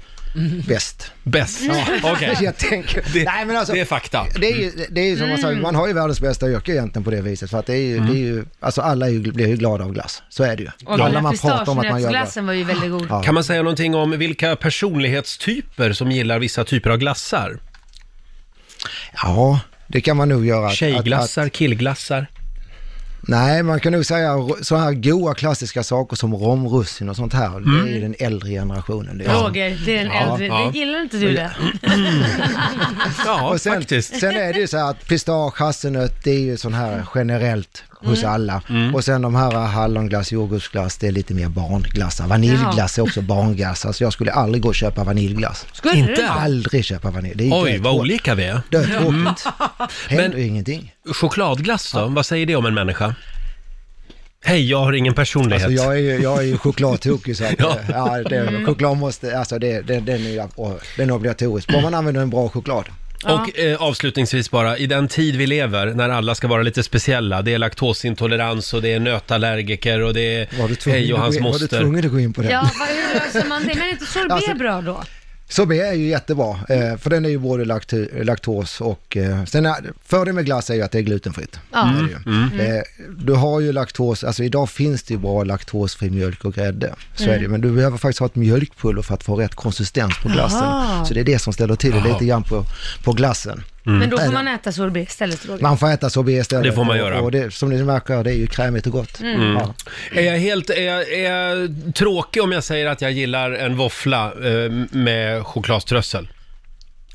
Speaker 13: Bäst.
Speaker 1: Bäst?
Speaker 13: Ja.
Speaker 1: Okej.
Speaker 13: Jag tänker,
Speaker 1: Det,
Speaker 13: nej, men alltså,
Speaker 1: det är fakta.
Speaker 13: Det är ju, det är ju som man säger,
Speaker 1: Mm.
Speaker 13: man har ju världens bästa yrke egentligen på det viset. För att det är ju, det är ju alltså alla är ju, blir ju glada av glass. Så är det ju.
Speaker 2: Och den där pistagenötsglassen var ju väldigt god.
Speaker 13: Ja.
Speaker 1: Kan man säga någonting om vilka personlighetstyper som gillar vissa typer av glassar?
Speaker 13: Ja, det kan man nog göra. Att-
Speaker 1: Tjejglassar, killglassar?
Speaker 13: Nej, man kan nog säga ro- sådana här goda klassiska saker som romrussin och sånt här.
Speaker 1: Mm.
Speaker 13: Det är ju den äldre generationen. Det är så.
Speaker 2: Mm. Roger, det är den
Speaker 13: Ja,
Speaker 2: äldre.
Speaker 13: ja.
Speaker 2: Det gillar inte du det?
Speaker 1: Ja,
Speaker 13: sen,
Speaker 1: faktiskt.
Speaker 13: Sen är det ju så här att pistage, hasselnöt, det är ju sån här generellt hos
Speaker 2: Mm.
Speaker 13: alla. Och sen de här hallonglass, jordgubbsglass, det är lite mer barnglassar. Vaniljglass är också barnglass. Alltså jag skulle aldrig gå och köpa vaniljglass.
Speaker 1: Skulle Inte? du?
Speaker 13: Aldrig köpa vanilj. Det är ju
Speaker 1: Oj, vad
Speaker 13: döttrå-
Speaker 1: olika Mm. vi är.
Speaker 13: Dötråkigt. Händer
Speaker 1: Men-
Speaker 13: ju ingenting.
Speaker 1: Chokladglass då? Vad säger det om en människa? Hej, jag har ingen personlighet.
Speaker 13: Alltså jag är ju, jag är ju chokladtokig så att,
Speaker 1: Ja.
Speaker 13: ja. Ja, det,
Speaker 1: Mm.
Speaker 13: choklad måste, alltså det, det, den, är, ju- den är obligatorisk. Bara man använder en bra choklad.
Speaker 1: Och eh, avslutningsvis bara, i den tid vi lever när alla ska vara lite speciella, det är laktosintolerans och det är nötallergiker och det är
Speaker 13: Var du tvungen,
Speaker 1: hej och
Speaker 13: att,
Speaker 1: hans
Speaker 13: gå in, var du
Speaker 1: moster.
Speaker 13: tvungen att gå in på det?
Speaker 2: Ja, vad, hur löser man det? Men är inte sorbet
Speaker 13: Alltså-
Speaker 2: bra
Speaker 1: Mm.
Speaker 2: då?
Speaker 13: Sorbet är ju jättebra, eh, för den är ju både lakt- laktos och... eh, Sen är, fördelen med glass är ju att det är glutenfritt.
Speaker 2: Ja. Mm,
Speaker 13: Det är det ju.
Speaker 2: mm.
Speaker 13: Eh, Du har ju laktos, alltså idag finns det ju bra laktosfri mjölk och grädde. Så är det ju.
Speaker 2: Mm.
Speaker 13: men du behöver faktiskt ha ett mjölkpulver för att få rätt konsistens på glassen.
Speaker 2: Jaha.
Speaker 13: Så det är det som ställer till det
Speaker 1: Jaha.
Speaker 13: lite grann på, på glassen.
Speaker 2: Mm. Men då
Speaker 13: Är
Speaker 2: får
Speaker 13: det.
Speaker 2: man äta sorbet istället Roger.
Speaker 13: Man får äta sorbet istället.
Speaker 1: Det får man
Speaker 13: Och-
Speaker 1: göra.
Speaker 13: Och det, som ni märker, det är ju krämigt och gott.
Speaker 1: Mm.
Speaker 13: Ja.
Speaker 1: Är jag helt är jag, är jag tråkig om jag säger att jag gillar en våffla eh, med chokladströssel?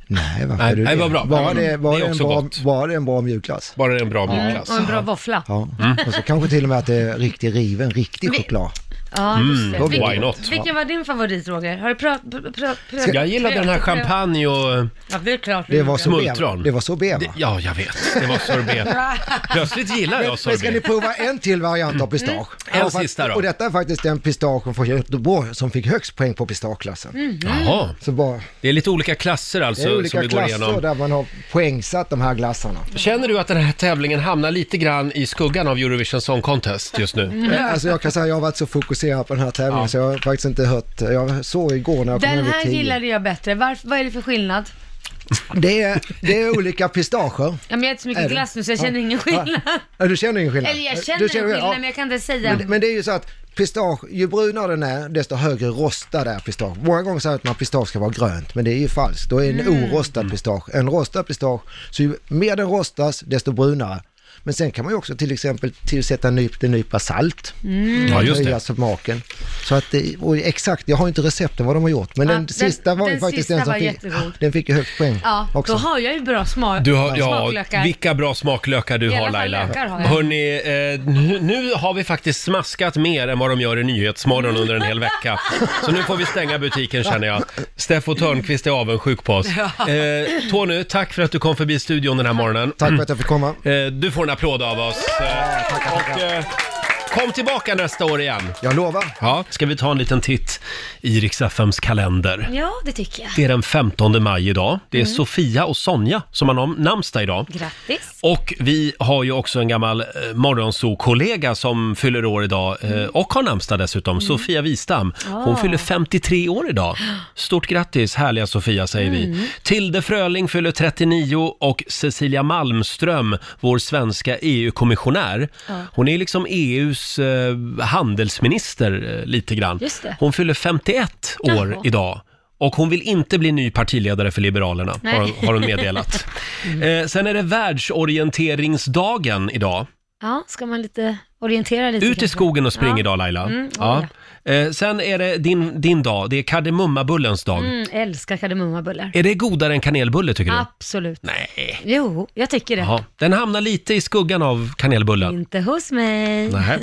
Speaker 13: Nej, varför
Speaker 1: Nej,
Speaker 13: är du
Speaker 1: nej,
Speaker 13: det?
Speaker 1: vad bra.
Speaker 13: Var,
Speaker 1: Mm,
Speaker 13: det, var,
Speaker 1: det är
Speaker 13: det en
Speaker 1: också
Speaker 13: bra,
Speaker 1: gott.
Speaker 13: var det en bra mjukglass?
Speaker 1: Bara en bra mjukglass.
Speaker 2: Mm. Och en bra våffla.
Speaker 13: Ja,
Speaker 1: Mm.
Speaker 13: och så kanske till och med att det är riktig riven, riktig
Speaker 2: Vi-
Speaker 13: choklad.
Speaker 2: Ja, just det.
Speaker 13: Mm,
Speaker 2: Vilken-
Speaker 13: why not?
Speaker 2: Vilken var din favorit Roger? Har du prövat? Pr- pr- pr-
Speaker 1: Jag gillade den här champagne och...
Speaker 2: Ja, det är klart. vi
Speaker 1: Det var
Speaker 2: gjorde.
Speaker 1: smultron. Det var
Speaker 13: sorbet
Speaker 1: va? Ja, jag vet. Det var sorbet. Plötsligt gillar jag
Speaker 13: Men ska ni
Speaker 1: sorbet.
Speaker 13: prova en till variant av
Speaker 2: Mm.
Speaker 13: pistage?
Speaker 1: En
Speaker 13: Ja, fakt-
Speaker 1: sista då.
Speaker 13: Och detta är faktiskt den pistagen från Göteborg som fick högst poäng på pistageklassen.
Speaker 1: Mhm. Jaha.
Speaker 13: Så bara,
Speaker 1: Det är lite olika klasser
Speaker 13: det
Speaker 1: alltså
Speaker 13: är
Speaker 1: som
Speaker 13: olika
Speaker 1: vi går
Speaker 13: klasser
Speaker 1: igenom.
Speaker 13: där man har poängsatt de här glassarna.
Speaker 1: Känner du att den här tävlingen hamnar lite grann i skuggan av Eurovision Song Contest just
Speaker 2: Mhm.
Speaker 1: nu?
Speaker 13: Men, alltså jag kan säga, jag har varit så fokuserad på den här tävlingen så jag har faktiskt inte hört, jag såg igår när jag kom
Speaker 2: Den
Speaker 13: över
Speaker 2: här
Speaker 13: tio.
Speaker 2: gillade jag bättre. Varför, vad är det för skillnad?
Speaker 13: Det är, det är olika pistager.
Speaker 2: Ja, men jag äter så mycket
Speaker 13: Är det?
Speaker 2: glass nu så jag känner
Speaker 13: Ja.
Speaker 2: ingen skillnad.
Speaker 13: Ja, du känner ingen skillnad? Eh,
Speaker 2: Eller
Speaker 13: Du
Speaker 2: jag känner en skillnad
Speaker 13: ja.
Speaker 2: men jag kan inte säga.
Speaker 13: Men, men det är ju så att pistage, ju brunare den är, desto högre rostad är pistage. Många gånger säger man att pistage ska vara grönt, men det är ju falskt. Då är en
Speaker 15: Mm.
Speaker 13: orostad pistage. En rostad pistage, så ju mer den rostas, desto brunare. Men sen kan man ju också till exempel tillsätta en nyp- en nypa salt.
Speaker 2: Mm.
Speaker 1: Ja, just det.
Speaker 13: Höja smaken. Så att det, och exakt, jag har inte recepten vad de har gjort, men
Speaker 2: Ja,
Speaker 13: den,
Speaker 2: den-
Speaker 13: sista var ju
Speaker 2: den
Speaker 13: faktiskt
Speaker 2: sista
Speaker 13: den som
Speaker 2: var
Speaker 13: fick,
Speaker 2: jättegod.
Speaker 13: den fick ju högst poäng
Speaker 2: Ja,
Speaker 13: också.
Speaker 2: då har jag ju bra smak,
Speaker 1: Du har,
Speaker 2: smaklökar.
Speaker 1: ja, vilka bra smaklökar du
Speaker 2: I alla
Speaker 1: har
Speaker 2: fall
Speaker 1: Laila.
Speaker 2: lökar har jag.
Speaker 1: Hörni, eh, nu, nu har vi faktiskt smaskat mer än vad de gör i Nyhetsmorgon under en hel vecka. Så nu får vi stänga butiken känner jag. Steffo Törnqvist är avundsjuk på oss.
Speaker 13: Ja.
Speaker 1: Eh, Tony, tack för att du kom förbi studion den här morgonen.
Speaker 13: Tack för att jag fick komma.
Speaker 1: Eh, du får en applåd av oss. Eh, och, eh, Kom tillbaka nästa år igen.
Speaker 13: Jag lovar.
Speaker 1: Ja, ska vi ta en liten titt i Rix FMs kalender?
Speaker 2: Ja, det tycker jag.
Speaker 1: Det är den 15 maj idag. Det är
Speaker 2: Mm.
Speaker 1: Sofia och Sonja som har nam- namnsdag idag.
Speaker 2: Grattis.
Speaker 1: Och vi har ju också en gammal eh, morgonsokollega som fyller år idag eh, och har namnsdag dessutom, Sofia Wistam. Hon
Speaker 2: Mm. Ah.
Speaker 1: fyller 53 år idag. Stort grattis, härliga Sofia säger
Speaker 2: Mm.
Speaker 1: vi. Tilde Fröling fyller 39 och Cecilia Malmström, vår svenska E EU-kommissionär.
Speaker 2: Ja.
Speaker 1: Hon är liksom EUs eh, handelsminister eh, lite grann.
Speaker 2: Just det.
Speaker 1: Hon fyller 51 år
Speaker 2: Jaha.
Speaker 1: idag. Och hon vill inte bli ny partiledare för Liberalerna, har hon,
Speaker 2: Nej. Mm.
Speaker 1: har hon meddelat. Eh, sen är det världsorienteringsdagen idag.
Speaker 2: Ja, ska man lite orientera lite
Speaker 1: Ut i
Speaker 2: kanske?
Speaker 1: skogen och spring
Speaker 2: ja.
Speaker 1: idag Laila.
Speaker 2: Mm,
Speaker 1: ja.
Speaker 2: ja,
Speaker 1: Eh, sen är det din, din dag, det är kardemummabullens dag.
Speaker 2: Mm, älskar kardemummabullar.
Speaker 1: Är det godare än kanelbulle tycker du?
Speaker 2: Absolut.
Speaker 1: Nej.
Speaker 2: Jo, jag tycker det.
Speaker 1: Jaha. Den hamnar lite i skuggan av kanelbullen.
Speaker 2: Inte hos mig.
Speaker 1: Nej.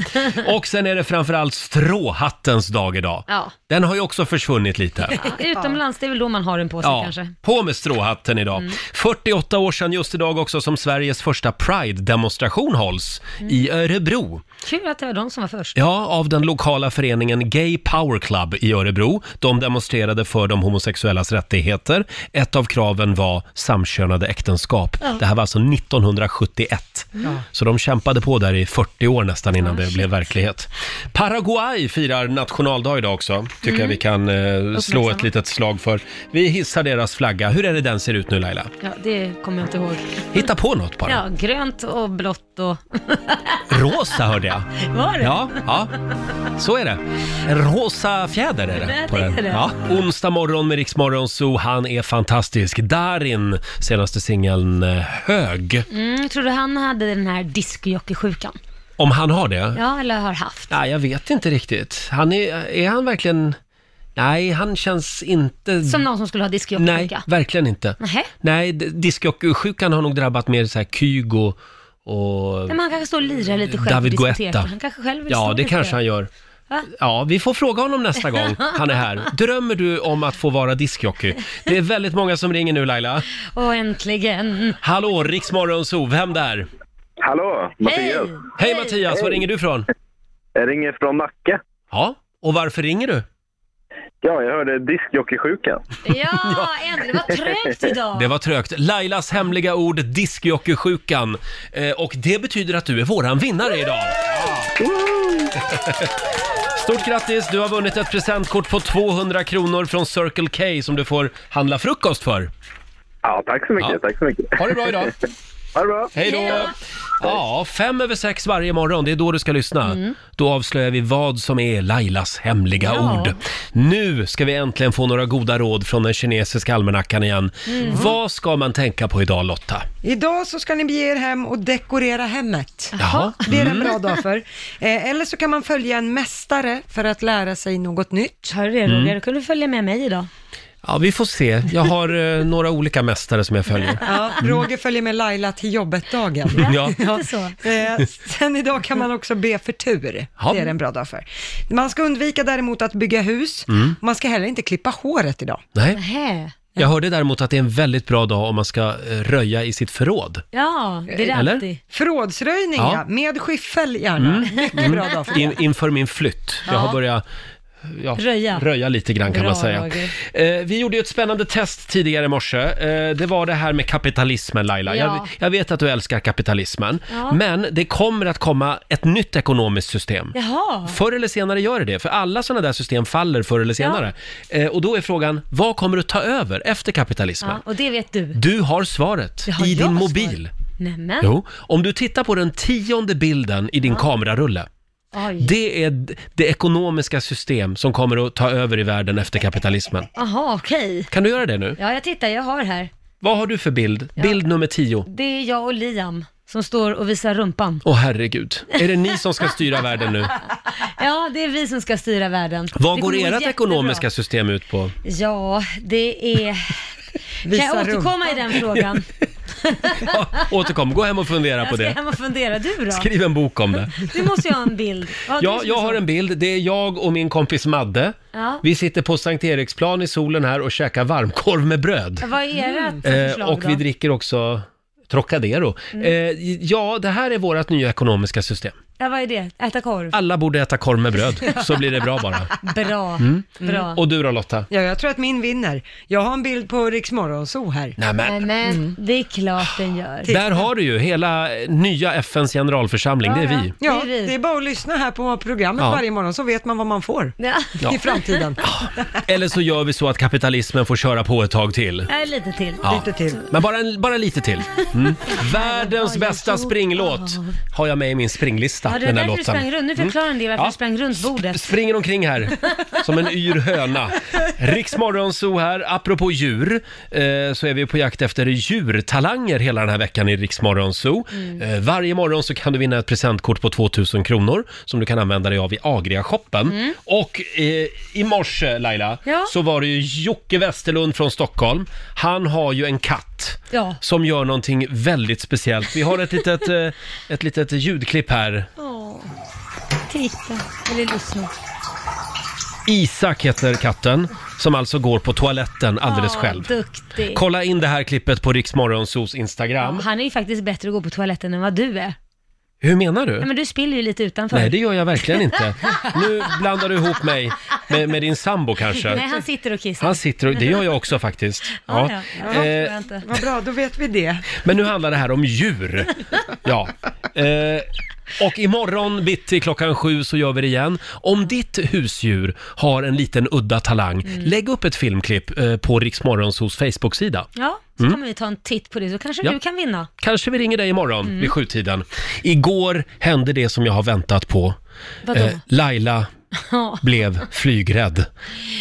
Speaker 1: Och sen är det framförallt stråhattens dag idag.
Speaker 2: Ja.
Speaker 1: Den har ju också försvunnit lite.
Speaker 2: Ja, utomlands, det är väl då man har den på sig kanske. Mm.
Speaker 1: På med stråhatten idag. 48 år sedan just idag också som Sveriges första Pride-demonstration hålls i
Speaker 2: Mm.
Speaker 1: Örebro.
Speaker 2: Kul att det var de som var först.
Speaker 1: Ja, av den lokala föreningen Gay Power Club i Örebro. De demonstrerade för de homosexuellas rättigheter. Ett av kraven var samkönade äktenskap.
Speaker 2: Ja.
Speaker 1: Det här var alltså 1971.
Speaker 2: Mm.
Speaker 1: Så de kämpade på där i 40 år nästan
Speaker 2: Ah,
Speaker 1: innan det blev verklighet. Paraguay firar nationaldag idag också, tycker
Speaker 2: Mm.
Speaker 1: jag vi kan eh, slå
Speaker 2: Uppmärksamma.
Speaker 1: ett litet slag för. Vi hissar deras flagga. Hur är det den ser ut nu Laila?
Speaker 2: Ja, det kommer jag inte ihåg.
Speaker 1: Hitta på något bara.
Speaker 2: Ja, grönt och blått och...
Speaker 1: Rosa hörde jag.
Speaker 2: Var det?
Speaker 1: Ja, ja, så är det. En rosa fjäder är det
Speaker 2: Där
Speaker 1: på den.
Speaker 2: är det.
Speaker 1: Ja. Onsdag morgon med Rix Morgon Zoo. Han är fantastisk. Darin, senaste singeln eh, Hög.
Speaker 2: Mm, tror du han hade den här diskjockeysjukan?
Speaker 1: Om han har det?
Speaker 2: Ja, eller har haft.
Speaker 1: Nej, jag vet inte riktigt. Han är, är han verkligen... Nej, han känns inte...
Speaker 2: Som någon som skulle ha
Speaker 1: Nej,
Speaker 2: diskjockeysjuka?
Speaker 1: verkligen inte.
Speaker 2: Nähä?
Speaker 1: Nej, d- diskjockeysjukan har nog drabbat mer så här Kygo och...
Speaker 2: Nej, men han kanske står och lirar lite själv
Speaker 1: David
Speaker 2: och diskuterar.
Speaker 1: Guetta.
Speaker 2: Han kanske själv vill
Speaker 1: Ja,
Speaker 2: stå
Speaker 1: det
Speaker 2: lite.
Speaker 1: kanske han gör.
Speaker 2: Va?
Speaker 1: Ja, vi får fråga honom nästa gång han är här. Drömmer du om att få vara diskjockey? Det är väldigt många som ringer nu Laila.
Speaker 2: Och äntligen.
Speaker 1: Hallå, Riksmorgonzoo, vem där?
Speaker 7: Hallå, Mattias.
Speaker 1: Hej Mattias, var
Speaker 7: Hej.
Speaker 1: ringer du från?
Speaker 7: Jag ringer från Nacka.
Speaker 1: Ja, och varför ringer du?
Speaker 7: Ja, jag hörde diskjockeysjukan.
Speaker 2: Ja, äntligen. Vad trögt idag.
Speaker 1: Det var trögt. Lailas hemliga ord, diskjockeysjukan. Eh, och det betyder att du är våran vinnare idag. Stort grattis, du har vunnit ett presentkort på 200 kronor från Circle K som du får handla frukost för.
Speaker 7: Ja, tack så mycket. Tack så mycket.
Speaker 1: Ha det bra idag.
Speaker 7: ha det bra.
Speaker 1: Hej då! Ja, fem över sex varje morgon, det är då du ska lyssna.
Speaker 7: Mm.
Speaker 1: Då avslöjar vi vad som är Lailas hemliga ord. Nu ska vi äntligen få några goda råd från den kinesiska almanackan igen.
Speaker 3: Mm.
Speaker 1: Vad ska man tänka på idag Lotta?
Speaker 3: Idag så ska ni bege er hem och dekorera hemmet.
Speaker 1: Jaha.
Speaker 3: Det är en
Speaker 1: Mm.
Speaker 3: bra dag för. Eh, eller så kan man följa en mästare för att lära sig något nytt.
Speaker 2: Hör du det
Speaker 1: Mm. Roger? Du
Speaker 2: kunde följa med mig idag.
Speaker 1: Ja, vi får se. Jag har eh, några olika mästare som jag följer.
Speaker 3: Ja, Roger följer med Laila till jobbet-dagen.
Speaker 1: Ja.
Speaker 2: Lite så.
Speaker 3: Eh, sen idag kan man också be för tur.
Speaker 1: Ja.
Speaker 3: Det är en bra dag för. Man ska undvika däremot att bygga hus.
Speaker 1: Mm.
Speaker 3: Man ska heller inte klippa håret idag.
Speaker 1: Nej. Jag hörde däremot att det är en väldigt bra dag om man ska eh, röja i sitt förråd.
Speaker 2: Ja,
Speaker 1: det är det Eh, Eller? alltid.
Speaker 3: Förrådsröjning,
Speaker 1: Ja.
Speaker 3: ja. Med skyffel gärna. Mycket bra dag för Mm. det.
Speaker 1: Mm. In, inför min flytt. Jag har
Speaker 3: Ja.
Speaker 1: börjat ja,
Speaker 3: Röja.
Speaker 1: röja lite grann kan
Speaker 3: Bra,
Speaker 1: man säga.
Speaker 3: Roger.
Speaker 1: Eh, vi gjorde ju ett spännande test tidigare i morse. Eh, det var det här med kapitalismen Laila. Jag,
Speaker 2: Ja.
Speaker 1: jag vet att du älskar kapitalismen.
Speaker 2: Ja.
Speaker 1: Men det kommer att komma ett nytt ekonomiskt system.
Speaker 2: Jaha.
Speaker 1: Förr eller senare gör det det, för alla sådana där system faller förr eller senare. Eh, och då är frågan, vad kommer att ta över efter kapitalismen?
Speaker 2: Ja, och det vet du.
Speaker 1: Du har svaret
Speaker 2: Det har
Speaker 1: i
Speaker 2: jag
Speaker 1: din mobil.
Speaker 2: Nämen.
Speaker 1: Jo, om du tittar på den tionde bilden i din
Speaker 2: Mm.
Speaker 1: kamerarulle.
Speaker 2: Oj.
Speaker 1: Det är d- det ekonomiska system som kommer att ta över i världen efter kapitalismen.
Speaker 2: Jaha, okej.
Speaker 1: Kan du göra det nu?
Speaker 2: Ja, jag tittar, jag har här.
Speaker 1: Vad har du för bild? Bild nummer tio.
Speaker 2: Det är jag och Liam som står och visar rumpan.
Speaker 1: Åh herregud, är det ni som ska styra världen nu?
Speaker 2: Ja, det är vi som ska styra världen.
Speaker 1: Vad
Speaker 2: Det
Speaker 1: går
Speaker 2: kommer gå
Speaker 1: ert
Speaker 2: jättebra.
Speaker 1: ekonomiska system ut på?
Speaker 2: Ja, det är... kan
Speaker 1: Visa
Speaker 2: jag återkomma
Speaker 1: rumpan.
Speaker 2: i den frågan?
Speaker 1: Återkom, gå hem och fundera på
Speaker 2: Jag ska
Speaker 1: det.
Speaker 2: hem och fundera. Du då?
Speaker 1: Skriv en bok om det.
Speaker 2: Du måste ju ha en bild. du
Speaker 1: Ja,
Speaker 2: som
Speaker 1: jag
Speaker 2: är så-
Speaker 1: har en bild. Det är jag och min kompis Madde.
Speaker 2: Ja.
Speaker 1: Vi sitter på Sankt Eriksplan i solen här och käkar varmkorv med bröd.
Speaker 2: Vad är ert
Speaker 1: Eh,
Speaker 2: förslag
Speaker 1: och vi
Speaker 2: då?
Speaker 1: dricker också Trocadero.
Speaker 2: Mm.
Speaker 1: Eh, ja, det här är vårt nya ekonomiska system.
Speaker 2: Ja, vad är det? Äta korv?
Speaker 1: Alla borde äta korv med bröd, så blir det bra bara.
Speaker 2: Bra,
Speaker 1: Mm.
Speaker 2: bra.
Speaker 1: Och du då Lotta?
Speaker 3: Ja, jag tror att min vinner. Jag har en bild på Riks Morgonzoo här.
Speaker 1: Nämen. Mm.
Speaker 2: Men det är klart den gör.
Speaker 1: Där har du ju hela eh, nya FNs generalförsamling, det är vi.
Speaker 3: Ja, det är bara att lyssna här på programmet
Speaker 1: Ja.
Speaker 3: varje morgon så vet man vad man får
Speaker 1: Ja.
Speaker 3: i framtiden.
Speaker 1: Eller så gör vi så att kapitalismen får köra på ett tag till.
Speaker 2: Nej, lite till.
Speaker 1: Ja. Men bara, en- bara lite till. Mm. Världens bästa springlåt har jag med i min springlista.
Speaker 2: Ja, det var
Speaker 1: den här
Speaker 2: därför du
Speaker 1: låten. Mm.
Speaker 2: sprang runt. Nu förklarar ni varför
Speaker 1: Ja.
Speaker 2: du sprang runt bordet.
Speaker 1: Springer omkring här som en yr höna. Riksmorgonzoo här. Apropå djur eh, så är vi på jakt efter djurtalanger hela den här veckan i Riksmorgonzoo.
Speaker 2: Mm.
Speaker 1: Eh, varje morgon så kan du vinna ett presentkort på 2000 kronor som du kan använda dig av i Agria-shoppen. Och eh, i morse Laila
Speaker 2: Mm. Ja.
Speaker 1: så var det ju Jocke Westerlund från Stockholm. Han har ju en katt.
Speaker 2: Ja.
Speaker 1: Som gör någonting väldigt speciellt. Vi har ett litet, eh, ett litet ljudklipp här.
Speaker 2: Åh. Titta, eller lyssna.
Speaker 1: Isak heter katten, som alltså går på toaletten alldeles
Speaker 2: Ja,
Speaker 1: själv.
Speaker 2: Duktig.
Speaker 1: Kolla in det här klippet på Riksmorgonsos Instagram.
Speaker 2: Han är ju faktiskt bättre att gå på toaletten än vad du är.
Speaker 1: Hur menar du?
Speaker 2: Nej, men du spiller ju lite utanför.
Speaker 1: Nej, det gör jag verkligen inte. Nu blandar du ihop mig med, med din sambo kanske.
Speaker 2: Nej, han sitter och kissar.
Speaker 1: Han sitter och, det gör jag också faktiskt.
Speaker 2: Ja,
Speaker 1: Ja.
Speaker 2: ja. Ja, det
Speaker 1: Eh,
Speaker 2: tror jag inte.
Speaker 3: Vad bra, då vet vi det.
Speaker 1: Men nu handlar det här om djur. Ja. Eh, och imorgon bitti klockan sju så gör vi det igen. Om ditt husdjur har en liten udda talang,
Speaker 2: Mm.
Speaker 1: lägg upp ett filmklipp eh, på Riksmorgonsos Facebook-sida.
Speaker 2: Ja, så
Speaker 1: Mm.
Speaker 2: kommer vi ta en titt på det, så kanske
Speaker 1: Ja.
Speaker 2: du kan vinna.
Speaker 1: Kanske vi ringer dig imorgon
Speaker 2: Mm.
Speaker 1: vid sjutiden. Igår hände det som jag har väntat på. Eh,
Speaker 2: Vadå?
Speaker 1: Laila
Speaker 2: Ja.
Speaker 1: blev flygrädd.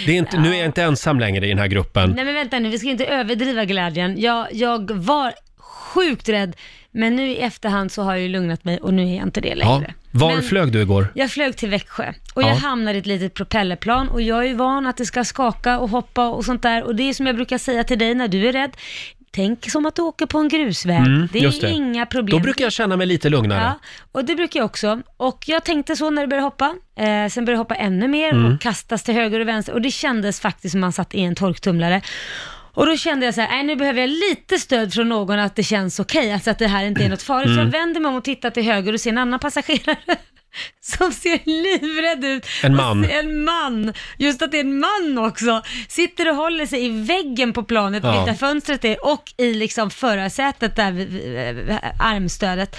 Speaker 1: Det är inte, Nu är jag inte ensam längre i den här gruppen.
Speaker 2: Nej men vänta nu, vi ska ju inte överdriva glädjen. Jag, jag var sjukt rädd, men nu i efterhand så har jag ju lugnat mig och nu är jag inte det
Speaker 1: Ja.
Speaker 2: längre.
Speaker 1: Var
Speaker 2: Men-
Speaker 1: flög du igår?
Speaker 2: Jag flög till Växjö och
Speaker 1: Ja.
Speaker 2: jag hamnade i ett litet propellerplan och jag är ju van att det ska skaka och hoppa och sånt där och det är som jag brukar säga till dig när du är rädd, tänk som att du åker på en grusväg.
Speaker 1: Mm,
Speaker 2: det
Speaker 1: just
Speaker 2: är
Speaker 1: det.
Speaker 2: inga problem.
Speaker 1: Då brukar jag känna mig lite lugnare.
Speaker 2: Ja, och det brukar jag också. Och jag tänkte så när det började hoppa. Eh, sen började jag hoppa ännu mer
Speaker 1: Mm.
Speaker 2: och kastas till höger och vänster. Och det kändes faktiskt som man satt i en torktumlare. Och då kände jag så här, nej nu behöver jag lite stöd från någon att det känns okej, alltså att det här inte är något farligt. Så
Speaker 1: Mm.
Speaker 2: jag vänder mig om och tittar till höger och ser en annan passagerare som ser livrädd ut.
Speaker 1: En
Speaker 2: Och
Speaker 1: man.
Speaker 2: se- En man. Just att det är en man också. Sitter och håller sig i väggen på planet,
Speaker 1: Ja.
Speaker 2: vet där fönstret är, och i liksom förarsätet där vid, vid, vid armstödet.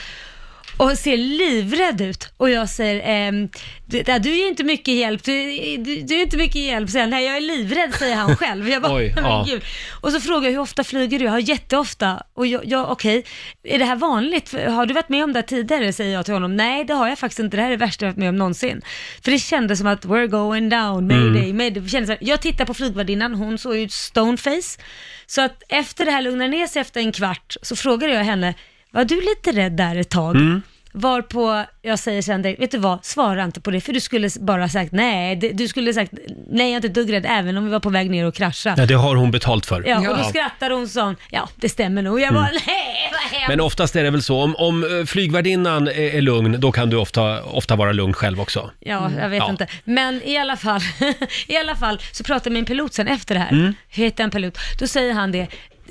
Speaker 2: Och ser livrädd ut. Och jag säger, ehm, du, där, du är inte mycket hjälp, du, du, du är inte mycket hjälp. Säger han, nej jag är livrädd, säger han själv. Jag bara,
Speaker 1: Oj,
Speaker 2: men
Speaker 1: ja.
Speaker 2: gud. Och så frågar jag, hur ofta flyger du? Jag har jätteofta. Och jag, jag okej, är det här vanligt? Har du varit med om det här tidigare? Säger jag till honom. Nej, det har jag faktiskt inte. Det här är det värsta jag varit med om någonsin. För det kändes som att we're going down, mayday,
Speaker 1: Mm.
Speaker 2: mayday. Det kändes så här- Jag tittar på flygvärdinnan, hon såg ut stoneface. Så att efter det här lugnade ner sig efter en kvart så frågade jag henne, var du lite rädd där ett tag?
Speaker 1: Mm.
Speaker 2: Varpå jag säger sen direkt, vet du vad, svara inte på det för du skulle bara sagt nej, Det- du skulle sagt nej jag är inte ett dugg rädd även om vi var på väg ner och krascha.
Speaker 1: Nej, det har hon betalt för.
Speaker 2: Ja, och då skrattar hon sån, ja det stämmer nog. Jag bara,
Speaker 1: Mm.
Speaker 2: nej vad hemskt.
Speaker 1: Men oftast är det väl så, om, om eh, flygvärdinnan är, är lugn, då kan du ofta, ofta vara lugn själv också.
Speaker 2: Ja, jag vet
Speaker 1: Mm. Ja.
Speaker 2: inte. Men i alla fall, i alla fall så pratade jag med en pilot sen efter det här.
Speaker 1: Mm.
Speaker 2: Hur heter en pilot? Då säger han det,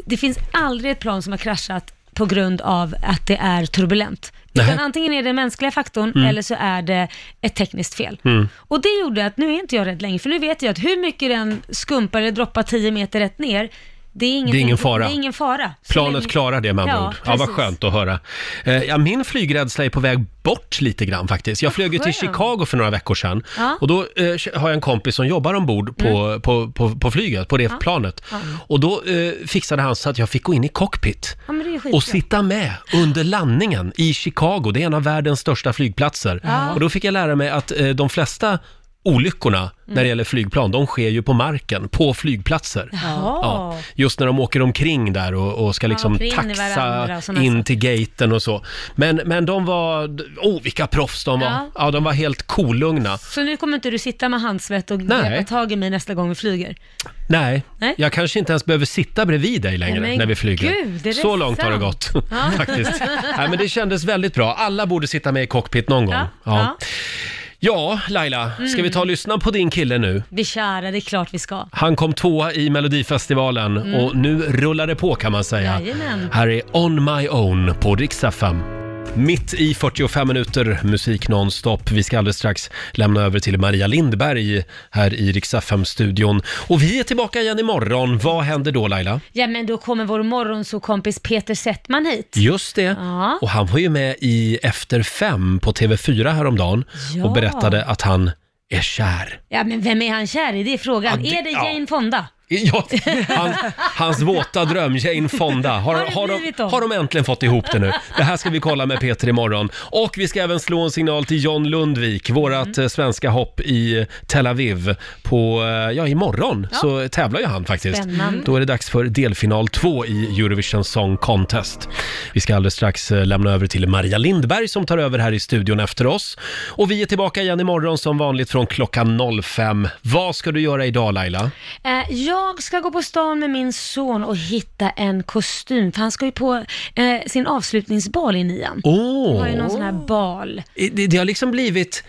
Speaker 2: det finns aldrig ett plan som har kraschat på grund av att det är turbulent. Utan
Speaker 15: Nähä.
Speaker 2: antingen är det den mänskliga faktorn
Speaker 15: Mm.
Speaker 2: eller så är det ett tekniskt fel.
Speaker 15: Mm.
Speaker 2: Och det gjorde att nu är inte jag rädd längre, för nu vet jag att hur mycket den skumpar eller droppar 10 meter rätt ner, det är, ingenting-
Speaker 1: ingen fara.
Speaker 2: Det är ingen fara. Så länge-
Speaker 1: Planet klarar det med andra
Speaker 2: Ja,
Speaker 1: ord. Ja, vad
Speaker 2: precis.
Speaker 1: skönt att höra. Eh, Ja, min flygrädsla är på väg bort lite grann faktiskt. Jag flög ju till
Speaker 2: skönt.
Speaker 1: Chicago för några veckor sedan
Speaker 2: Ja. Mm.
Speaker 1: och då eh, har jag en kompis som jobbar ombord på, på, på, på flyget, på det
Speaker 2: Ja.
Speaker 1: planet.
Speaker 2: Ja.
Speaker 1: Och då eh, fixade han så att jag fick gå in i cockpit.
Speaker 2: Ja, men det är ju skitbra.
Speaker 1: och sitta med under landningen i Chicago. Det är en av världens största flygplatser.
Speaker 2: Ja.
Speaker 1: Och då fick jag lära mig att eh, de flesta olyckorna
Speaker 2: Mm.
Speaker 1: när det gäller flygplan, de sker ju på marken, på flygplatser.
Speaker 2: Jaha.
Speaker 1: just när de åker omkring där och, och ska liksom
Speaker 2: åker in i varandra
Speaker 1: taxa
Speaker 2: och såna
Speaker 1: in
Speaker 2: saker.
Speaker 1: till gaten och så. Men, men de var, oh vilka proffs de var. Ja,
Speaker 2: Ja.
Speaker 1: de var helt kolugna.
Speaker 2: Så nu kommer inte du sitta med handsvett och
Speaker 1: Nej.
Speaker 2: greppa tag i mig nästa gång vi flyger?
Speaker 1: Nej,
Speaker 2: Nej.
Speaker 1: jag kanske inte ens behöver sitta bredvid dig längre
Speaker 2: Nej, men
Speaker 1: när vi flyger.
Speaker 2: gud, är det
Speaker 1: så långt har det
Speaker 2: sant?
Speaker 1: gått
Speaker 2: Ja.
Speaker 1: faktiskt. Nej, men det kändes väldigt bra. Alla borde sitta med i cockpit någon gång. Ja, ja. Laila, ska
Speaker 2: Mm.
Speaker 1: vi ta och lyssna på din kille nu?
Speaker 2: Vi kära, det är klart vi ska.
Speaker 1: Han kom tvåa i Melodifestivalen
Speaker 2: Mm.
Speaker 1: och nu rullar det på kan man säga.
Speaker 2: Jajamän.
Speaker 1: Här är On My Own på Rix FM. Mitt i 45 minuter musik nonstop. Vi ska alldeles strax lämna över till Maria Lindberg här i Rix FM-studion. Och vi är tillbaka igen imorgon. Vad händer då Laila?
Speaker 2: Ja, men då kommer vår morgonsokompis Peter Settman hit.
Speaker 1: Just det.
Speaker 2: Ja.
Speaker 1: Och han var ju med i Efter fem på TV4 häromdagen
Speaker 2: Ja.
Speaker 1: och berättade att han är kär.
Speaker 2: Ja, men vem är han kär i? Det är frågan.
Speaker 1: Ja, det-
Speaker 2: är det
Speaker 1: ja.
Speaker 2: Jane Fonda?
Speaker 1: Ja, han, hans våta dröm, Jane Fonda. Har,
Speaker 2: Har det
Speaker 1: har,
Speaker 2: blivit
Speaker 1: de,
Speaker 2: dem?
Speaker 1: har de äntligen fått ihop det nu? Det här ska vi kolla med Peter imorgon. Och vi ska även slå en signal till John Lundvik, vårat
Speaker 2: Mm.
Speaker 1: eh, svenska hopp i Tel Aviv. På, eh, ja, imorgon så tävlar ju han faktiskt.
Speaker 2: Spännande.
Speaker 1: Då är det dags för delfinal två i Eurovision Song Contest. Vi ska alldeles strax eh, lämna över till Maria Lindberg som tar över här i studion efter oss. Och vi är tillbaka igen imorgon som vanligt från klockan 05. Vad ska du göra idag Laila?
Speaker 2: Eh, jag ska gå på stan med min son och hitta en kostym, för han ska ju på eh, sin avslutningsbal i nian.
Speaker 1: Åh!
Speaker 2: Det var ju någon sån här bal.
Speaker 1: Det, det har liksom blivit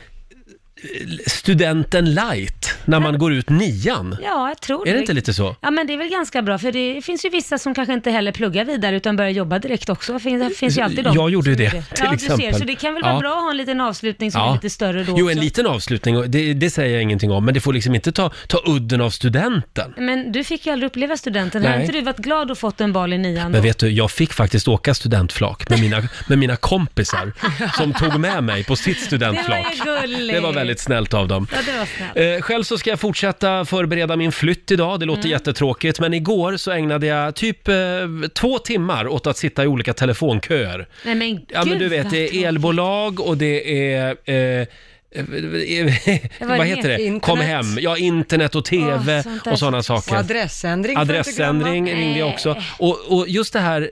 Speaker 1: eh, studenten light när man går ut nian.
Speaker 2: Ja, jag tror
Speaker 1: Är det inte lite så?
Speaker 2: Ja, men det är väl ganska bra, för det finns ju vissa som kanske inte heller pluggar vidare utan börjar jobba direkt också. Det finns, det finns ju alltid de.
Speaker 1: Jag gjorde ju det, till
Speaker 2: ja, Du ser,
Speaker 1: exempel.
Speaker 2: så det kan väl vara
Speaker 1: Ja.
Speaker 2: bra att ha en liten avslutning som är lite större då
Speaker 1: jo, en
Speaker 2: också.
Speaker 1: liten avslutning, och det, det säger jag ingenting om, men det får liksom inte ta, ta udden av studenten.
Speaker 2: Men du fick ju aldrig uppleva studenten. Har
Speaker 1: Nej.
Speaker 2: inte du varit glad och fått en bal i nian?
Speaker 1: Men
Speaker 2: då?
Speaker 1: vet du, jag fick faktiskt åka studentflak med mina, med mina kompisar som tog med mig på sitt studentflak.
Speaker 2: Det var ju gulligt.
Speaker 1: Det var väldigt snällt av dem.
Speaker 2: Ja, det var snällt.
Speaker 1: Eh, själv så ska jag fortsätta förbereda min flytt idag. Det låter
Speaker 2: Mm.
Speaker 1: jättetråkigt, men igår så ägnade jag typ eh, två timmar åt att sitta i olika telefonköer.
Speaker 2: Nej men gud
Speaker 1: Ja, men du vet,
Speaker 2: vad
Speaker 1: det är elbolag och det är... Eh, eh,
Speaker 3: var
Speaker 1: vad heter
Speaker 3: det?
Speaker 1: det?
Speaker 3: Internet.
Speaker 1: Kom hem. Ja, internet och tv
Speaker 3: Åh, sånt där
Speaker 1: och sådana
Speaker 3: trist.
Speaker 1: saker.
Speaker 3: Och adressändring får du inte glömma.
Speaker 1: Adressändring ringde jag också. Och, och just det här,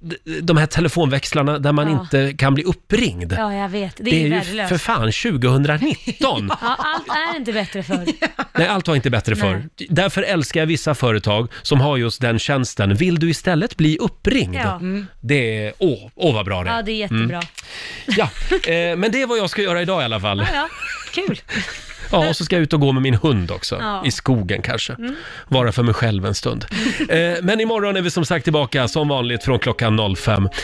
Speaker 1: d- de här telefonväxlarna där man
Speaker 2: Ja.
Speaker 1: inte kan bli uppringd.
Speaker 2: Ja, jag vet. Det är,
Speaker 1: Det är ju
Speaker 2: värdelöst.
Speaker 1: för fan 2019!
Speaker 2: Ja, allt är inte bättre för.
Speaker 1: Nej, allt var inte bättre förr. Därför älskar jag vissa företag som har just den tjänsten. Vill du istället bli uppringd?
Speaker 2: Ja. Mm.
Speaker 1: Det är, åh, åh vad bra det är.
Speaker 2: Ja, det är
Speaker 1: Mm.
Speaker 2: jättebra.
Speaker 1: Ja, eh, men det är vad jag ska göra idag i alla fall.
Speaker 2: Ja, ja. Kul.
Speaker 1: Ja, och så ska jag ut och gå med min hund också.
Speaker 2: Ja.
Speaker 1: I skogen kanske.
Speaker 2: Mm.
Speaker 1: Vara för mig själv en stund. Eh, men imorgon är vi som sagt tillbaka som vanligt från klockan 05.